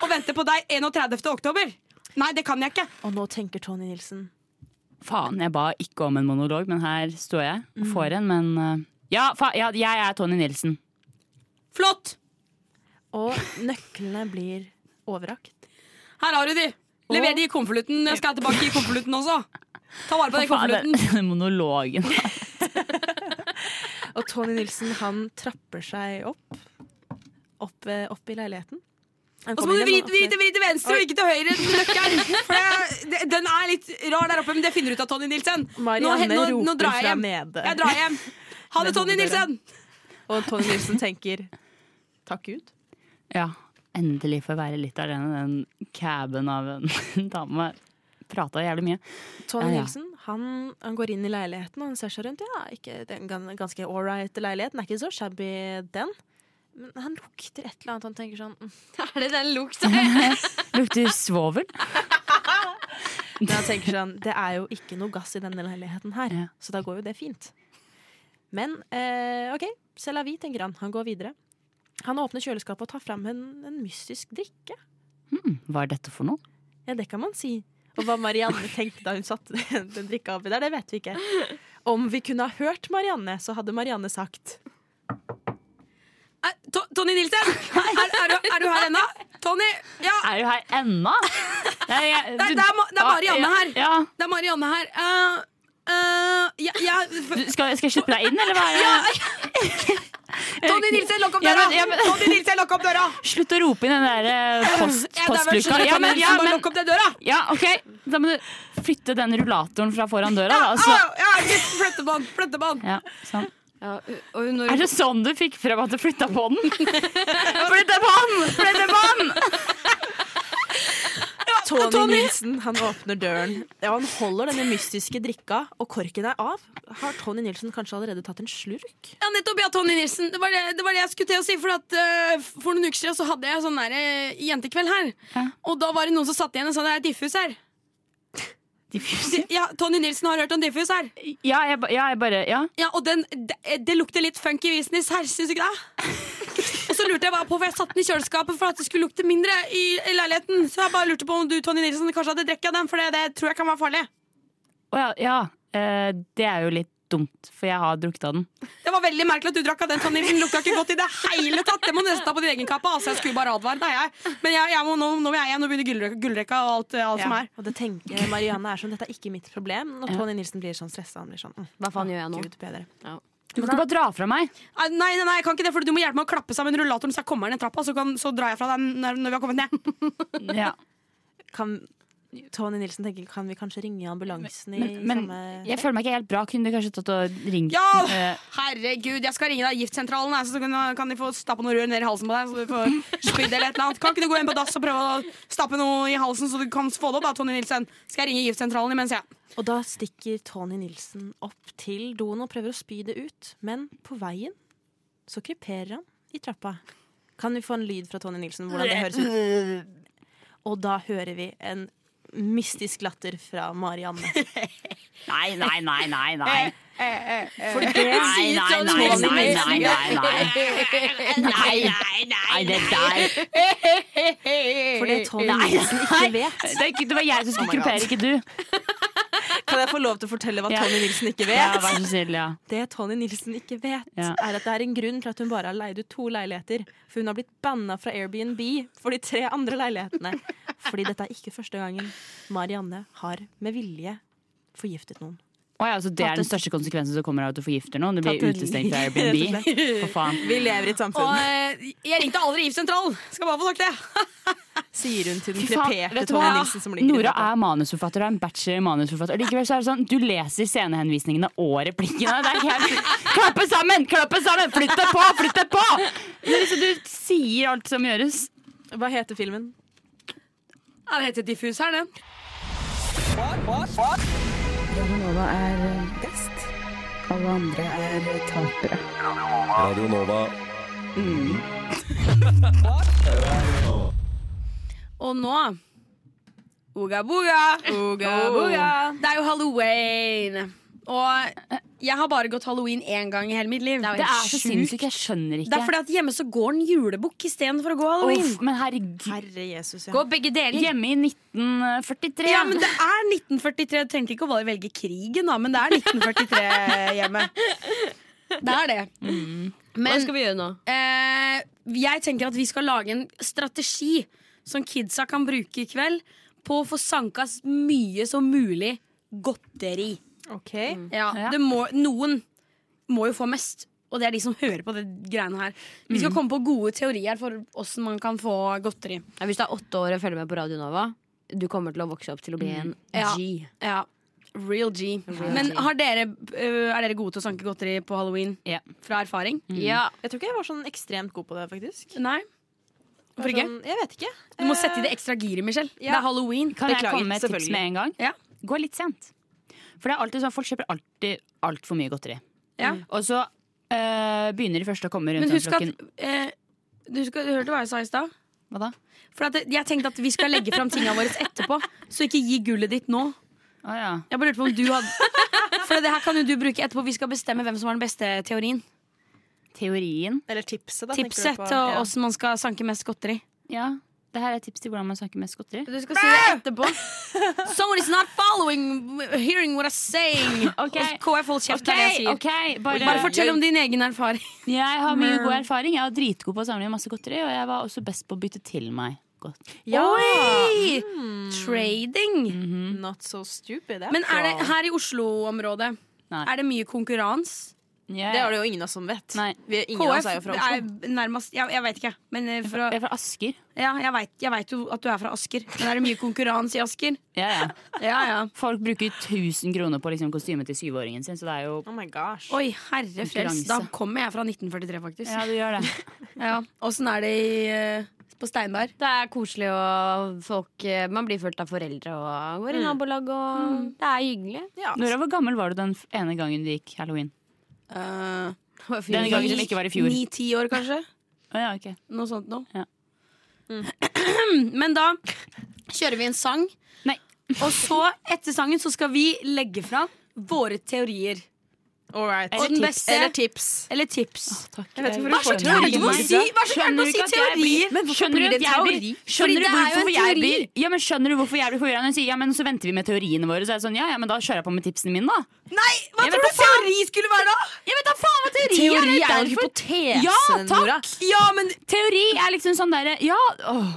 Speaker 3: og vente på deg 31. oktober? Nei, det kan jeg ikke.
Speaker 5: Og nå tenker Tony Nilsen
Speaker 4: Faen, jeg ba ikke om en monolog, men her står jeg
Speaker 3: Mm.
Speaker 4: og får en. Men eh, ja, fa ja, jeg er Tony Nilsen.
Speaker 3: Flott!
Speaker 5: Og nøklene blir overrakt.
Speaker 3: Her har du de. Lever de i konvolutten. Jeg skal tilbake i konvolutten også. Ta vare på den
Speaker 4: Faen, den
Speaker 3: konvolutten.
Speaker 4: (laughs) den monologen.
Speaker 3: (laughs)
Speaker 5: Og Tony Nilsen han trapper seg opp. Opp, eh, opp i leiligheten.
Speaker 3: Og
Speaker 5: Han
Speaker 3: så
Speaker 5: kommer
Speaker 3: må du
Speaker 5: inn
Speaker 3: vri,
Speaker 5: igjen,
Speaker 3: vri,
Speaker 5: han åpner-
Speaker 3: til- vri til venstre og ikke til høyre. Nøkkelen. For det- det- Den er litt rar der oppe, men det finner du ut av, Tony Nilsen.
Speaker 5: Marianne
Speaker 3: nå, nå, nå
Speaker 5: roper
Speaker 3: drar jeg
Speaker 5: fra
Speaker 3: hjem.
Speaker 5: nede.
Speaker 3: Jeg drar hjem. Ha det,
Speaker 5: Med
Speaker 3: Tony
Speaker 5: hodet.
Speaker 3: Nilsen!
Speaker 5: Og Tony Nilsen tenker takk Gud.
Speaker 4: Ja, endelig får jeg være litt alene. Den caben av en (laughs) dame prata jævlig mye.
Speaker 5: Tony
Speaker 4: Ja, ja.
Speaker 5: Nilsen han, han går inn i leiligheten og han ser seg rundt. Ja, ikke, det er en gan- ganske ålreit leilighet. Den er ikke så shabby, den. Men han lukter et eller annet. Han tenker sånn mm.
Speaker 6: Er det den lukta?
Speaker 4: Lukter svovel.
Speaker 5: Men han tenker sånn Det er jo ikke noe gass i denne leiligheten her,
Speaker 4: Ja.
Speaker 5: så da går jo det fint. Men eh, OK, c'est la vie, tenker han. Han går videre. Han åpner kjøleskapet og tar fram en, en mystisk drikke.
Speaker 4: Hva er dette for noe?
Speaker 5: Ja, det kan man si. Og hva Marianne tenkte da hun satte den, den drikka oppi der, det vet vi ikke. Om vi kunne ha hørt Marianne, så hadde Marianne sagt
Speaker 3: Eh, To- Tony Nilsen, er, er, du, er du her ennå? Tony, ja,
Speaker 4: Er du her ennå? Det er, jeg-
Speaker 3: Nei, det er Ma- det er Marianne her.
Speaker 4: Ja,
Speaker 3: det er Marianne her. Eh, eh, ja, ja.
Speaker 4: Du, skal, skal jeg slippe deg inn, eller hva?
Speaker 3: (laughs)
Speaker 4: Er det?
Speaker 3: Tony Nilsen, lukk opp
Speaker 4: Ja,
Speaker 3: døra!
Speaker 4: men- ja, men-
Speaker 3: Tony Nilsen, lukk opp døra!
Speaker 4: Slutt å rope inn den der eh, post,
Speaker 3: Ja, det er vel
Speaker 4: postluka.
Speaker 3: skjønt,
Speaker 4: Ja,
Speaker 3: Tony
Speaker 4: men, ja,
Speaker 3: Nilsen, bare
Speaker 4: men,
Speaker 3: lukk opp den døra!
Speaker 4: ja, ok Da må du flytte den rullatoren fra foran døra, da. og
Speaker 3: Au,
Speaker 4: Så,
Speaker 3: ja, ah! Flyttebånd, flyttebånd.
Speaker 4: ja, sånn.
Speaker 6: Ja, og hun
Speaker 4: Er det sånn du fikk frem at du flytta på
Speaker 3: (laughs)
Speaker 4: den? Flytte på den! Flytte på den!
Speaker 5: Tony, Nilsen han åpner døren. Ja, han holder denne mystiske drikka, og korken er av. Har Tony Nilsen kanskje allerede tatt en slurk?
Speaker 3: Ja, nettopp, ja, Tony Nilsen. Det var det, det, var det jeg skulle til å si. For, at, eh, for noen uker siden så hadde jeg sånn der, eh, jentekveld her. Og da var det noen som satt igjen og sa det er diffus her. Diffus? Ja, Tony Nilsen har hørt om diffus her.
Speaker 4: Ja, jeg, ba- ja, jeg bare Ja.
Speaker 3: Ja, og den, det, det lukter litt funky business her, syns du ikke det? Og så lurte jeg bare på, for jeg satte den i kjøleskapet for at det skulle lukte mindre i, i leiligheten. Så jeg bare lurte på om du, Tony Nilsen, kanskje hadde drukket den, for det, det tror jeg kan være farlig.
Speaker 4: Å ja, ja. Eh, det er jo litt dumt, for jeg har drukket av den.
Speaker 3: Det var veldig merkelig at du drakk av den, Tony. Den lukta ikke godt i det hele tatt. Det må du nesten ta på din egen kappe. Altså, jeg skulle bare advare deg, jeg. Men jeg, jeg må, nå, nå vil jeg igjen, nå begynner gullrekka, gullrekka og alt, alt som er.
Speaker 5: Og det tenker Marianne er sånn, dette er ikke mitt problem. Og Tony Nilsen blir sånn stressa. Han blir sånn, mm,
Speaker 6: Hva faen gjør jeg nå?
Speaker 5: Gud bedre.
Speaker 4: Du kan ikke bare dra fra meg!
Speaker 3: Nei, nei, nei, jeg kan ikke det, for du må hjelpe meg å klappe sammen rullatoren så jeg kommer ned trappa, så, kan, så drar jeg fra deg når, når vi har kommet ned.
Speaker 4: Ja.
Speaker 5: Kan Tony Nilsen tenker kan vi kanskje ringe ambulansen i
Speaker 4: Men jeg føler meg ikke helt bra. Kunne du kanskje tatt og ringt
Speaker 3: Ja!
Speaker 4: eh,
Speaker 3: Herregud, jeg skal ringe deg giftsentralen, jeg, så kan, kan de få stappe noe rør ned i halsen på deg, så du får spydd eller et eller annet. Kan ikke du gå inn på dass og prøve å stappe noe i halsen, så du kan få det opp, da, Tony Nilsen? Skal jeg ringe giftsentralen imens, jeg?
Speaker 5: Og da stikker Tony Nilsen opp til doen og prøver å spy det ut. Men på veien så kryperer han i trappa. Kan vi få en lyd fra Tony Nilsen? Hvordan det høres ut? Og da hører vi en mystisk latter fra Marianne.
Speaker 4: Nei, nei, nei, nei, nei.
Speaker 3: Eh,
Speaker 5: For det
Speaker 4: Nei, nei,
Speaker 6: sånn
Speaker 4: nei, nei, nei, nei, nei.
Speaker 6: (laughs)
Speaker 4: Nei, nei, det der.
Speaker 5: For det Tony Nilsen ikke vet.
Speaker 4: Det, er ikke- det var jeg som skulle gruppere, ikke du.
Speaker 5: Kan jeg få lov til å fortelle hva
Speaker 4: Ja.
Speaker 5: Tony Nilsen ikke
Speaker 4: Ja,
Speaker 5: vet?
Speaker 4: vær så snill, ja.
Speaker 5: Det Tony Nilsen ikke vet,
Speaker 4: Ja.
Speaker 5: er at det er en grunn til at hun bare har leid ut to leiligheter. For hun har blitt banna fra Airbnb for de tre andre leilighetene. Fordi dette er ikke første gangen Marianne har med vilje forgiftet noen.
Speaker 4: Å ja, så det er den største konsekvensen som kommer av at du forgifter noen? Du blir
Speaker 5: Tatt et
Speaker 4: utestengt fra
Speaker 5: liv,
Speaker 4: (laughs)
Speaker 5: rett og
Speaker 4: Airbnb? For faen.
Speaker 5: Vi lever i et
Speaker 3: Og
Speaker 5: samfunn,
Speaker 3: eh, jeg ringte aldri giftsentralen, skal bare få sagt det.
Speaker 5: sier hun til den
Speaker 4: Fy faen,
Speaker 5: kreperte
Speaker 4: vet du
Speaker 5: Tony
Speaker 4: hva?
Speaker 5: Nilsen som ligger i
Speaker 4: Nora
Speaker 5: trappa.
Speaker 4: er manusforfatter og er en bachelor i manusforfatter. Og Likevel så er det sånn, du leser scenehenvisningene og replikkene. Det er helt, klappe sammen! Klappe sammen! Flytt deg på! Flytt deg på! Men liksom, du sier alt som gjøres.
Speaker 5: Hva heter filmen?
Speaker 3: Ja, det heter diffus her, den.
Speaker 12: Radionova er best. Alle andre er tapere.
Speaker 13: Radio Nova.
Speaker 3: Og nå Oga boga, oga boga. Det er jo halloween. Og jeg har bare gått halloween én gang i hele mitt liv.
Speaker 4: Det er så sinnssykt. Jeg skjønner
Speaker 3: Det er
Speaker 4: ikke.
Speaker 3: fordi at hjemme så går en julebukk istedenfor å gå halloween.
Speaker 4: Uff, men herregud.
Speaker 5: Herre Jesus, (laughs) ja.
Speaker 6: Gå begge deler.
Speaker 4: Hjemme i 1943.
Speaker 3: Ja, men det er 1943. Jeg trengte ikke å velge krigen, da, men det er
Speaker 4: (laughs)
Speaker 3: 1943 hjemme. Det er det.
Speaker 6: Hva skal vi gjøre nå?
Speaker 3: Eh, jeg tenker at vi skal lage en strategi som kidsa kan bruke i kveld på å få sanka s- mye som mulig godteri.
Speaker 5: Ok.
Speaker 3: Ja,
Speaker 4: Ja.
Speaker 3: det må, noen må jo få mest, og det er de som hører på det greiene her. Vi skal komme på gode teorier for åssen man kan få godteri.
Speaker 6: Ja, hvis du er åtte år og følger med på Radio Nova, du kommer til å vokse opp til å bli en
Speaker 3: Ja.
Speaker 6: G.
Speaker 3: Ja, Real G. Men
Speaker 6: G.
Speaker 3: har dere, eh, er dere gode til å sanke godteri på halloween?
Speaker 4: Ja.
Speaker 3: Fra erfaring?
Speaker 6: Ja.
Speaker 5: Jeg tror ikke jeg var sånn ekstremt god på det, faktisk.
Speaker 3: Nei? Hvorfor ikke?
Speaker 5: Sånn, jeg vet ikke. Eh,
Speaker 3: Du må sette i det ekstra giret, Michelle. Det
Speaker 5: ja.
Speaker 3: er halloween.
Speaker 4: Kan jeg
Speaker 5: Beklager,
Speaker 4: komme med et tips
Speaker 5: selvfølgelig.
Speaker 4: med en gang?
Speaker 3: Ja.
Speaker 4: Gå litt sent. For det er alltid sånn, folk kjøper alltid altfor mye godteri. Mm.
Speaker 3: Ja.
Speaker 4: Og så øh, begynner de først å komme rundt
Speaker 3: Men
Speaker 4: om
Speaker 3: husk at
Speaker 4: klokken
Speaker 3: eh, du, husker, du hørte hva jeg sa i stad?
Speaker 4: Hva da?
Speaker 3: For at jeg tenkte at vi skal legge fram tingene våre etterpå, så ikke gi gullet ditt nå.
Speaker 4: Å ja.
Speaker 3: Jeg bare lurte på om du hadde (laughs) For det her kan jo du bruke etterpå. Vi skal bestemme hvem som har den beste teorien.
Speaker 4: Teorien.
Speaker 5: Eller tipset, da. tenker du
Speaker 3: Tipset
Speaker 5: på.
Speaker 3: til
Speaker 5: Ja.
Speaker 3: åssen man skal sanke mest godteri.
Speaker 4: Ja. Det her er tips til hvordan man snakker mest godteri.
Speaker 6: Du skal si det etterpå.
Speaker 3: (laughs) Someone is not following, hearing what I'm saying.
Speaker 4: Ok.
Speaker 3: Og KF, hold kjeft. det er det jeg sier.
Speaker 4: ok, bare,
Speaker 3: Bare fortell om din egen erfaring.
Speaker 4: Jeg har mye god erfaring. Jeg var dritgod på å samle inn masse godteri, og jeg var også best på å bytte til meg godt.
Speaker 5: Ja.
Speaker 3: Oi! Trading.
Speaker 5: Not so stupid. eh.
Speaker 3: Men er det her i Oslo-området
Speaker 4: Nei.
Speaker 3: er det mye konkurranse?
Speaker 5: Det er det jo ingen av oss som vet.
Speaker 4: Nei.
Speaker 5: Vi er, ingen
Speaker 3: KF
Speaker 5: av oss er jo fra Oslo.
Speaker 3: er nærmest Jeg, jeg vet ikke. Men eh, fra,
Speaker 4: Jeg er fra Asker.
Speaker 3: ja, jeg, vet, jeg vet jo at du er fra Asker. Men er det mye konkurranse i Asker?
Speaker 4: Ja, ja.
Speaker 3: Ja, ja.
Speaker 4: Folk bruker 1000 kroner på liksom, kostymet til syvåringen sin, så det er jo
Speaker 5: Oh my gosh.
Speaker 3: Oi, herre frels.
Speaker 4: Konkurranse.
Speaker 3: Da kommer jeg fra 1943, faktisk.
Speaker 4: Ja, du gjør det.
Speaker 3: Ja. Åssen er det i eh, på Steinberg.
Speaker 6: Det er koselig, og folk, eh, man blir fulgt av foreldre og går
Speaker 5: Mm.
Speaker 6: i nabolag. Og Det er hyggelig.
Speaker 4: Nora, hvor gammel var du den f- ene gangen du gikk halloween?
Speaker 3: Uh,
Speaker 4: Eh, Denne gangen som ikke var i fjor.
Speaker 3: Ni-ti år, kanskje.
Speaker 4: Å ja, ok.
Speaker 3: Noe sånt noe. Mm.
Speaker 4: Ja.
Speaker 3: (clears throat) Men da kjører vi en sang.
Speaker 4: Nei.
Speaker 3: og så, etter sangen, så skal vi legge fra våre teorier.
Speaker 5: All right.
Speaker 3: Og den beste
Speaker 5: Eller tips.
Speaker 3: Eller tips.
Speaker 5: Jeg vet ikke
Speaker 3: Hva
Speaker 5: hvorfor
Speaker 3: slags
Speaker 5: du
Speaker 3: teori
Speaker 5: får
Speaker 3: du må
Speaker 5: teori.
Speaker 3: si? Hva slags
Speaker 4: Skjønner
Speaker 3: teori du må
Speaker 4: du ikke at
Speaker 3: si
Speaker 4: jeg blir-
Speaker 3: teorier?
Speaker 4: Skjønner du at jeg blir
Speaker 3: Fordi
Speaker 4: Skjønner
Speaker 3: det
Speaker 4: du
Speaker 3: er jo
Speaker 4: hvorfor
Speaker 3: en
Speaker 4: jeg
Speaker 3: teori.
Speaker 4: blir Ja, men skjønner du hvorfor jeg blir forvirra? Hun sier ja, men så venter vi med teoriene våre. Så er det sånn, ja, ja, men da kjører jeg på med tipsene mine, da.
Speaker 3: Nei, hva tror du teori skulle være, da?
Speaker 4: Jeg vet da faen hva teori, Det
Speaker 5: Teori er en
Speaker 4: derfor-
Speaker 5: hypotese,
Speaker 4: Ja, takk!
Speaker 5: Nora.
Speaker 3: Ja, men
Speaker 4: Teori er liksom sånn derre Ja, åh.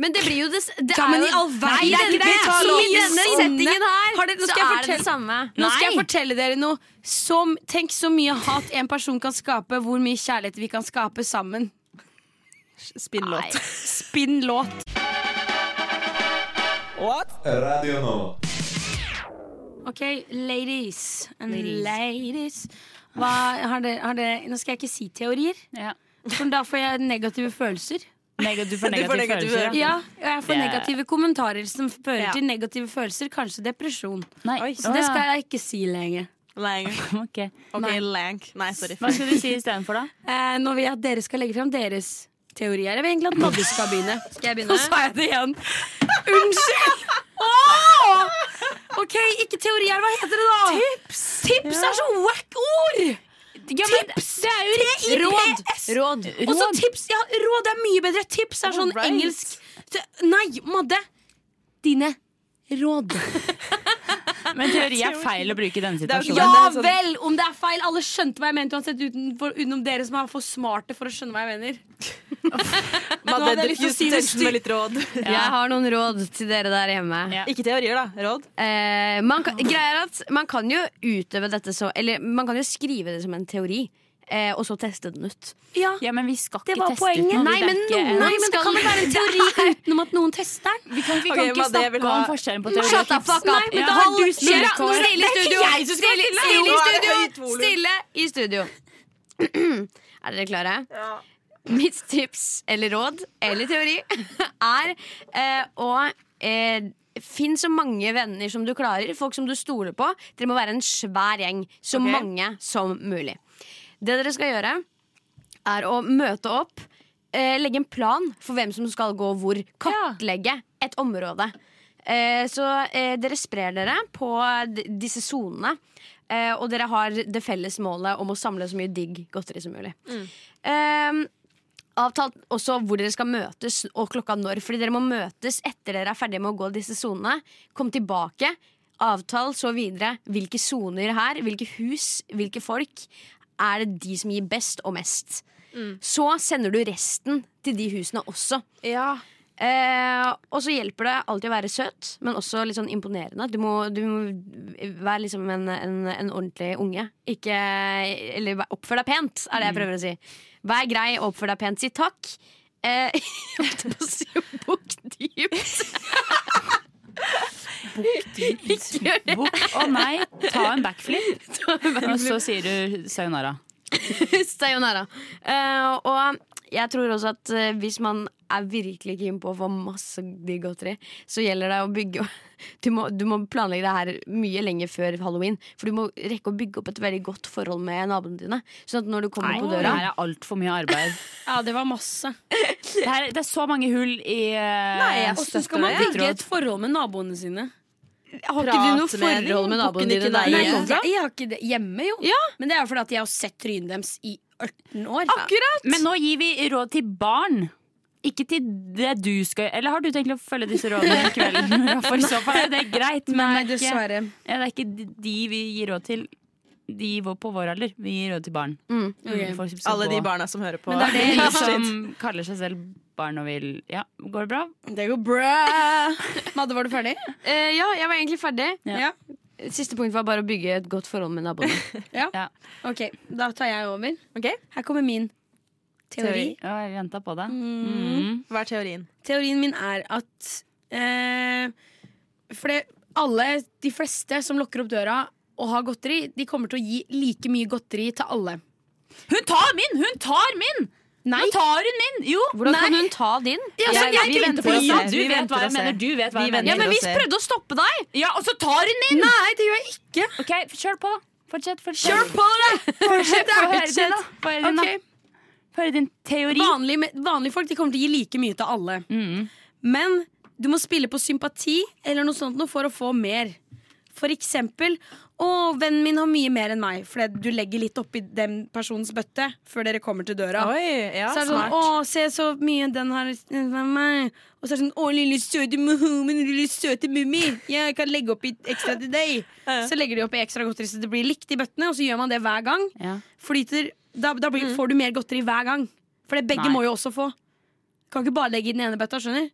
Speaker 6: Men det blir jo det, s- det
Speaker 3: Ja, men
Speaker 6: er
Speaker 3: i
Speaker 6: jo,
Speaker 3: all verden,
Speaker 6: Nei,
Speaker 3: det er
Speaker 6: det
Speaker 3: ikke det.
Speaker 6: er ikke
Speaker 3: Ta
Speaker 6: I denne
Speaker 3: lov.
Speaker 6: settingen her
Speaker 3: Har dere- nå
Speaker 6: så
Speaker 3: skal jeg
Speaker 6: er det det
Speaker 3: fortelle-
Speaker 6: samme.
Speaker 3: Nå skal jeg
Speaker 4: Nei.
Speaker 3: fortelle dere noe. Som, tenk så mye hat en person kan skape, hvor mye kjærlighet vi kan skape sammen.
Speaker 5: Spinn låt.
Speaker 3: Spinn låt.
Speaker 13: Radio Nova.
Speaker 3: Ok, ladies and ladies. Hva, har dere, har dere, nå skal jeg ikke si teorier,
Speaker 4: Ja.
Speaker 3: for da får jeg negative følelser.
Speaker 4: Neg- du får
Speaker 5: Du
Speaker 4: negative
Speaker 5: får negative
Speaker 4: følelser. Ja.
Speaker 3: Ja, og jeg får
Speaker 4: Det-
Speaker 3: negative kommentarer som fører
Speaker 5: Ja.
Speaker 3: til negative følelser, kanskje depresjon.
Speaker 4: Nei,
Speaker 5: Oi,
Speaker 3: Så det skal jeg ikke si lenger.
Speaker 5: Lang.
Speaker 4: Ok.
Speaker 5: OK,
Speaker 3: Nei.
Speaker 5: lank. Nei, sorry.
Speaker 4: Hva skal du si istedenfor, da?
Speaker 3: Eh, nå vil jeg at dere skal legge fram deres teorier. Jeg vil egentlig at Madde skal begynne.
Speaker 6: Skal jeg
Speaker 3: Nå
Speaker 6: begynne?
Speaker 3: sa jeg det igjen. Unnskyld! Åh! Ok, ikke teorier. Hva heter det, da? Tips! Tips er så whack-ord! tips! Det er jo riktig.
Speaker 6: Råd. Råd.
Speaker 3: Og så tips! Ja, råd er mye bedre. Tips er sånn
Speaker 5: Alright.
Speaker 3: engelsk. T- Nei, Madde. Dine råd.
Speaker 4: Men teori er feil å bruke i denne
Speaker 5: er jo
Speaker 4: situasjonen.
Speaker 5: ikke-
Speaker 3: Ja
Speaker 5: det er sånn-
Speaker 3: vel, om det er feil. Alle skjønte hva jeg mente uansett, utenfor, utenom dere som er for smarte for å skjønne hva jeg mener. Nå
Speaker 5: Madde,
Speaker 3: hadde jeg lyst til å
Speaker 5: diffuse
Speaker 3: si det
Speaker 5: tension med litt råd.
Speaker 6: Jeg har noen råd til dere der hjemme.
Speaker 4: Ja.
Speaker 5: Ikke teorier, da. Råd.
Speaker 6: Eh, man, kan, greier at man kan jo utøve dette så Eller man kan jo skrive det som en teori, eh, og så teste den ut.
Speaker 3: Ja.
Speaker 4: Ja, men vi skal ikke
Speaker 3: Det var
Speaker 4: teste ut
Speaker 3: poenget.
Speaker 4: noe. Det
Speaker 6: Nei,
Speaker 4: er
Speaker 6: men
Speaker 4: ikke-
Speaker 6: noen-
Speaker 3: Nei, men det
Speaker 6: skal-
Speaker 3: kan vel være en teori utenom at noen tester den?
Speaker 4: Vi kan, vi kan
Speaker 5: Ok,
Speaker 4: ikke
Speaker 5: hva det jeg vil
Speaker 4: snakke
Speaker 5: ha-
Speaker 4: om forskjellen på teori og
Speaker 6: (laughs) Shut the
Speaker 4: tips.
Speaker 6: fuck up!
Speaker 3: men
Speaker 4: da
Speaker 6: Hold-
Speaker 4: har du
Speaker 6: Nora,
Speaker 4: snurret over.
Speaker 6: Stille i studio! Stille,
Speaker 5: Jo,
Speaker 6: stille, i
Speaker 5: er det
Speaker 6: studio.
Speaker 5: høyt volum?
Speaker 6: stille i studio! (clears throat) er dere klare? Mitt tips eller råd eller teori (laughs) er eh, å eh, Finn så mange venner som du klarer, folk som du stoler på. Dere må være en svær gjeng. Så mange som mulig. Det dere skal gjøre, er å møte opp, eh, legge en plan for hvem som skal gå hvor. Kartlegge et område. Eh, så eh, dere sprer dere på d disse sonene. Eh, og dere har det felles målet om å samle så mye digg godteri som mulig. Eh, avtalt også hvor dere skal møtes og klokka når. Fordi dere må møtes etter dere er ferdige med å gå disse sonene. Kom tilbake. Avtal så videre. Hvilke soner her, hvilke hus, hvilke folk er det de som gir best og mest. Så sender du resten til de husene også.
Speaker 5: Ja.
Speaker 6: Eh, og så hjelper det alltid å være søt, men også litt sånn imponerende. Du må, du må være liksom en, en, en ordentlig unge. Ikke Eller vær- oppfør deg pent, er det jeg prøver å si. Vær grei, oppfør deg pent, si takk. Eh, (laughs) jeg holdt på å si bukk dypt.
Speaker 4: Bok. Å nei, ta en backflip. Og så sier du sayonara.
Speaker 6: (laughs) Sayonara. Eh, og jeg tror også at eh, hvis man er virkelig keen på å få masse digg godteri, så gjelder det å bygge (laughs) du må, du må planlegge det her mye lenger før halloween. For du må rekke å bygge opp et veldig godt forhold med naboene dine. Sånn at når du kommer
Speaker 4: Nei,
Speaker 6: på
Speaker 4: det
Speaker 6: døra
Speaker 4: her er altfor mye arbeid.
Speaker 3: Ja, det var masse.
Speaker 4: Det, her, det er så mange hull i eh,
Speaker 5: Nei, jeg
Speaker 3: Og så skal
Speaker 5: støtter
Speaker 3: man
Speaker 5: det.
Speaker 3: bygge et forhold med naboene sine.
Speaker 6: Har ikke du noe
Speaker 5: Prate med dem,
Speaker 6: forhold
Speaker 5: bukken
Speaker 6: med naboene dine?
Speaker 5: ikke deg.
Speaker 6: Nei.
Speaker 3: Nei,
Speaker 5: Ja.
Speaker 3: jeg, jeg har ikke det hjemme, jo. Men det er jo fordi at jeg har sett trynet deres i 18 år.
Speaker 4: Men nå gir vi råd til barn. Ikke til det du skal gjøre. Eller har du tenkt å følge disse rådene i kveld? Nora? (laughs) For i så fall er det greit, men
Speaker 3: Nei,
Speaker 4: det, er ikke,
Speaker 3: dessverre.
Speaker 4: ja, det er ikke de- de vi gir råd til. De vår- på vår alder. Vi gir råd til barn.
Speaker 6: Mm.
Speaker 3: Ok.
Speaker 4: Folk som skal
Speaker 5: Alle de
Speaker 4: gå-
Speaker 5: barna som hører på.
Speaker 4: Men det er det de som kaller seg selv barn og vil Ja, går det bra?
Speaker 3: Det går bra. Madde, var du ferdig?
Speaker 6: Eh, ja, jeg var egentlig ferdig.
Speaker 3: Ja.
Speaker 6: Siste punkt var bare å bygge et godt forhold med naboene.
Speaker 3: Ok, Da tar jeg over.
Speaker 5: Ok.
Speaker 3: Her kommer min teori.
Speaker 4: Ja, jeg venta på det. Mm.
Speaker 3: Mm.
Speaker 5: Hva er teorien?
Speaker 3: Teorien min er at eh, For det, alle, de fleste som lukker opp døra og har godteri, de kommer til å gi like mye godteri til alle.
Speaker 4: Hun tar min! Hun tar min!
Speaker 6: Nei.
Speaker 4: Nå tar hun min! Jo!
Speaker 6: Hvordan
Speaker 4: nei.
Speaker 6: kan hun ta din?
Speaker 4: Ja, så
Speaker 6: Jeg-
Speaker 4: jeg
Speaker 6: vi
Speaker 4: tenkte
Speaker 6: venter
Speaker 4: på
Speaker 6: og
Speaker 4: det samme.
Speaker 6: ser.
Speaker 4: Du
Speaker 6: Vi
Speaker 4: vet hva
Speaker 6: venter og
Speaker 4: jeg mener.
Speaker 6: ser.
Speaker 4: Du vet hva jeg
Speaker 6: Ja,
Speaker 4: mener.
Speaker 6: men vi
Speaker 5: ser.
Speaker 6: prøvde å stoppe deg!
Speaker 4: Ja, og så tar hun min!
Speaker 3: Nei, det gjør jeg ikke.
Speaker 2: Ok, Kjør på, da. Fortsett. fortsett.
Speaker 3: Kjør på, dere! Fortsett,
Speaker 4: Få
Speaker 3: da.
Speaker 4: høre din, da. Få høre din, da.
Speaker 3: Ok.
Speaker 4: Få høre din teori.
Speaker 3: Vanlige, me- vanlige folk de kommer til å gi like mye til alle.
Speaker 4: Mm.
Speaker 3: Men du må spille på sympati eller noe sånt noe for å få mer. For eksempel Å, vennen min har mye mer enn meg, fordi du legger litt oppi den personens bøtte før dere kommer til døra.
Speaker 5: Oi, ja,
Speaker 3: så er det sånn,
Speaker 5: smart.
Speaker 3: å, se så mye den har fra meg. Og så er det sånn, å, lille søte Muhammed, lille søte mummi. Jeg kan legge oppi ekstra til
Speaker 5: (laughs)
Speaker 3: deg. Så legger de oppi ekstra godteri, så det blir likt i bøttene, og så gjør man det hver gang.
Speaker 4: Ja.
Speaker 3: Flyter, da da
Speaker 5: Mm.
Speaker 3: blir, får du mer godteri hver gang. For det begge
Speaker 4: Nei.
Speaker 3: må jo også få. Kan ikke bare legge i den ene bøtta, skjønner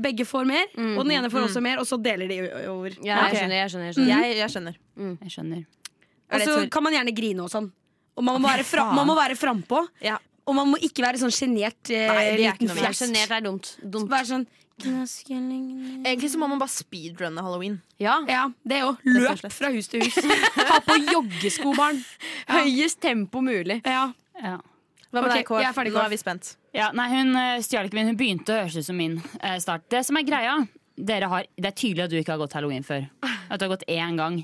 Speaker 3: Begge får mer,
Speaker 5: Mm,
Speaker 3: og den ene får også mer, og så deler de o- over.
Speaker 6: Ja,
Speaker 5: Ok.
Speaker 6: jeg skjønner, jeg skjønner, jeg skjønner.
Speaker 5: Jeg, jeg skjønner.
Speaker 4: Jeg skjønner.
Speaker 3: Og så
Speaker 5: Jeg tror-
Speaker 3: kan man gjerne grine og sånn. Og man må være, fra,
Speaker 4: faen.
Speaker 3: man må være frampå.
Speaker 5: Ja.
Speaker 3: Og man må ikke være sånn sjenert eh,
Speaker 5: Nei, det er ikke
Speaker 3: liten
Speaker 5: noe
Speaker 6: Jeg
Speaker 3: fjas.
Speaker 6: skjønner, det er dumt. dumt.
Speaker 3: Bare sånn Knaskjelling
Speaker 5: Egentlig så må man bare speedrunne halloween.
Speaker 6: Ja.
Speaker 3: Ja, det òg.
Speaker 5: Rett og
Speaker 3: Løp
Speaker 5: slett.
Speaker 3: fra hus til hus. Ha på joggesko, barn.
Speaker 6: Høyest tempo mulig.
Speaker 3: Ja.
Speaker 4: Ja.
Speaker 5: Hva med
Speaker 3: Ok,
Speaker 5: deg, Kåre?
Speaker 3: jeg er ferdig,
Speaker 5: Nå
Speaker 3: Kåre.
Speaker 5: er vi spent.
Speaker 4: Ja, nei, hun eh, stjal ikke min. Hun begynte å høres ut som min eh, start. Det som er greia dere har, Det er tydelig at du ikke har gått halloween før. At du har gått én gang.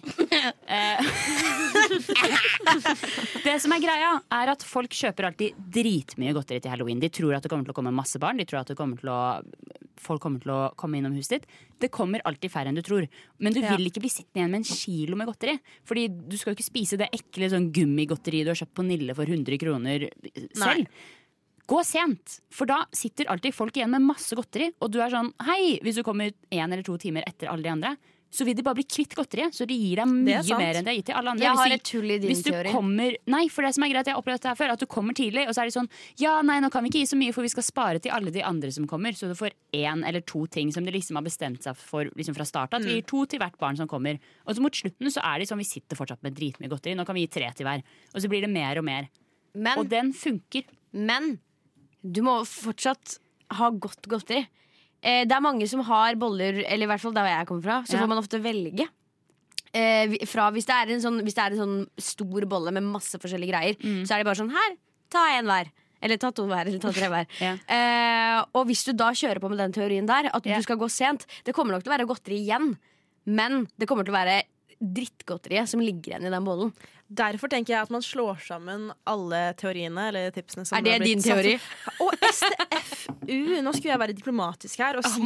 Speaker 4: Eh, (laughs) det som er greia, er at folk kjøper alltid dritmye godteri til halloween. De tror at det kommer til å komme masse barn. De tror at det kommer til å, folk kommer til å komme innom huset ditt. Det kommer alltid færre enn du tror. Men du vil ikke bli sittende igjen med en kilo med godteri. Fordi du skal jo ikke spise det ekle sånn gummigodteriet du har kjøpt på Nille for 100 kroner selv. Gå sent, for da sitter alltid folk igjen med masse godteri. Og du er sånn hei, hvis du kommer én eller to timer etter alle de andre, så vil de bare bli kvitt godteriet. Så de gir deg
Speaker 5: Det er
Speaker 4: mye
Speaker 5: sant.
Speaker 4: mer enn de har gitt til alle andre.
Speaker 6: Jeg
Speaker 4: Hvis
Speaker 6: har
Speaker 4: de-
Speaker 6: et hull i din
Speaker 4: hvis du
Speaker 6: teori.
Speaker 4: kommer Nei, for det som er greit, jeg har opplevd dette her før, at du kommer tidlig, og så er de sånn Ja, nei, nå kan vi ikke gi så mye, for vi skal spare til alle de andre som kommer. Så du får én eller to ting som de liksom har bestemt seg for liksom fra start av. At vi
Speaker 6: Mm.
Speaker 4: gir to til hvert barn som kommer. Og så mot slutten så er de sånn, vi sitter fortsatt med dritmye godteri, nå kan vi gi tre til hver. Og så blir det mer og mer.
Speaker 6: Men,
Speaker 4: Og den funker.
Speaker 6: men du må fortsatt ha godt godteri. Eh, det er mange som har boller, eller i hvert fall der hvor jeg kommer fra, så
Speaker 4: Ja.
Speaker 6: får man ofte velge. Eh, vi- fra hvis, det er en sånn, hvis det er en sånn stor bolle med masse forskjellige greier,
Speaker 4: Mm.
Speaker 6: så er det bare sånn her, ta en hver. Eller ta to hver, eller ta tre hver.
Speaker 4: (laughs) Ja.
Speaker 6: Eh, og hvis du da kjører på med den teorien der, at
Speaker 4: Ja.
Speaker 6: du skal gå sent, det kommer nok til å være godteri igjen, men det kommer til å være drittgodteriet som ligger igjen i den bollen.
Speaker 5: Derfor tenker jeg at man slår sammen alle teoriene eller tipsene. Som
Speaker 6: Er det
Speaker 5: har blitt
Speaker 6: din teori?
Speaker 5: sagt. Og STFU! Nå skulle jeg være diplomatisk her og si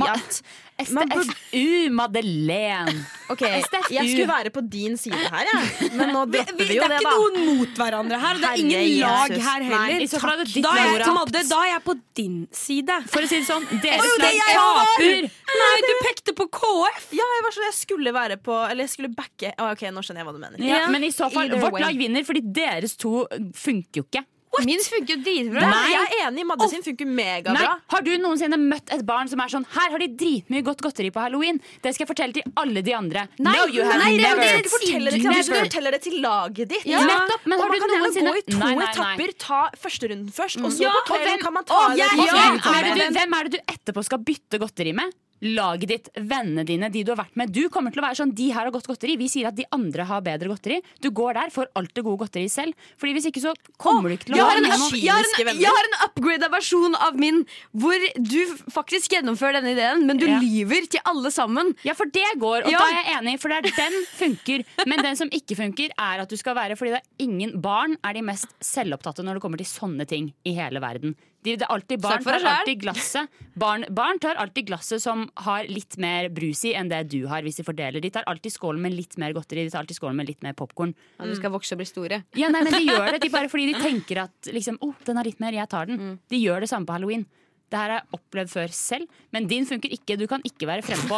Speaker 5: at man burde
Speaker 4: STFU Madeleine!
Speaker 5: Ok, jeg skulle være på din side her, jeg. Men nå
Speaker 3: Vi,
Speaker 5: dropper
Speaker 3: vi,
Speaker 5: vi
Speaker 3: det
Speaker 5: jo
Speaker 3: er
Speaker 5: det,
Speaker 3: ikke
Speaker 5: da.
Speaker 3: noen mot hverandre her, og det er ingen
Speaker 5: Herre Jesus.
Speaker 3: lag her
Speaker 5: Nei,
Speaker 3: heller.
Speaker 4: i så fall er det ditt
Speaker 3: da, er jeg,
Speaker 4: lag.
Speaker 3: Madde, da er jeg på din side.
Speaker 4: For å si det sånn,
Speaker 3: Det var
Speaker 4: deres
Speaker 3: jo det
Speaker 4: lag
Speaker 3: jeg var!
Speaker 4: taper!
Speaker 3: Nei,
Speaker 4: (laughs)
Speaker 3: du pekte på KF!
Speaker 5: Ja, jeg var sånn, jeg skulle være på Eller jeg skulle backe Å, OK, nå skjønner jeg hva du mener.
Speaker 4: Ja, men i så fall,
Speaker 5: Either
Speaker 4: vårt
Speaker 5: way.
Speaker 4: lag vinner, fordi deres to funker jo ikke.
Speaker 6: Min funker jo dritbra.
Speaker 5: Nei, jeg er enig. Madde sin funker
Speaker 4: Nei,
Speaker 5: megabra.
Speaker 4: har du noensinne møtt et barn som er sånn Her har de dritmye godt godteri på halloween. Det skal jeg fortelle til alle de andre.
Speaker 6: Nei,
Speaker 4: no, you have
Speaker 6: nei, det er
Speaker 4: never.
Speaker 6: jo
Speaker 5: Du forteller det til, andre, du forteller det til laget ditt.
Speaker 4: Ja. Nettopp, men
Speaker 5: og
Speaker 4: har
Speaker 5: man
Speaker 4: du
Speaker 5: kan gjerne
Speaker 4: noensinne-
Speaker 5: gå i to
Speaker 4: Nei, nei, nei.
Speaker 5: etapper. Ta første runden først, og så
Speaker 4: Ja,
Speaker 5: på
Speaker 4: og hvem-
Speaker 5: kvelden kan man ta
Speaker 3: Å, jeg-
Speaker 5: det.
Speaker 4: Og
Speaker 3: Ja,
Speaker 4: hvem
Speaker 3: men
Speaker 4: er, det
Speaker 3: hvem-
Speaker 4: du, hvem er det du etterpå skal bytte godteri med? Laget ditt, vennene dine, de du har vært med. Du kommer til å være sånn, de her har godt godteri. Vi sier at de andre har bedre godteri. Du går der, får alt det gode godteriet selv. Fordi hvis ikke så kommer du ikke til å
Speaker 6: Jeg har, en,
Speaker 4: noe-
Speaker 6: up- jeg, har en, jeg har en upgrada versjon av min hvor du faktisk gjennomfører denne ideen, men du
Speaker 4: Ja.
Speaker 6: lyver til alle sammen.
Speaker 4: Ja, for det går, og
Speaker 6: Ja.
Speaker 4: da er jeg enig, for det er den funker. Men den som ikke funker, er at du skal være Fordi det er ingen barn er de mest selvopptatte når det kommer til sånne ting i hele verden. De, det er alltid barn
Speaker 6: Snakk for deg
Speaker 4: tar
Speaker 6: selv.
Speaker 4: alltid glasset barn, barn tar alltid glasset som har litt mer brus i enn det du har, hvis de fordeler. De tar alltid skålen med litt mer godteri, de tar alltid skålen med litt mer popkorn.
Speaker 6: Ja, du skal vokse og bli store.
Speaker 4: Ja, nei, men de gjør det de bare fordi de tenker at liksom, oh, den har litt mer, jeg tar
Speaker 6: Mm.
Speaker 4: den. De gjør det samme på halloween. Det her har jeg opplevd før selv, men din funker ikke. Du kan ikke være frempå.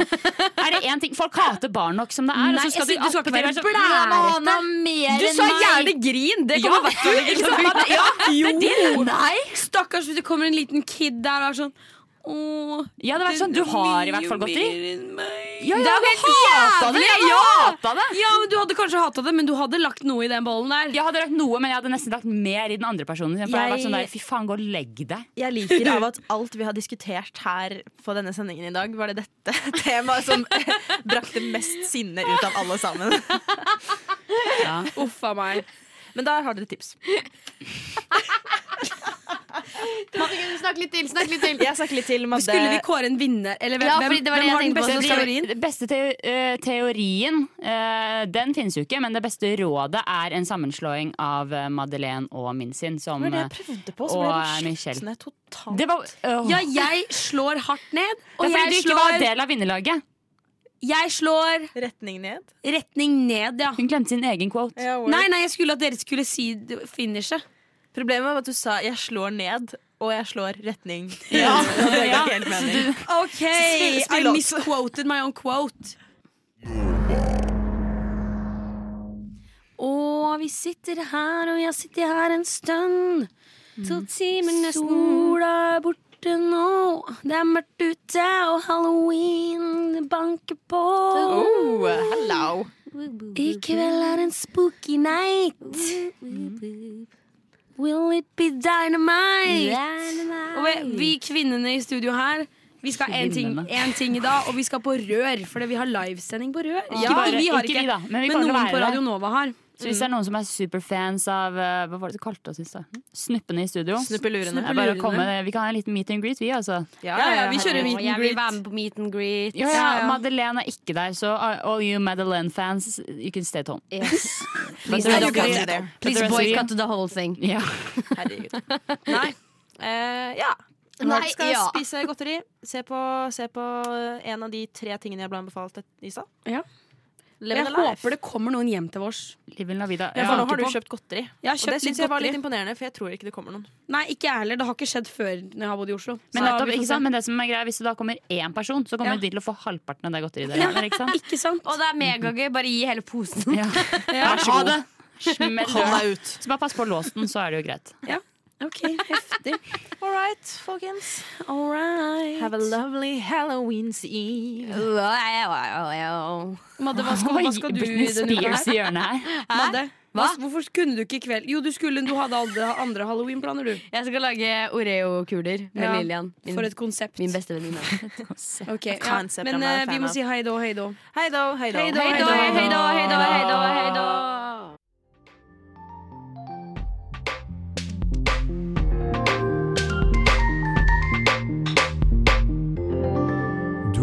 Speaker 4: Er det én ting Folk hater barn nok som det er. og så skal
Speaker 6: Nei, jeg synes
Speaker 4: de
Speaker 6: du skal ikke
Speaker 4: attpåtil
Speaker 6: være
Speaker 4: sånn,
Speaker 6: blærete.
Speaker 4: «Nei, men han har mer
Speaker 6: Du
Speaker 4: enn
Speaker 6: sa
Speaker 4: meg!»
Speaker 6: gjerne grin! Det kommer i hvert fall ikke
Speaker 4: (laughs)
Speaker 6: til å funke. Nei!
Speaker 3: Stakkars hvis det kommer en liten kid der og er sånn Åh,
Speaker 4: Ja, det var sånn, du har i hvert fall godteri. Ja,
Speaker 3: Det
Speaker 4: ja,
Speaker 3: er jo
Speaker 4: du
Speaker 3: helt
Speaker 4: hatet
Speaker 3: jævlig!
Speaker 4: det, jeg
Speaker 3: Ja!
Speaker 4: hatet det.
Speaker 3: (laughs) Ja, men Du hadde kanskje hata det, men du hadde lagt noe i den bollen der.
Speaker 4: Jeg hadde lagt noe, men jeg hadde nesten lagt mer i den andre personen. For jeg hadde vært sånn der, fy faen, gå og legg deg.
Speaker 5: Jeg liker av at alt vi har diskutert her på denne sendingen i dag, var det dette (laughs) temaet som brakte mest sinne ut av alle sammen. (laughs)
Speaker 3: Uff a meg.
Speaker 5: Men der har dere tips.
Speaker 6: Madde, snakk litt til. Snakk litt til.
Speaker 5: Jeg snakker litt til Madde.
Speaker 3: Skulle vi kåre en vinner? Eller hvem,
Speaker 6: Ja,
Speaker 3: hvem,
Speaker 6: fordi det var det
Speaker 3: hvem
Speaker 6: jeg
Speaker 3: har den
Speaker 6: tenkte på,
Speaker 3: beste
Speaker 6: så skal vi-
Speaker 3: teorien?
Speaker 4: Den beste teo eh, teorien, eh, den finnes jo ikke, men det beste rådet er en sammenslåing av eh, Madeleine og min sin. Som,
Speaker 5: Det var det jeg
Speaker 4: eh,
Speaker 5: prøvde på, så ble
Speaker 4: og, eh,
Speaker 5: jeg
Speaker 4: Michelle.
Speaker 5: slått ned totalt.
Speaker 4: det var, åh.
Speaker 3: Ja, jeg slår hardt ned,
Speaker 4: det
Speaker 3: og
Speaker 4: er fordi du
Speaker 3: jeg
Speaker 4: ikke var
Speaker 3: slår,
Speaker 4: del av vinnerlaget.
Speaker 3: jeg slår
Speaker 5: Retning ned.
Speaker 3: retning ned, ja.
Speaker 4: Hun glemte sin egen quote.
Speaker 3: Nei, nei, jeg skulle at dere skulle si d- finishet.
Speaker 5: Problemet var at du sa 'jeg slår ned', og 'jeg slår retning'. (laughs) det ga ikke helt mening.
Speaker 3: OK, I
Speaker 5: spill opp.
Speaker 3: misquoted my own quote. Og vi sitter her, og jeg sitter her en stund.
Speaker 6: To timer nesten.
Speaker 3: Sola er borte nå. Det er mørkt ute, og halloween det banker på.
Speaker 5: Oh, hello.
Speaker 3: I kveld er en spooky night. Will it be dynamite? Og vi, vi kvinnene i studio her vi skal ha én ting,
Speaker 4: Kvinnene.
Speaker 3: en ting i dag, og vi skal på Rør. Fordi vi har livesending på Rør.
Speaker 4: Ikke
Speaker 3: Ja,
Speaker 4: bare-
Speaker 3: vi har
Speaker 4: ikke
Speaker 3: ikke,
Speaker 4: vi da, men vi
Speaker 3: men
Speaker 4: kommer til å
Speaker 3: noen
Speaker 4: være
Speaker 3: på
Speaker 4: det.
Speaker 3: Radio Nova har.
Speaker 4: Så hvis det er noen som er superfans av eh, Hva var det du kalte oss i stad? Snuppene i studio. Det
Speaker 5: Snuppelurene.
Speaker 4: er bare å komme, vi kan ha en liten meet and greet, vi, altså.
Speaker 3: Ja, ja, vi kjører meet
Speaker 6: Å, Jeg
Speaker 3: and
Speaker 6: vil være
Speaker 3: greet.
Speaker 6: med på meet and greet.
Speaker 4: Ja, ja, Madeleine er ikke der, så uh, all you Madeleine-fans, you can stay at home.
Speaker 6: (laughs) Yes.
Speaker 4: But
Speaker 6: Please,
Speaker 4: the rest
Speaker 5: you
Speaker 4: of
Speaker 5: can
Speaker 4: you-
Speaker 5: stay there.
Speaker 4: but the
Speaker 6: please
Speaker 4: rest of you-
Speaker 6: boycott the whole thing.
Speaker 4: Ja.
Speaker 5: Herregud. Nei. Eh, ja.
Speaker 6: Nei,
Speaker 5: Når du skal
Speaker 6: ja.
Speaker 5: spise godteri, se på, se på en av de tre tingene jeg ble anbefalt i stad.
Speaker 3: Ja. Og
Speaker 5: Living
Speaker 3: Jeg
Speaker 5: the life.
Speaker 3: håper det kommer noen hjem til oss.
Speaker 4: Livin La Vida.
Speaker 5: Ja,
Speaker 4: Ja.
Speaker 5: for nå har du kjøpt godteri.
Speaker 3: Jeg har
Speaker 5: Og det
Speaker 3: kjøpt
Speaker 5: syns
Speaker 3: litt
Speaker 5: jeg var litt
Speaker 3: godteri.
Speaker 5: imponerende, for jeg tror ikke det kommer noen.
Speaker 3: Nei, ikke jeg heller. Det har ikke skjedd før når jeg har bodd i Oslo.
Speaker 4: Men,
Speaker 3: Så
Speaker 4: nettopp,
Speaker 3: vi får se.
Speaker 4: ikke sant? Men det som er greia, hvis det da kommer én person, så kommer
Speaker 3: Ja.
Speaker 4: de til å få halvparten av det godteriet dere har. Ikke
Speaker 3: (laughs)
Speaker 4: sant?
Speaker 3: Ikke sant?
Speaker 6: Og det er megagøy. Bare gi hele (laughs) posen.
Speaker 4: Ja.
Speaker 3: Ja.
Speaker 4: Vær så god. Smell døren.
Speaker 5: deg ut.
Speaker 4: Så bare pass på låsen, så er det jo greit.
Speaker 3: OK, heftig.
Speaker 5: All right, folkens.
Speaker 3: All right.
Speaker 5: Have a lovely Halloween's eve.
Speaker 3: Madde, hva
Speaker 4: (laughs)
Speaker 3: skal, hva skal du i
Speaker 4: Britney
Speaker 3: denne uka
Speaker 4: Spears
Speaker 3: her?
Speaker 4: i hjørnet her.
Speaker 3: Madde, hva?
Speaker 6: Hva?
Speaker 3: Hvorfor kunne du ikke i kveld? Jo, du skulle, du hadde andre, andre halloweenplaner, du.
Speaker 6: Jeg skal lage Oreo-kuler med
Speaker 3: Ja,
Speaker 6: Lillian. Min,
Speaker 3: For et konsept.
Speaker 6: min beste venninne.
Speaker 3: Ok, ja.
Speaker 5: Concept
Speaker 3: Men
Speaker 5: I'm not a
Speaker 3: eh, vi
Speaker 5: fan
Speaker 3: må
Speaker 5: of.
Speaker 3: si hei då, hei då.
Speaker 5: Hei da, hei da.
Speaker 3: Hei da,
Speaker 6: Hei da, hei da, hei da, hei da, hei da.
Speaker 14: Du